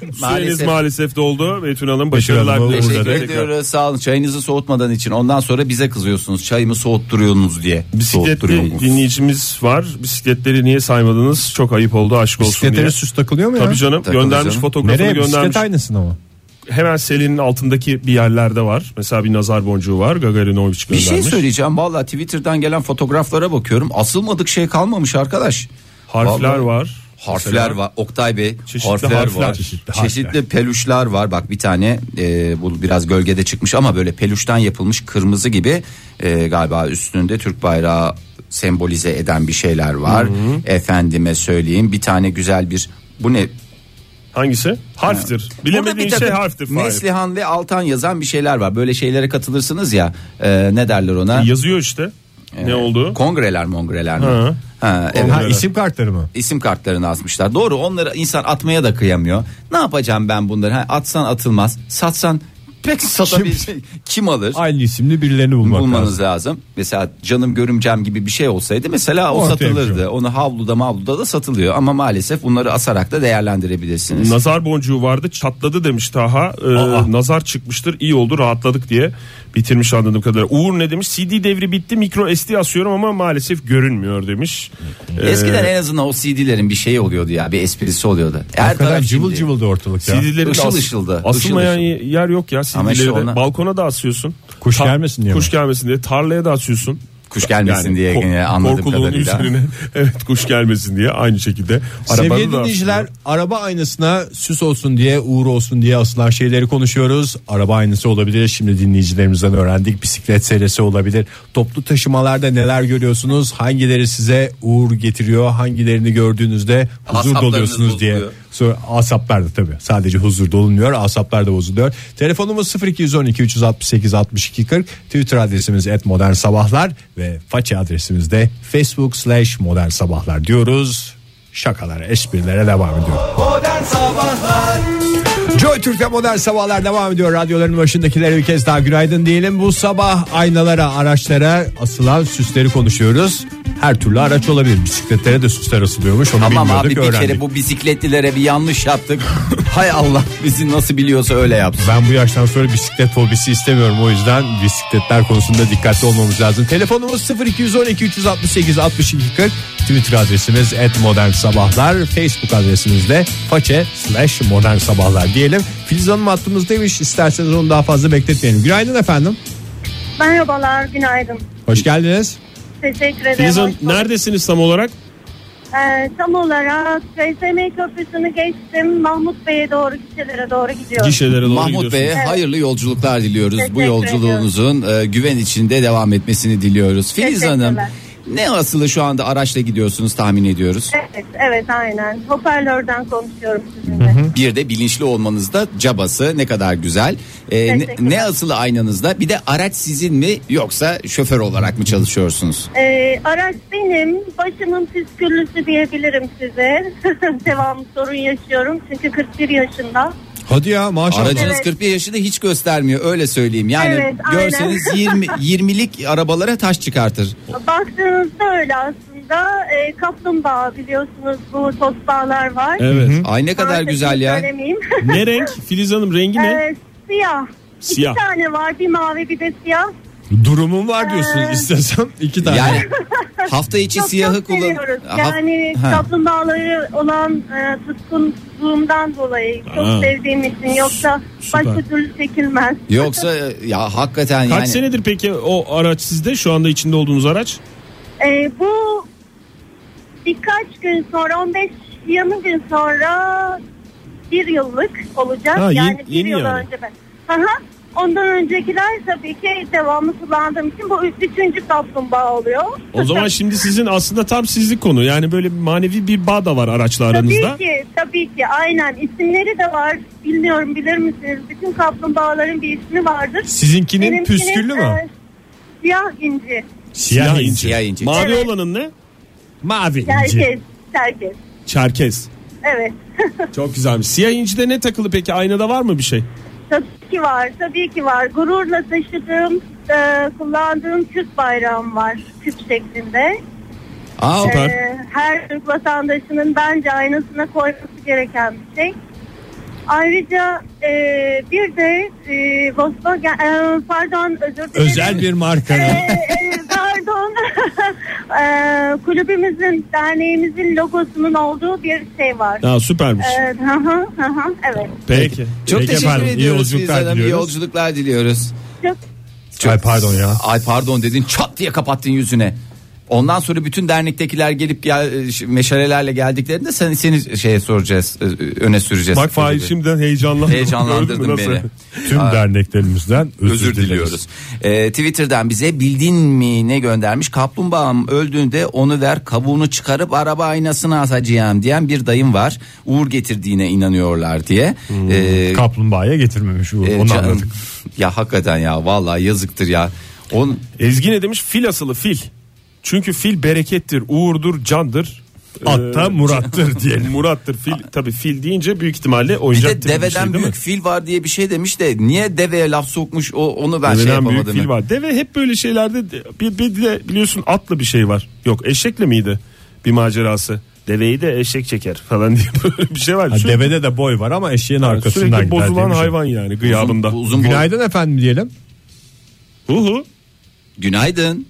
[SPEAKER 4] Süreniz
[SPEAKER 2] Maalesef.
[SPEAKER 4] maalesef doldu. Betül Hanım
[SPEAKER 3] Hanım'a
[SPEAKER 4] başarılar
[SPEAKER 3] uğurladık.
[SPEAKER 4] dileriz.
[SPEAKER 2] Teşekkür
[SPEAKER 4] Tekrar.
[SPEAKER 2] ediyoruz. Sağ olun. Çayınızı soğutmadan için. Ondan sonra bize kızıyorsunuz. Çayımı soğutturuyorsunuz diye.
[SPEAKER 4] Bisikletli
[SPEAKER 2] Soğutturuyorsunuz.
[SPEAKER 4] dinleyicimiz var. Bisikletleri niye saymadınız? Çok ayıp oldu aşk olsun diye.
[SPEAKER 3] Bisikletlere süs takılıyor mu ya?
[SPEAKER 4] Tabii canım
[SPEAKER 2] Takılır
[SPEAKER 4] göndermiş
[SPEAKER 2] canım.
[SPEAKER 4] fotoğrafını
[SPEAKER 3] Nereye
[SPEAKER 4] göndermiş.
[SPEAKER 3] bisiklet aynısına mı?
[SPEAKER 4] Hemen Selin'in altındaki bir yerlerde var. Mesela bir nazar boncuğu var. Gagarinovic
[SPEAKER 2] Bir
[SPEAKER 4] göndermiş.
[SPEAKER 2] şey söyleyeceğim. Valla Twitter'dan gelen fotoğraflara bakıyorum. Asılmadık şey kalmamış arkadaş.
[SPEAKER 4] Harfler
[SPEAKER 2] Vallahi-
[SPEAKER 4] var.
[SPEAKER 2] Harfler
[SPEAKER 4] Mesela
[SPEAKER 2] var. Oktay Bey
[SPEAKER 4] Çeşitli
[SPEAKER 2] harfler,
[SPEAKER 4] harfler,
[SPEAKER 2] var.
[SPEAKER 4] çeşitli
[SPEAKER 2] Çeşitli,
[SPEAKER 4] harfler.
[SPEAKER 2] peluşlar var. Bak bir tane e, bu biraz gölgede çıkmış ama böyle peluştan yapılmış kırmızı gibi e, galiba üstünde Türk bayrağı sembolize eden bir şeyler var. Efendime söyleyeyim bir tane güzel bir bu ne
[SPEAKER 4] Hangisi? Harftir.
[SPEAKER 2] Orada bir
[SPEAKER 4] Bilemediğin
[SPEAKER 2] takım
[SPEAKER 4] şey harftir. Fahir.
[SPEAKER 2] Neslihan ve Altan yazan bir şeyler var. Böyle şeylere katılırsınız ya. e, ne derler ona?
[SPEAKER 4] Yazıyor işte. Ne oldu?
[SPEAKER 2] Kongreler mongreler mi?
[SPEAKER 4] Hı.
[SPEAKER 2] Ha, evet.
[SPEAKER 3] Ha, isim kartları mı?
[SPEAKER 2] isim kartlarını asmışlar. Doğru onları insan atmaya da kıyamıyor. Ne yapacağım ben bunları? Ha, atsan atılmaz. Satsan pek satabilecek. Kim, alır?
[SPEAKER 3] Aynı isimli birilerini bulmak
[SPEAKER 2] Bulmanız
[SPEAKER 3] lazım.
[SPEAKER 2] lazım. Mesela canım görümcem gibi bir şey olsaydı mesela o
[SPEAKER 3] Ortaya
[SPEAKER 2] satılırdı.
[SPEAKER 3] çıkıyor.
[SPEAKER 2] Onu havluda mavluda da satılıyor. Ama maalesef bunları asarak da değerlendirebilirsiniz.
[SPEAKER 4] Nazar boncuğu vardı çatladı demiş Taha. Ee, nazar çıkmıştır iyi oldu rahatladık diye bitirmiş anladığım kadarıyla. Uğur ne demiş? CD devri bitti mikro SD asıyorum ama maalesef görünmüyor demiş. Ee,
[SPEAKER 2] Eskiden en azından o CD'lerin bir şeyi oluyordu ya. Bir esprisi oluyordu. Her
[SPEAKER 3] Kadar
[SPEAKER 2] taraf
[SPEAKER 3] cıvıl
[SPEAKER 2] şimdi.
[SPEAKER 3] cıvıldı ortalık ya.
[SPEAKER 4] CD'leri de
[SPEAKER 2] Işıl
[SPEAKER 4] as-
[SPEAKER 2] ışıldı,
[SPEAKER 4] Asılmayan
[SPEAKER 2] ışıl ışıl.
[SPEAKER 4] yer yok ya
[SPEAKER 2] Ama işte
[SPEAKER 4] CD'leri de.
[SPEAKER 2] ona-
[SPEAKER 4] Balkona da asıyorsun.
[SPEAKER 3] Kuş gelmesin diye
[SPEAKER 4] Kuş
[SPEAKER 3] mi?
[SPEAKER 4] gelmesin diye. Tarlaya da asıyorsun.
[SPEAKER 2] Kuş gelmesin diye
[SPEAKER 4] ko-
[SPEAKER 2] yine anladığım
[SPEAKER 4] korkuluğun
[SPEAKER 2] kadarıyla.
[SPEAKER 4] üzerine (laughs) evet kuş gelmesin diye aynı şekilde. Arabanı
[SPEAKER 3] Sevgili
[SPEAKER 4] da
[SPEAKER 3] dinleyiciler araba aynasına süs olsun diye uğur olsun diye asılan şeyleri konuşuyoruz. Araba aynası olabilir şimdi dinleyicilerimizden öğrendik. Bisiklet serisi olabilir. Toplu taşımalarda neler görüyorsunuz? Hangileri size uğur getiriyor? Hangilerini gördüğünüzde huzur
[SPEAKER 2] Asaplarınız
[SPEAKER 3] doluyorsunuz diye.
[SPEAKER 2] bozuluyor.
[SPEAKER 3] Sonra asaplar da tabii sadece huzur dolunmuyor asaplar da bozuluyor. Telefonumuz 0212 368 62 40 Twitter adresimiz et modern sabahlar ve faça adresimiz de facebook slash modern sabahlar diyoruz. Şakalara esprilere devam ediyor. Joy Türk'te modern sabahlar devam ediyor. Radyoların başındakilere bir kez daha günaydın diyelim. Bu sabah aynalara, araçlara asılan süsleri konuşuyoruz. Her türlü araç olabilir. Bisikletlere de süsler asılıyormuş. Onu
[SPEAKER 2] Tamam
[SPEAKER 3] bilmiyorduk
[SPEAKER 2] abi bir
[SPEAKER 3] öğrendik.
[SPEAKER 2] kere bu bisikletlilere bir yanlış yaptık. Hay Allah bizi nasıl biliyorsa öyle yapsın.
[SPEAKER 3] Ben bu yaştan sonra bisiklet fobisi istemiyorum. O yüzden bisikletler konusunda dikkatli olmamız lazım. Telefonumuz 0212 368 62 40. Twitter adresimiz et modern sabahlar. Facebook adresimiz de façe slash modern sabahlar diyelim. Filiz Hanım hattımızdaymış. İsterseniz onu daha fazla bekletmeyelim. Günaydın efendim.
[SPEAKER 8] Merhabalar, günaydın.
[SPEAKER 3] Hoş geldiniz.
[SPEAKER 8] Teşekkür ederim.
[SPEAKER 4] Filiz Hanım,
[SPEAKER 8] Hoş bulduk.
[SPEAKER 4] neredesiniz tam olarak?
[SPEAKER 8] Ee, tam olarak FSM köprüsünü geçtim. Mahmut Bey'e doğru, gişelere doğru gidiyorum.
[SPEAKER 4] Gişelere doğru
[SPEAKER 2] Mahmut
[SPEAKER 4] gidiyorsunuz.
[SPEAKER 2] Bey'e hayırlı yolculuklar diliyoruz. Bu
[SPEAKER 8] Teşekkür
[SPEAKER 2] yolculuğunuzun e, güven içinde devam etmesini diliyoruz. Filiz
[SPEAKER 8] Teşekkürler.
[SPEAKER 2] Hanım Ne asılı şu anda araçla gidiyorsunuz tahmin ediyoruz.
[SPEAKER 9] Evet, evet aynen. Hoparlörden konuşuyorum sizinle.
[SPEAKER 2] Bir de bilinçli olmanızda cabası ne kadar güzel. Ee, ne,
[SPEAKER 9] Teşekkürler.
[SPEAKER 2] ne asılı aynanızda bir de araç sizin mi yoksa şoför olarak mı çalışıyorsunuz?
[SPEAKER 9] Ee, araç benim, başımın püsküllüsü diyebilirim size. (laughs) Devamlı sorun yaşıyorum çünkü 41 yaşında.
[SPEAKER 3] Hadi ya maşallah.
[SPEAKER 2] Aracınız
[SPEAKER 9] Evet.
[SPEAKER 2] 41 yaşını hiç göstermiyor öyle söyleyeyim. Yani
[SPEAKER 9] Evet, aynen.
[SPEAKER 2] görseniz
[SPEAKER 9] (laughs)
[SPEAKER 2] 20 20'lik arabalara taş çıkartır.
[SPEAKER 9] Baktığınızda öyle aslında. Ee, kaplumbağa biliyorsunuz bu tosbağalar var.
[SPEAKER 4] Evet.
[SPEAKER 2] Ay ne kadar
[SPEAKER 9] Maalesef
[SPEAKER 2] güzel ya.
[SPEAKER 9] söylemeyeyim.
[SPEAKER 4] Ne renk? Filiz Hanım rengi ne?
[SPEAKER 9] (laughs) Ee, siyah.
[SPEAKER 4] Siyah.
[SPEAKER 9] İki tane var bir mavi bir de siyah.
[SPEAKER 3] Durumum var diyorsun
[SPEAKER 2] Ee,
[SPEAKER 3] istesem iki tane.
[SPEAKER 2] Yani
[SPEAKER 9] (laughs)
[SPEAKER 2] hafta içi
[SPEAKER 9] Çok
[SPEAKER 2] siyahı
[SPEAKER 9] çok
[SPEAKER 2] kullan.
[SPEAKER 9] seviyoruz.
[SPEAKER 2] Ha-
[SPEAKER 9] Yani
[SPEAKER 2] ha.
[SPEAKER 9] kaplumbağaları olan e, tutkunluğumdan dolayı çok
[SPEAKER 4] Aa.
[SPEAKER 9] sevdiğim için yoksa
[SPEAKER 4] Süper.
[SPEAKER 9] başka türlü çekilmez.
[SPEAKER 2] Yoksa ya hakikaten
[SPEAKER 4] Kaç
[SPEAKER 2] yani
[SPEAKER 4] senedir peki o araç sizde? Şu anda içinde olduğunuz araç?
[SPEAKER 9] E, bu birkaç gün sonra 15 20 gün sonra bir yıllık olacak.
[SPEAKER 4] Ha,
[SPEAKER 9] yani
[SPEAKER 4] yeni-
[SPEAKER 9] bir
[SPEAKER 4] yeni
[SPEAKER 9] yıl
[SPEAKER 4] yani.
[SPEAKER 9] önce ben. Aha. Ondan öncekiler tabii ki devamlı kullandığım için bu üç- üçüncü kaplumbağa oluyor.
[SPEAKER 4] O
[SPEAKER 9] (laughs)
[SPEAKER 4] zaman şimdi sizin aslında tam sizlik konu. Yani böyle manevi bir bağ da var araçla aranızda.
[SPEAKER 9] Tabii ki, tabii ki. Aynen. İsimleri de var. Bilmiyorum bilir misiniz? Bütün kaplumbağaların bir ismi vardır.
[SPEAKER 3] Sizinkinin
[SPEAKER 9] Benimkinin,
[SPEAKER 3] püsküllü mü?
[SPEAKER 9] e, siyah inci.
[SPEAKER 4] Siyah inci.
[SPEAKER 2] siyah inci.
[SPEAKER 4] Mavi
[SPEAKER 9] Evet.
[SPEAKER 4] olanın ne?
[SPEAKER 3] Mavi inci.
[SPEAKER 9] Herkes, herkes.
[SPEAKER 4] Çerkez.
[SPEAKER 9] Evet.
[SPEAKER 4] Çok güzelmiş. Siyah incide ne takılı peki? Aynada var mı bir şey?
[SPEAKER 9] tabii ki var, tabii ki var. Gururla taşıdığım, e, kullandığım Türk bayrağım var. Küp şeklinde.
[SPEAKER 2] Aa,
[SPEAKER 9] E, her Türk vatandaşının bence aynasına koyması gereken bir şey. Ayrıca e, bir de e, Volkswagen, e, pardon özür dilerim.
[SPEAKER 3] Özel bir marka.
[SPEAKER 9] Ee, e, (laughs) pardon. (laughs) Ee, kulübümüzün, derneğimizin logosunun olduğu bir şey var.
[SPEAKER 4] Aa, süpermiş.
[SPEAKER 9] Ee, hı hı, hı hı, evet.
[SPEAKER 4] Peki.
[SPEAKER 2] Çok
[SPEAKER 4] Peki
[SPEAKER 2] teşekkür
[SPEAKER 4] efendim. İyi
[SPEAKER 2] ediyoruz
[SPEAKER 4] yolculuklar
[SPEAKER 2] Filiz Hanım. İyi
[SPEAKER 4] diliyoruz.
[SPEAKER 2] yolculuklar diliyoruz.
[SPEAKER 9] Çok
[SPEAKER 3] Ay pardon ya.
[SPEAKER 2] Ay pardon dedin çat diye kapattın yüzüne. Ondan sonra bütün dernektekiler gelip gel, e, meşalelerle geldiklerinde sen, seni şeye soracağız, ö- ö- öne süreceğiz.
[SPEAKER 4] Bak Fahir şimdiden heyecanlandım. Gördün
[SPEAKER 2] Heyecanlandırdın
[SPEAKER 4] mü
[SPEAKER 2] beni.
[SPEAKER 4] nasıl?
[SPEAKER 10] Tüm derneklerimizden özür,
[SPEAKER 2] Özür diliyoruz. Ee, Twitter'dan bize bildin mi ne göndermiş? Kaplumbağam öldüğünde onu ver kabuğunu çıkarıp araba aynasına asacağım diyen bir dayım var. Uğur getirdiğine inanıyorlar diye. Ee,
[SPEAKER 10] Kaplumbağaya getirmemiş bu.
[SPEAKER 2] e,
[SPEAKER 10] Onu
[SPEAKER 2] can-
[SPEAKER 10] anladık.
[SPEAKER 2] Ya hakikaten ya vallahi yazıktır ya. On,
[SPEAKER 4] Ezgi ne demiş? Fil asılı fil. Çünkü fil berekettir, uğurdur, candır.
[SPEAKER 10] Hatta
[SPEAKER 4] Ee, (laughs)
[SPEAKER 10] Murat'tır diyelim.
[SPEAKER 4] Murat'tır fil. Tabii fil deyince büyük ihtimalle
[SPEAKER 2] Bir
[SPEAKER 4] oyuncak
[SPEAKER 2] de
[SPEAKER 4] tipi bir
[SPEAKER 2] deveden
[SPEAKER 4] şey, değil mi?
[SPEAKER 2] büyük fil var diye bir şey demiş de niye deveye laf sokmuş o onu ben şey
[SPEAKER 4] Deveden
[SPEAKER 2] yapamadım.
[SPEAKER 4] büyük fil var. Deve hep böyle şeylerde de- bir, bir de biliyorsun atlı bir şey var. Yok eşekle miydi bir macerası? Deveyi de eşek çeker falan (laughs) diye böyle bir şey var.
[SPEAKER 10] Ha,
[SPEAKER 4] Sürekli,
[SPEAKER 10] Devede de boy var ama eşeğin arkasından
[SPEAKER 4] sürekli
[SPEAKER 10] gider
[SPEAKER 4] bozulan
[SPEAKER 10] demiş.
[SPEAKER 4] hayvan yani
[SPEAKER 2] Uzun,
[SPEAKER 4] gıyabında.
[SPEAKER 2] uzun boy-
[SPEAKER 3] Günaydın efendim diyelim.
[SPEAKER 4] Uhu.
[SPEAKER 2] Günaydın.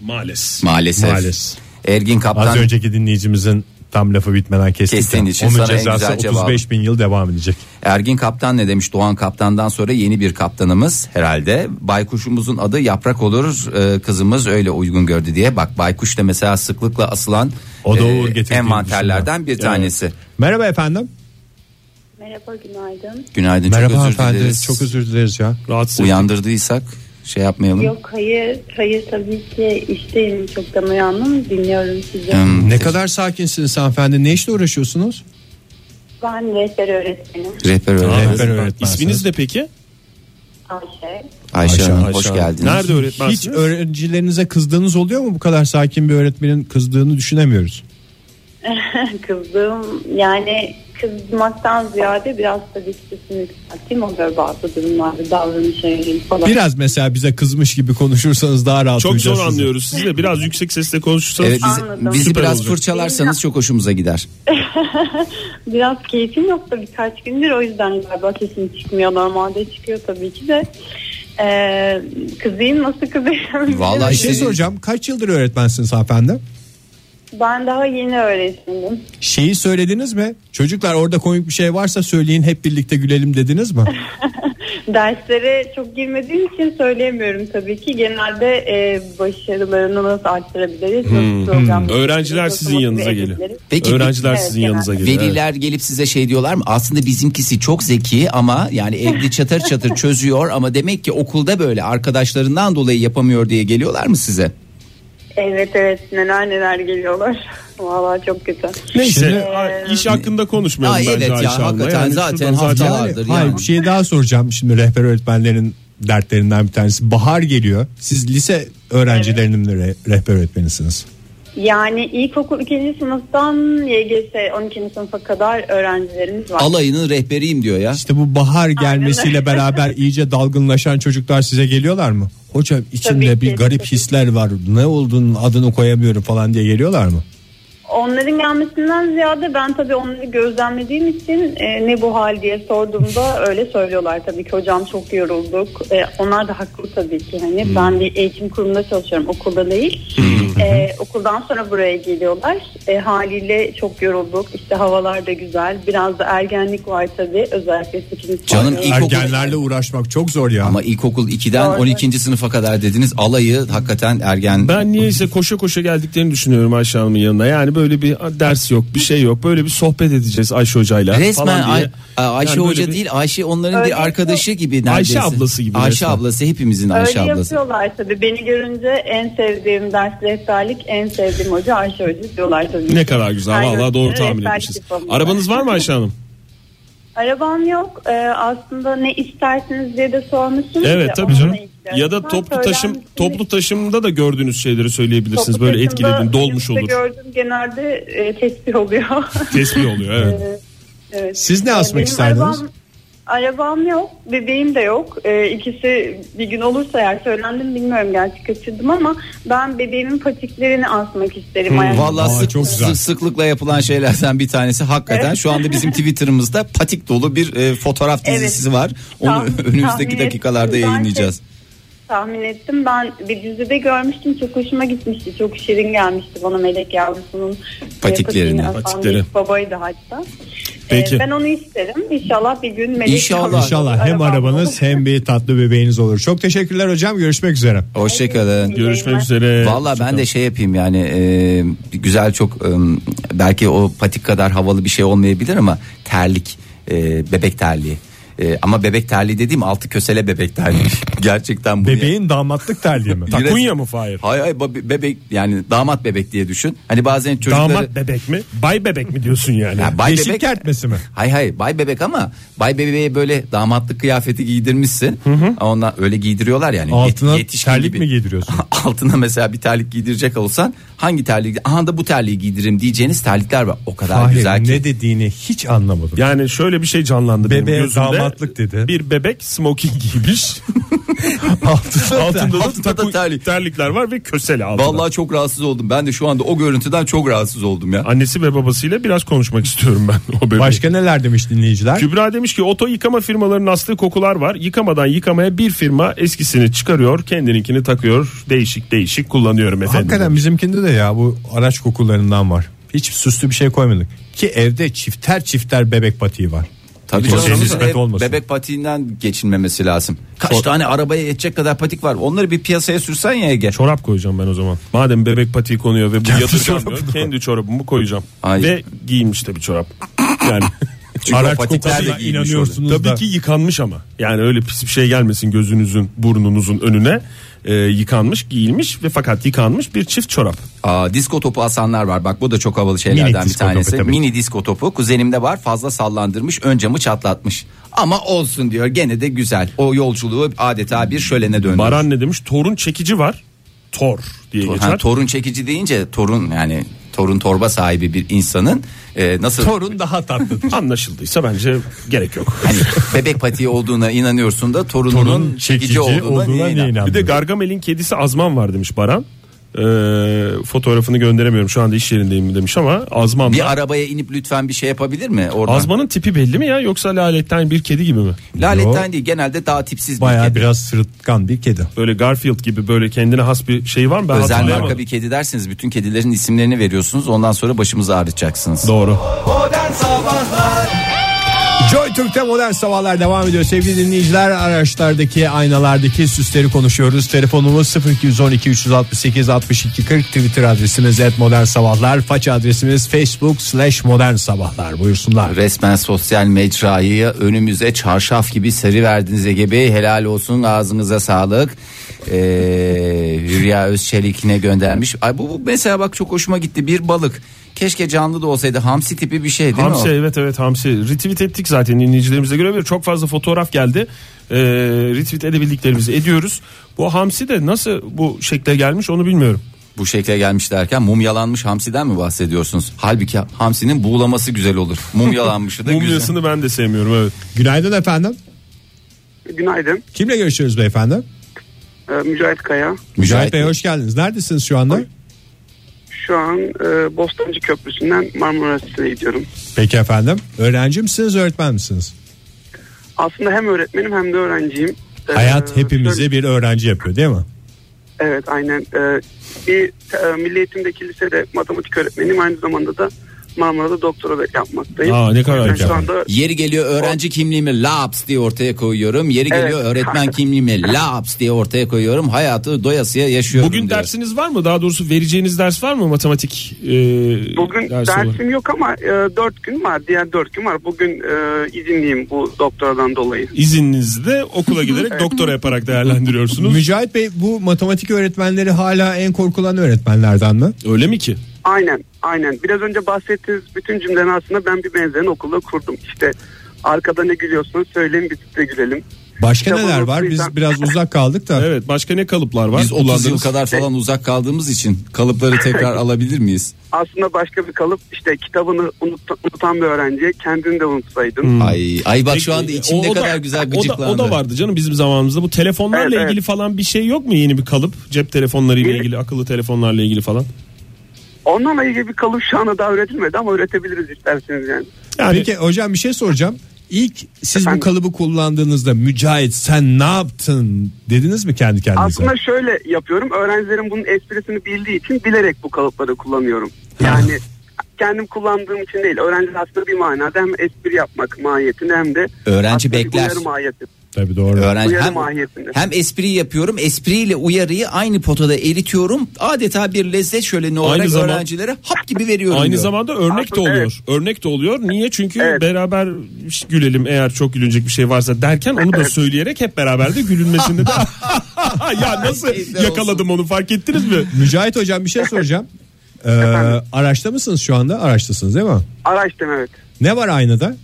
[SPEAKER 4] Maalesef.
[SPEAKER 2] Maalesef.
[SPEAKER 10] Maalesef.
[SPEAKER 2] Ergin
[SPEAKER 10] Az
[SPEAKER 2] Kaptan
[SPEAKER 10] önceki dinleyicimizin tam lafı bitmeden kestik.
[SPEAKER 2] Kestiğin
[SPEAKER 10] ya.
[SPEAKER 2] için
[SPEAKER 10] Onun
[SPEAKER 2] sana en
[SPEAKER 10] cezası
[SPEAKER 2] güzel
[SPEAKER 10] 35
[SPEAKER 2] cevabı.
[SPEAKER 10] bin yıl devam edecek.
[SPEAKER 2] Ergin Kaptan ne demiş? Doğan Kaptan'dan sonra yeni bir kaptanımız herhalde. Baykuşumuzun adı Yaprak olur. Ee, kızımız öyle uygun gördü diye. Bak Baykuş da mesela sıklıkla asılan e,
[SPEAKER 10] O da Uğur getirdiğini
[SPEAKER 2] envanterlerden bir tanesi.
[SPEAKER 3] Merhaba efendim.
[SPEAKER 11] Merhaba günaydın.
[SPEAKER 2] Günaydın.
[SPEAKER 3] Merhaba
[SPEAKER 2] çok özür
[SPEAKER 3] hanımefendi.
[SPEAKER 2] dileriz.
[SPEAKER 3] Çok özür dileriz ya.
[SPEAKER 4] Rahatsız ettim.
[SPEAKER 2] Uyandırdıysak şey yapmayalım.
[SPEAKER 11] Yok hayır hayır tabii ki işteyim çoktan uyandım dinliyorum sizi.
[SPEAKER 2] Hmm,
[SPEAKER 3] Ne
[SPEAKER 2] teşekkür-
[SPEAKER 3] kadar sakinsiniz hanımefendi. Ne işle uğraşıyorsunuz?
[SPEAKER 11] Ben rehber öğretmenim
[SPEAKER 2] Rehber öğretmen.
[SPEAKER 3] Rehber öğretmensiniz.
[SPEAKER 4] İsminiz de peki?
[SPEAKER 11] Ayşe. (laughs)
[SPEAKER 2] Ayşe,
[SPEAKER 3] Ayşe
[SPEAKER 2] Hanım
[SPEAKER 3] Hanım.
[SPEAKER 2] hoş
[SPEAKER 3] Ayşe Hanım.
[SPEAKER 2] geldiniz.
[SPEAKER 4] Nerede öğretmensiniz?
[SPEAKER 3] Hiç öğrencilerinize kızdığınız oluyor mu? Bu kadar sakin bir öğretmenin kızdığını düşünemiyoruz.
[SPEAKER 11] Kızdım yani kızmaktan ziyade biraz tabii ki sesimi yükselttiğim oluyor bazı durumlarda davranış eğilim falan.
[SPEAKER 3] Biraz mesela bize kızmış gibi konuşursanız daha rahat
[SPEAKER 4] Çok
[SPEAKER 3] uyuyacağız
[SPEAKER 4] zor
[SPEAKER 3] sizi.
[SPEAKER 4] anlıyoruz sizi de. Biraz yüksek sesle konuşursanız.
[SPEAKER 2] Evet, bizi,
[SPEAKER 11] Anladım.
[SPEAKER 2] bizi
[SPEAKER 4] Süper
[SPEAKER 2] biraz
[SPEAKER 4] olacak.
[SPEAKER 2] fırçalarsanız çok hoşumuza gider.
[SPEAKER 11] Biraz keyfim yoktu birkaç gündür o yüzden galiba sesim çıkmıyor normalde çıkıyor tabii ki de. Ee, kızayım nasıl kızayım? (laughs)
[SPEAKER 2] Vallahi
[SPEAKER 3] Bir şey
[SPEAKER 2] sizi-
[SPEAKER 3] soracağım. Kaç yıldır öğretmensiniz hanımefendi?
[SPEAKER 11] Ben daha yeni öğretmenim.
[SPEAKER 3] Şeyi söylediniz mi? Çocuklar orada komik bir şey varsa söyleyin hep birlikte gülelim dediniz (laughs) mi?
[SPEAKER 11] (laughs) Derslere çok girmediğim için söyleyemiyorum tabii ki. Genelde e, başarılarını nasıl arttırabiliriz? Nasıl programlar-
[SPEAKER 4] Hmm. Öğrenciler
[SPEAKER 11] nasıl
[SPEAKER 4] sizin
[SPEAKER 11] motive
[SPEAKER 4] yanınıza geliyor.
[SPEAKER 11] edebiliriz?
[SPEAKER 2] Hmm. Peki
[SPEAKER 4] Öğrenciler
[SPEAKER 11] Evet,
[SPEAKER 4] sizin
[SPEAKER 11] genelde.
[SPEAKER 4] yanınıza geliyor. evet.
[SPEAKER 2] veliler gelip size şey diyorlar mı? Aslında bizimkisi çok zeki ama yani evde çatır
[SPEAKER 4] (laughs)
[SPEAKER 2] çatır çözüyor ama demek ki okulda böyle arkadaşlarından dolayı yapamıyor diye geliyorlar mı size?
[SPEAKER 9] Evet evet neler
[SPEAKER 11] (laughs)
[SPEAKER 9] neler geliyorlar. Vallahi çok kötü.
[SPEAKER 4] Neyse
[SPEAKER 3] Şimdi-
[SPEAKER 4] a- Ee, iş hakkında konuşmayalım
[SPEAKER 2] Ay,
[SPEAKER 4] bence
[SPEAKER 2] evet ya,
[SPEAKER 4] Ayşe Hanım'la.
[SPEAKER 2] hakikaten
[SPEAKER 4] Yani
[SPEAKER 2] zaten
[SPEAKER 4] şuradan
[SPEAKER 2] hafta-
[SPEAKER 4] zaten-
[SPEAKER 2] vardır
[SPEAKER 3] hayır
[SPEAKER 2] yani.
[SPEAKER 3] bir şey daha soracağım. Şimdi rehber öğretmenlerin dertlerinden bir tanesi. Bahar geliyor. Siz lise öğrencilerinin re- rehber öğretmenisiniz.
[SPEAKER 9] Yani ilkokul 2. sınıftan YGS 12. sınıfa kadar öğrencilerimiz var.
[SPEAKER 2] Alayının rehberiyim diyor ya.
[SPEAKER 3] İşte bu bahar gelmesiyle beraber iyice dalgınlaşan çocuklar size geliyorlar mı? Hocam içimde
[SPEAKER 9] Tabii
[SPEAKER 3] bir
[SPEAKER 9] ki,
[SPEAKER 3] garip
[SPEAKER 9] tabii.
[SPEAKER 3] hisler var. Ne olduğunu adını koyamıyorum falan diye geliyorlar mı?
[SPEAKER 9] Onların gelmesinden ziyade ben tabii onları gözlemlediğim için e, ne bu hal diye sorduğumda öyle söylüyorlar tabii ki hocam çok yorulduk. E, onlar da haklı tabii ki hani
[SPEAKER 2] Hmm.
[SPEAKER 9] ben bir eğitim kurumunda çalışıyorum okulda değil. E, okuldan sonra buraya geliyorlar. E, haliyle çok yorulduk işte havalar da güzel biraz da ergenlik var tabii özellikle 8.
[SPEAKER 2] Canım,
[SPEAKER 9] sınıf.
[SPEAKER 2] İlkokul-
[SPEAKER 3] Ergenlerle uğraşmak çok zor ya.
[SPEAKER 2] Ama ilkokul 2'den
[SPEAKER 9] Doğru.
[SPEAKER 2] 12. sınıfa kadar dediniz alayı hakikaten ergen.
[SPEAKER 4] Ben niyeyse koşa koşa geldiklerini düşünüyorum Ayşe Hanım'ın yanına. Yani böyle bir ders yok, bir şey yok. Böyle bir sohbet edeceğiz Ayşe Hoca'yla.
[SPEAKER 2] Resmen
[SPEAKER 4] falan diye.
[SPEAKER 2] Ay- Ayşe
[SPEAKER 4] Yani böyle
[SPEAKER 2] Hoca
[SPEAKER 4] bir-
[SPEAKER 2] değil Ayşe onların
[SPEAKER 9] Öyle
[SPEAKER 2] bir arkadaşı gibi neredeyse.
[SPEAKER 4] Ayşe ablası gibi
[SPEAKER 2] Ayşe
[SPEAKER 4] resmen.
[SPEAKER 2] ablası hepimizin
[SPEAKER 9] Öyle
[SPEAKER 2] Ayşe ablası.
[SPEAKER 9] yapıyorlar tabii. Beni görünce en sevdiğim ders rehberlik, en sevdiğim hoca Ayşe Hoca diyorlar tabii.
[SPEAKER 4] Ne kadar güzel
[SPEAKER 9] Aynen.
[SPEAKER 4] valla doğru tahmin
[SPEAKER 9] Rehberlik
[SPEAKER 4] etmişiz.
[SPEAKER 9] yapalım.
[SPEAKER 4] Arabanız var mı Ayşe Hanım?
[SPEAKER 9] Arabam yok. Ee, aslında ne istersiniz diye de sormuşsunuz.
[SPEAKER 4] Evet
[SPEAKER 9] ya,
[SPEAKER 4] tabii
[SPEAKER 9] onunla
[SPEAKER 4] canım.
[SPEAKER 9] ilgili.
[SPEAKER 4] Ya da
[SPEAKER 9] Ben
[SPEAKER 4] toplu
[SPEAKER 9] söyler
[SPEAKER 4] taşım
[SPEAKER 9] misiniz?
[SPEAKER 4] toplu taşımda da gördüğünüz şeyleri söyleyebilirsiniz.
[SPEAKER 9] Toplu
[SPEAKER 4] Böyle
[SPEAKER 9] taşımda
[SPEAKER 4] etkiledin dolmuş
[SPEAKER 9] minibüste
[SPEAKER 4] olur.
[SPEAKER 9] Gördüm genelde e, tespih
[SPEAKER 4] (laughs)
[SPEAKER 9] oluyor.
[SPEAKER 4] Tespih oluyor evet.
[SPEAKER 9] Ee, evet. Ee,
[SPEAKER 3] Siz ne asmak
[SPEAKER 9] Benim
[SPEAKER 3] isterdiniz?
[SPEAKER 9] Arabam, arabam yok. Bebeğim de yok. Ee, ikisi bir gün olursa eğer söylendim bilmiyorum gerçi kaçırdım ama ben bebeğimin patiklerini asmak
[SPEAKER 4] Hmm.
[SPEAKER 9] isterim. ayağımın
[SPEAKER 2] Vallahi
[SPEAKER 3] Aa,
[SPEAKER 2] sık-
[SPEAKER 3] çok güzel.
[SPEAKER 2] sık- sıklıkla yapılan şeylerden bir tanesi hakikaten
[SPEAKER 9] Evet.
[SPEAKER 2] şu anda bizim Twitter'ımızda patik dolu bir e, fotoğraf
[SPEAKER 9] Evet.
[SPEAKER 2] dizisi var. Onu (laughs)
[SPEAKER 9] Tahmin-
[SPEAKER 2] önümüzdeki
[SPEAKER 9] tahmin
[SPEAKER 2] dakikalarda
[SPEAKER 9] ettim. Ben
[SPEAKER 2] yayınlayacağız.
[SPEAKER 9] Tahmin ettim. Ben bir dizide görmüştüm. Çok hoşuma gitmişti. Çok şirin gelmişti bana melek yavrusunun e,
[SPEAKER 2] Patiklerini.
[SPEAKER 9] patiğini asan
[SPEAKER 4] Patikleri.
[SPEAKER 9] bir Babaydı hatta.
[SPEAKER 4] Peki.
[SPEAKER 9] E, Ben onu isterim. İnşallah bir gün melek
[SPEAKER 2] İnşallah.
[SPEAKER 9] yavrusu
[SPEAKER 3] İnşallah hem
[SPEAKER 9] arabam
[SPEAKER 3] arabanız
[SPEAKER 9] olur.
[SPEAKER 3] hem bir tatlı bebeğiniz olur. Çok teşekkürler hocam. Görüşmek üzere.
[SPEAKER 9] şey.
[SPEAKER 2] Hoşçakalın.
[SPEAKER 4] Görüşmek üzere.
[SPEAKER 2] Valla ben de şey yapayım yani e, güzel çok e, belki o patik kadar havalı bir şey olmayabilir ama terlik e, bebek terliği. E, ama bebek terliği dediğim altı kösele bebek terliği. (laughs) Gerçekten bu.
[SPEAKER 3] Bebeğin damatlık
[SPEAKER 2] (laughs)
[SPEAKER 3] terliği mi?
[SPEAKER 2] Biraz-
[SPEAKER 4] Takunya mı Fahir?
[SPEAKER 2] Hay hay ba- bebek yani damat bebek diye düşün. Hani bazen çocukları
[SPEAKER 4] Damat bebek mi? Bay bebek mi diyorsun yani?
[SPEAKER 2] Ya bay
[SPEAKER 3] Yeşil
[SPEAKER 2] bebek.
[SPEAKER 3] kertmesi mi?
[SPEAKER 2] Hay hay bay bebek ama bay bebeğe böyle damatlık kıyafeti giydirmişsin. Ondan öyle giydiriyorlar yani.
[SPEAKER 3] Altına
[SPEAKER 2] Yet- yetişkin
[SPEAKER 3] terlik
[SPEAKER 2] gibi.
[SPEAKER 3] mi giydiriyorsun?
[SPEAKER 2] (laughs) Altına mesela bir terlik giydirecek olsan hangi terlik aha da bu terliği giydiririm diyeceğiniz terlikler var. O kadar
[SPEAKER 3] Fahir
[SPEAKER 2] güzel ki.
[SPEAKER 3] ne dediğini hiç anlamadım.
[SPEAKER 4] Yani şöyle bir şey canlandı
[SPEAKER 3] Bebeğe
[SPEAKER 4] benim gözümde.
[SPEAKER 3] damatlık dedi.
[SPEAKER 4] Bir bebek smoking giymiş.
[SPEAKER 3] (laughs) Altına
[SPEAKER 4] altında da,
[SPEAKER 2] Altında da
[SPEAKER 4] taku-
[SPEAKER 2] terlik.
[SPEAKER 4] terlikler var ve kösele altında.
[SPEAKER 2] Vallahi çok rahatsız oldum. Ben de şu anda o görüntüden çok rahatsız oldum ya.
[SPEAKER 4] Annesi ve babasıyla biraz konuşmak istiyorum ben o bebeği.
[SPEAKER 3] Başka neler demiş dinleyiciler?
[SPEAKER 4] Kübra demiş ki oto yıkama firmalarının astığı kokular var. Yıkamadan yıkamaya bir firma eskisini çıkarıyor, kendininkini takıyor. Değişik değişik kullanıyorum efendim.
[SPEAKER 3] Hakikaten bizimkinde de ya bu araç kokularından var. Hiç süslü bir şey koymadık. Ki evde çifter çifter bebek patiği var.
[SPEAKER 2] Tabii
[SPEAKER 3] Hiç
[SPEAKER 2] canım,
[SPEAKER 3] kimseye
[SPEAKER 2] hep
[SPEAKER 3] nispet olmasın.
[SPEAKER 2] bebek patiğinden geçinmemesi lazım. Kaç
[SPEAKER 4] Sor-
[SPEAKER 2] tane arabaya yetecek kadar patik var. Onları bir piyasaya sürsen ya Ege.
[SPEAKER 4] Çorap koyacağım ben o zaman. Madem bebek patiği konuyor ve bu yadırgamıyor.
[SPEAKER 3] çorabını
[SPEAKER 4] Kendi çorabımı koyacağım.
[SPEAKER 2] Ay.
[SPEAKER 4] Ve giymiş de bir çorap. Yani
[SPEAKER 2] (laughs) Çünkü o
[SPEAKER 3] Araç
[SPEAKER 2] patikler de
[SPEAKER 3] kokusuna
[SPEAKER 2] giymiş oluyor.
[SPEAKER 3] inanıyorsunuz
[SPEAKER 4] Tabii
[SPEAKER 3] da.
[SPEAKER 4] ki yıkanmış ama. Yani öyle pis bir şey gelmesin gözünüzün, burnunuzun önüne. Ee, yıkanmış, giyilmiş ve fakat yıkanmış bir çift çorap.
[SPEAKER 2] Aa, disko topu asanlar var. Bak bu da çok havalı şeylerden
[SPEAKER 3] Mini
[SPEAKER 2] bir
[SPEAKER 3] disko topu
[SPEAKER 2] tanesi.
[SPEAKER 3] tabii.
[SPEAKER 2] Mini disko topu kuzenimde var. Fazla sallandırmış, ön camı çatlatmış. Ama olsun diyor. Gene de güzel. O yolculuğu adeta bir şölene döndü.
[SPEAKER 4] Baran ne demiş? Torun çekici var. Tor diye
[SPEAKER 2] Tor-
[SPEAKER 4] geçer.
[SPEAKER 2] ha, torun çekici deyince torun yani torun torba sahibi bir insanın e, nasıl
[SPEAKER 3] Torun daha tatlıdır.
[SPEAKER 4] (laughs) Anlaşıldıysa bence gerek yok.
[SPEAKER 2] hani bebek patiği olduğuna inanıyorsun da torununun
[SPEAKER 3] Torun
[SPEAKER 2] çekici, olduğuna, niye inan-
[SPEAKER 4] Bir de Gargamel'in kedisi Azman var demiş Baran. Ee, fotoğrafını gönderemiyorum şu anda iş yerindeyim demiş ama Azman
[SPEAKER 2] Bir arabaya inip lütfen bir şey yapabilir mi oradan?
[SPEAKER 4] Azman'ın tipi belli mi ya yoksa laletten bir kedi gibi mi?
[SPEAKER 2] Laletten değil genelde daha tipsiz bir
[SPEAKER 3] Bayağı
[SPEAKER 2] kedi.
[SPEAKER 3] biraz sırıtkan bir kedi.
[SPEAKER 4] Böyle Garfield gibi böyle kendine has bir şey var mı? Ben
[SPEAKER 2] Özel
[SPEAKER 4] hatırlayamadım.
[SPEAKER 2] marka bir kedi derseniz bütün kedilerin isimlerini veriyorsunuz. Ondan sonra başımızı ağrıtacaksınız.
[SPEAKER 4] Doğru.
[SPEAKER 3] Joy Türk'te modern sabahlar devam ediyor. Sevgili dinleyiciler araçlardaki aynalardaki süsleri konuşuyoruz. Telefonumuz 0212 368 62 40 Twitter adresimiz et modern sabahlar. Faç adresimiz facebook slash modern sabahlar. Buyursunlar.
[SPEAKER 2] Resmen sosyal mecrayı önümüze çarşaf gibi seri verdiniz Ege Bey. Helal olsun ağzınıza sağlık. Ee, Hülya Özçelik'ine göndermiş. Ay bu, bu mesela bak çok hoşuma gitti bir balık. Keşke canlı da olsaydı hamsi tipi bir şey değil
[SPEAKER 4] hamsi
[SPEAKER 2] mi? o?
[SPEAKER 4] evet evet hamsi. Retweet ettik zaten dinleyicilerimize görebilir. Çok fazla fotoğraf geldi. Ee, retweet edebildiklerimizi ediyoruz. Bu hamsi de nasıl bu şekle gelmiş onu bilmiyorum.
[SPEAKER 2] Bu şekle gelmiş derken mumyalanmış hamsiden mi bahsediyorsunuz? Halbuki hamsinin buğulaması güzel olur. Mumyalanmışı da güzel.
[SPEAKER 4] (laughs) Mumyasını ben de sevmiyorum evet.
[SPEAKER 3] Günaydın efendim.
[SPEAKER 6] Günaydın.
[SPEAKER 3] Kimle görüşüyoruz beyefendi?
[SPEAKER 6] Ee, Mücahit Kaya.
[SPEAKER 3] Mücahit
[SPEAKER 2] Mücahit
[SPEAKER 3] Bey hoş geldiniz. Neredesiniz şu anda?
[SPEAKER 6] Şu an e, Bostancı Köprüsü'nden Marmara Üniversitesi'ne gidiyorum.
[SPEAKER 3] Peki efendim. Öğrenci misiniz, öğretmen misiniz?
[SPEAKER 6] Aslında hem öğretmenim hem de öğrenciyim. Ee,
[SPEAKER 3] Hayat
[SPEAKER 6] dört-
[SPEAKER 3] hepimizi bir öğrenci yapıyor değil mi?
[SPEAKER 6] Evet aynen. Ee, bir e, Milli Eğitim'deki lisede matematik öğretmeniyim. Aynı zamanda da Marmara'da doktora da yapmaktayım.
[SPEAKER 4] Aa, ne kadar
[SPEAKER 6] Ben
[SPEAKER 4] güzel.
[SPEAKER 6] Şu anda
[SPEAKER 2] Yeri geliyor öğrenci kimliğimi laps diye ortaya koyuyorum. Yeri
[SPEAKER 6] Evet.
[SPEAKER 2] geliyor
[SPEAKER 6] (laughs)
[SPEAKER 2] öğretmen kimliğimi laps diye ortaya koyuyorum. Hayatı doyasıya yaşıyorum
[SPEAKER 4] Bugün
[SPEAKER 2] diyor.
[SPEAKER 4] dersiniz var mı? Daha doğrusu vereceğiniz ders var mı matematik e,
[SPEAKER 6] bugün
[SPEAKER 4] dersi
[SPEAKER 6] dersim
[SPEAKER 4] olarak?
[SPEAKER 6] yok ama e, dört gün var. Diğer dört gün var. Bugün e, izinliyim bu doktoradan dolayı.
[SPEAKER 4] İzninizle okula giderek doktora yaparak değerlendiriyorsunuz.
[SPEAKER 3] Mücahit Bey bu matematik öğretmenleri hala en korkulan öğretmenlerden mi?
[SPEAKER 4] Öyle mi ki?
[SPEAKER 6] Aynen, aynen. Biraz önce bahsettiğiniz bütün cümlenin aslında ben bir benzerini okulda kurdum. İşte arkada ne gülüyorsunuz söyleyin biz de gülelim.
[SPEAKER 3] Başka
[SPEAKER 6] Kitabı
[SPEAKER 3] neler var? Biz
[SPEAKER 6] unuttuysam-
[SPEAKER 3] biraz uzak kaldık da.
[SPEAKER 4] (laughs) Evet başka ne kalıplar var?
[SPEAKER 2] Biz 30 yıl
[SPEAKER 4] Kullandığınız-
[SPEAKER 2] kadar falan uzak kaldığımız için kalıpları tekrar alabilir miyiz?
[SPEAKER 6] Aslında başka bir kalıp işte kitabını unut- unutan bir öğrenciye kendini de unutsaydın.
[SPEAKER 2] Ay, ay bak şu
[SPEAKER 4] Hmm. Peki, e,
[SPEAKER 2] anda içim
[SPEAKER 4] o-
[SPEAKER 2] ne
[SPEAKER 4] o da-
[SPEAKER 2] kadar güzel
[SPEAKER 4] o da,
[SPEAKER 2] gıcıklandı.
[SPEAKER 4] o da vardı canım bizim zamanımızda. Bu telefonlarla
[SPEAKER 6] Evet, evet.
[SPEAKER 4] ilgili falan bir şey yok mu yeni bir kalıp? Cep telefonlarıyla
[SPEAKER 6] Bir-
[SPEAKER 4] ilgili, akıllı telefonlarla ilgili falan.
[SPEAKER 6] Onlarla ilgili bir kalıp şu anda daha üretilmedi ama üretebiliriz isterseniz yani.
[SPEAKER 4] Yani
[SPEAKER 3] Peki hocam bir şey soracağım. İlk siz bu
[SPEAKER 6] Efendim?
[SPEAKER 3] kalıbı kullandığınızda Mücahit sen ne yaptın dediniz mi kendi kendinize?
[SPEAKER 6] Aslında şöyle yapıyorum. Öğrencilerin bunun esprisini bildiği için bilerek bu kalıpları kullanıyorum.
[SPEAKER 2] (laughs)
[SPEAKER 6] Yani kendim kullandığım için değil. Öğrenci aslında bir manada hem espri yapmak mahiyetinde hem de
[SPEAKER 2] Öğrenci
[SPEAKER 6] aslında bir
[SPEAKER 2] bekler.
[SPEAKER 6] uyarı mahiyeti.
[SPEAKER 3] Tabii doğru.
[SPEAKER 2] Öğrenci
[SPEAKER 6] Uyarı
[SPEAKER 2] hem,
[SPEAKER 6] mahiyetinde.
[SPEAKER 2] hem espri yapıyorum espriyle uyarıyı aynı potada eritiyorum adeta bir lezzet şöleni olarak
[SPEAKER 4] zaman-
[SPEAKER 2] öğrencilere hap gibi veriyorum
[SPEAKER 4] aynı
[SPEAKER 2] diyor.
[SPEAKER 4] zamanda örnek de
[SPEAKER 6] Aslında
[SPEAKER 4] oluyor. Örnek de oluyor. Niye? Çünkü
[SPEAKER 6] Evet.
[SPEAKER 4] beraber gülelim eğer çok gülünecek bir şey varsa derken onu da söyleyerek hep beraber de gülünmesinde de (laughs)
[SPEAKER 6] (laughs)
[SPEAKER 4] ya
[SPEAKER 2] Keyifler
[SPEAKER 4] nasıl
[SPEAKER 2] olsun.
[SPEAKER 4] yakaladım onu fark ettiniz mi?
[SPEAKER 3] Mücahit hocam bir
[SPEAKER 6] (laughs)
[SPEAKER 3] şey soracağım. Ee, araçta mısınız şu anda? Araçtasınız değil mi?
[SPEAKER 6] Araştım evet.
[SPEAKER 3] Ne var aynada?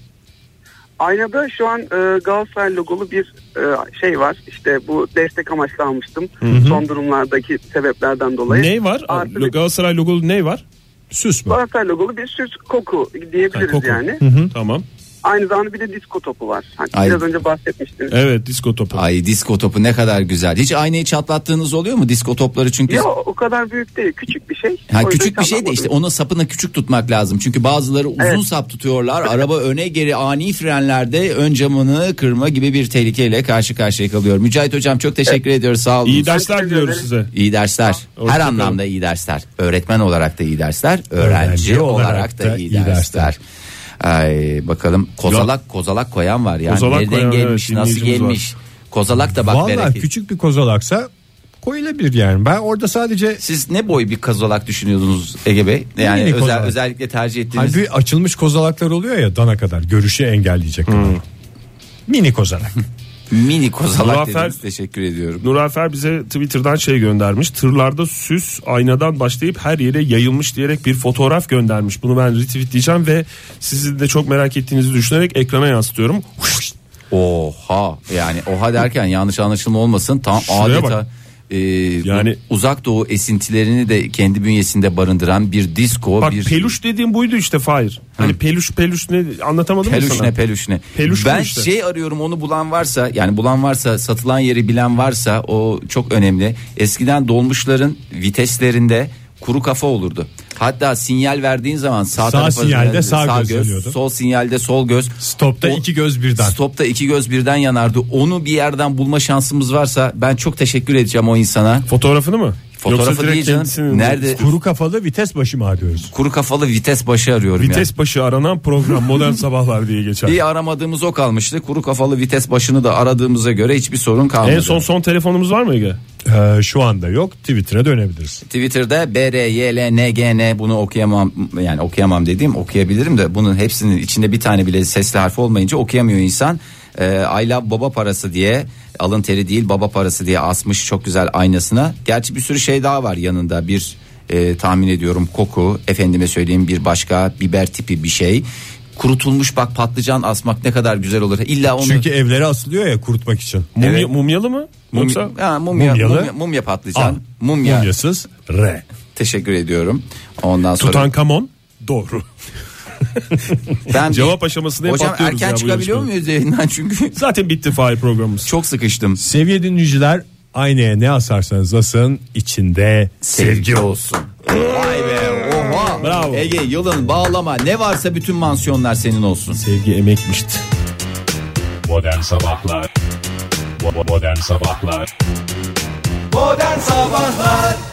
[SPEAKER 6] Aynada şu an e, Galatasaray logolu bir e, şey var. İşte bu destek amaçlı almıştım. Son durumlardaki sebeplerden dolayı.
[SPEAKER 4] Ney var?
[SPEAKER 6] Artı bir-
[SPEAKER 4] Galatasaray logolu ney var?
[SPEAKER 3] Süs mü?
[SPEAKER 6] Galatasaray logolu bir süs koku diyebiliriz
[SPEAKER 4] Ha, koku.
[SPEAKER 6] yani.
[SPEAKER 4] Tamam.
[SPEAKER 6] Aynı zamanda bir de disko topu var. Hani
[SPEAKER 2] Ay.
[SPEAKER 6] biraz önce bahsetmiştiniz.
[SPEAKER 4] Evet disko topu.
[SPEAKER 2] Ay disko topu ne kadar güzel. Hiç aynayı çatlattığınız oluyor mu disko topları çünkü?
[SPEAKER 6] Ya o kadar büyük değil. Küçük bir şey. O
[SPEAKER 2] Ha,
[SPEAKER 6] yüzden
[SPEAKER 2] küçük bir şey de
[SPEAKER 6] çalamadım.
[SPEAKER 2] işte onun sapını küçük tutmak lazım. Çünkü bazıları uzun
[SPEAKER 6] Evet.
[SPEAKER 2] sap tutuyorlar. Araba öne geri ani frenlerde ön camını kırma gibi bir tehlikeyle karşı karşıya kalıyor. Mücahit hocam çok teşekkür ediyoruz. Sağ olun.
[SPEAKER 4] İyi dersler
[SPEAKER 6] Teşekkür
[SPEAKER 4] diliyoruz
[SPEAKER 6] ederim.
[SPEAKER 4] size.
[SPEAKER 2] İyi dersler.
[SPEAKER 4] Hoşça
[SPEAKER 2] Her
[SPEAKER 4] kalın.
[SPEAKER 2] anlamda iyi dersler. Öğretmen olarak da iyi dersler. Öğrenci,
[SPEAKER 3] Öğrenci
[SPEAKER 2] olarak,
[SPEAKER 3] olarak
[SPEAKER 2] da,
[SPEAKER 3] da
[SPEAKER 2] iyi
[SPEAKER 3] iyi
[SPEAKER 2] dersler.
[SPEAKER 3] dersler.
[SPEAKER 2] Ay bakalım kozalak kozalak koyan var yani.
[SPEAKER 4] Kozalak
[SPEAKER 2] Nereden
[SPEAKER 4] koyan, evet,
[SPEAKER 2] gelmiş, nasıl
[SPEAKER 4] dinleyicimiz var.
[SPEAKER 2] gelmiş? Kozalak da bak
[SPEAKER 3] Valla
[SPEAKER 2] bereket.
[SPEAKER 3] küçük bir kozalaksa koyulabilir yani. Ben orada sadece
[SPEAKER 2] Siz ne boy bir kozalak düşünüyordunuz Ege Bey? Yani
[SPEAKER 3] Mini
[SPEAKER 2] özel,
[SPEAKER 3] kozalak.
[SPEAKER 2] özellikle tercih ettiğiniz.
[SPEAKER 3] halbuki açılmış kozalaklar oluyor ya dana kadar görüşü engelleyecek.
[SPEAKER 2] Hmm.
[SPEAKER 3] kadar.
[SPEAKER 2] (laughs)
[SPEAKER 3] Mini kozalak.
[SPEAKER 2] Mini kozalak
[SPEAKER 4] Muzaffer-
[SPEAKER 2] dediniz. Teşekkür ediyorum.
[SPEAKER 4] Nurafer bize Twitter'dan şey göndermiş. Tırlarda süs aynadan başlayıp her yere yayılmış diyerek bir fotoğraf göndermiş. Bunu ben retweetleyeceğim ve sizin de çok merak ettiğinizi düşünerek ekrana yansıtıyorum. Huş!
[SPEAKER 2] Oha yani oha derken yanlış anlaşılma olmasın tam
[SPEAKER 4] Şuraya
[SPEAKER 2] adeta
[SPEAKER 4] bak.
[SPEAKER 2] yani
[SPEAKER 4] Yani-
[SPEAKER 2] uzak doğu esintilerini de kendi bünyesinde barındıran bir disco
[SPEAKER 4] Bak
[SPEAKER 2] bir
[SPEAKER 4] peluş dediğim buydu işte Fahir. Hani peluş peluş ne anlatamadım mı
[SPEAKER 2] peluş
[SPEAKER 4] sana?
[SPEAKER 2] ne peluş ne
[SPEAKER 4] Peluş
[SPEAKER 2] ben
[SPEAKER 4] bu işte.
[SPEAKER 2] şey arıyorum onu bulan varsa yani bulan varsa satılan yeri bilen varsa o çok önemli eskiden dolmuşların viteslerinde kuru kafa olurdu hatta sinyal verdiğin zaman sağ,
[SPEAKER 3] Sağ
[SPEAKER 2] tarafa-
[SPEAKER 3] sinyalde sağ göz yanıyordu.
[SPEAKER 2] sol sinyalde sol göz
[SPEAKER 3] Stopta
[SPEAKER 2] O-
[SPEAKER 3] iki göz birden.
[SPEAKER 2] Stopta iki göz birden yanardı. Onu bir yerden bulma şansımız varsa ben çok teşekkür edeceğim o insana.
[SPEAKER 4] Fotoğrafını mı? Yoksa
[SPEAKER 2] Fotoğrafı
[SPEAKER 4] direkt
[SPEAKER 2] değil canım.
[SPEAKER 4] kendisini-
[SPEAKER 2] Nerede
[SPEAKER 3] Kuru kafalı vites başı mı arıyoruz?
[SPEAKER 2] kuru kafalı vites başı arıyorum
[SPEAKER 4] Vites başı aranan program
[SPEAKER 2] (laughs)
[SPEAKER 4] modern sabahlar diye geçer.
[SPEAKER 2] ya. Bir aramadığımız o kalmıştı. Kuru kafalı vites başını da aradığımıza göre hiçbir sorun kalmadı.
[SPEAKER 4] En son son telefonumuz var mı Ege?
[SPEAKER 3] Ee, şu anda yok. Twitter'a dönebiliriz.
[SPEAKER 2] Twitter'da BRYLNGN bunu okuyamam yani okuyamam dediğim okuyabilirim de bunun hepsinin içinde bir tane bile sesli harfi olmayınca okuyamıyor insan. Ee, e, Ayla baba parası diye alın teri değil baba parası diye asmış çok güzel aynasına. Gerçi bir sürü şey daha var yanında bir e, tahmin ediyorum koku efendime söyleyeyim bir başka biber tipi bir şey. Kurutulmuş bak patlıcan asmak ne kadar güzel olur. İlla onu
[SPEAKER 3] Çünkü evlere asılıyor ya kurutmak için.
[SPEAKER 4] Mumya-
[SPEAKER 2] Evet.
[SPEAKER 4] Mumyalı mı?
[SPEAKER 2] mumya,
[SPEAKER 4] Yoksa
[SPEAKER 2] ha, mumya,
[SPEAKER 3] mumyalı.
[SPEAKER 2] mumya, mumya patlıcan.
[SPEAKER 3] Al.
[SPEAKER 2] Mumya.
[SPEAKER 3] Mumyasız re.
[SPEAKER 2] Teşekkür ediyorum. Ondan sonra
[SPEAKER 3] Tutankamon doğru.
[SPEAKER 2] ben
[SPEAKER 4] cevap aşamasında hep
[SPEAKER 2] Hocam
[SPEAKER 4] atlıyoruz
[SPEAKER 2] erken
[SPEAKER 4] ya bu
[SPEAKER 2] çıkabiliyor
[SPEAKER 4] yarışmadan.
[SPEAKER 2] muyuz yayından (laughs) çünkü
[SPEAKER 4] Zaten bitti Fahir programımız.
[SPEAKER 2] çok sıkıştım.
[SPEAKER 3] Sevgili dinleyiciler aynaya ne asarsanız asın içinde sevgi
[SPEAKER 2] olsun. Vay be oha.
[SPEAKER 4] Bravo.
[SPEAKER 2] Ege yılın bağlama ne varsa bütün mansiyonlar senin olsun.
[SPEAKER 3] sevgi emekmişti.
[SPEAKER 1] Modern Sabahlar Bo- Modern Sabahlar
[SPEAKER 2] Modern Sabahlar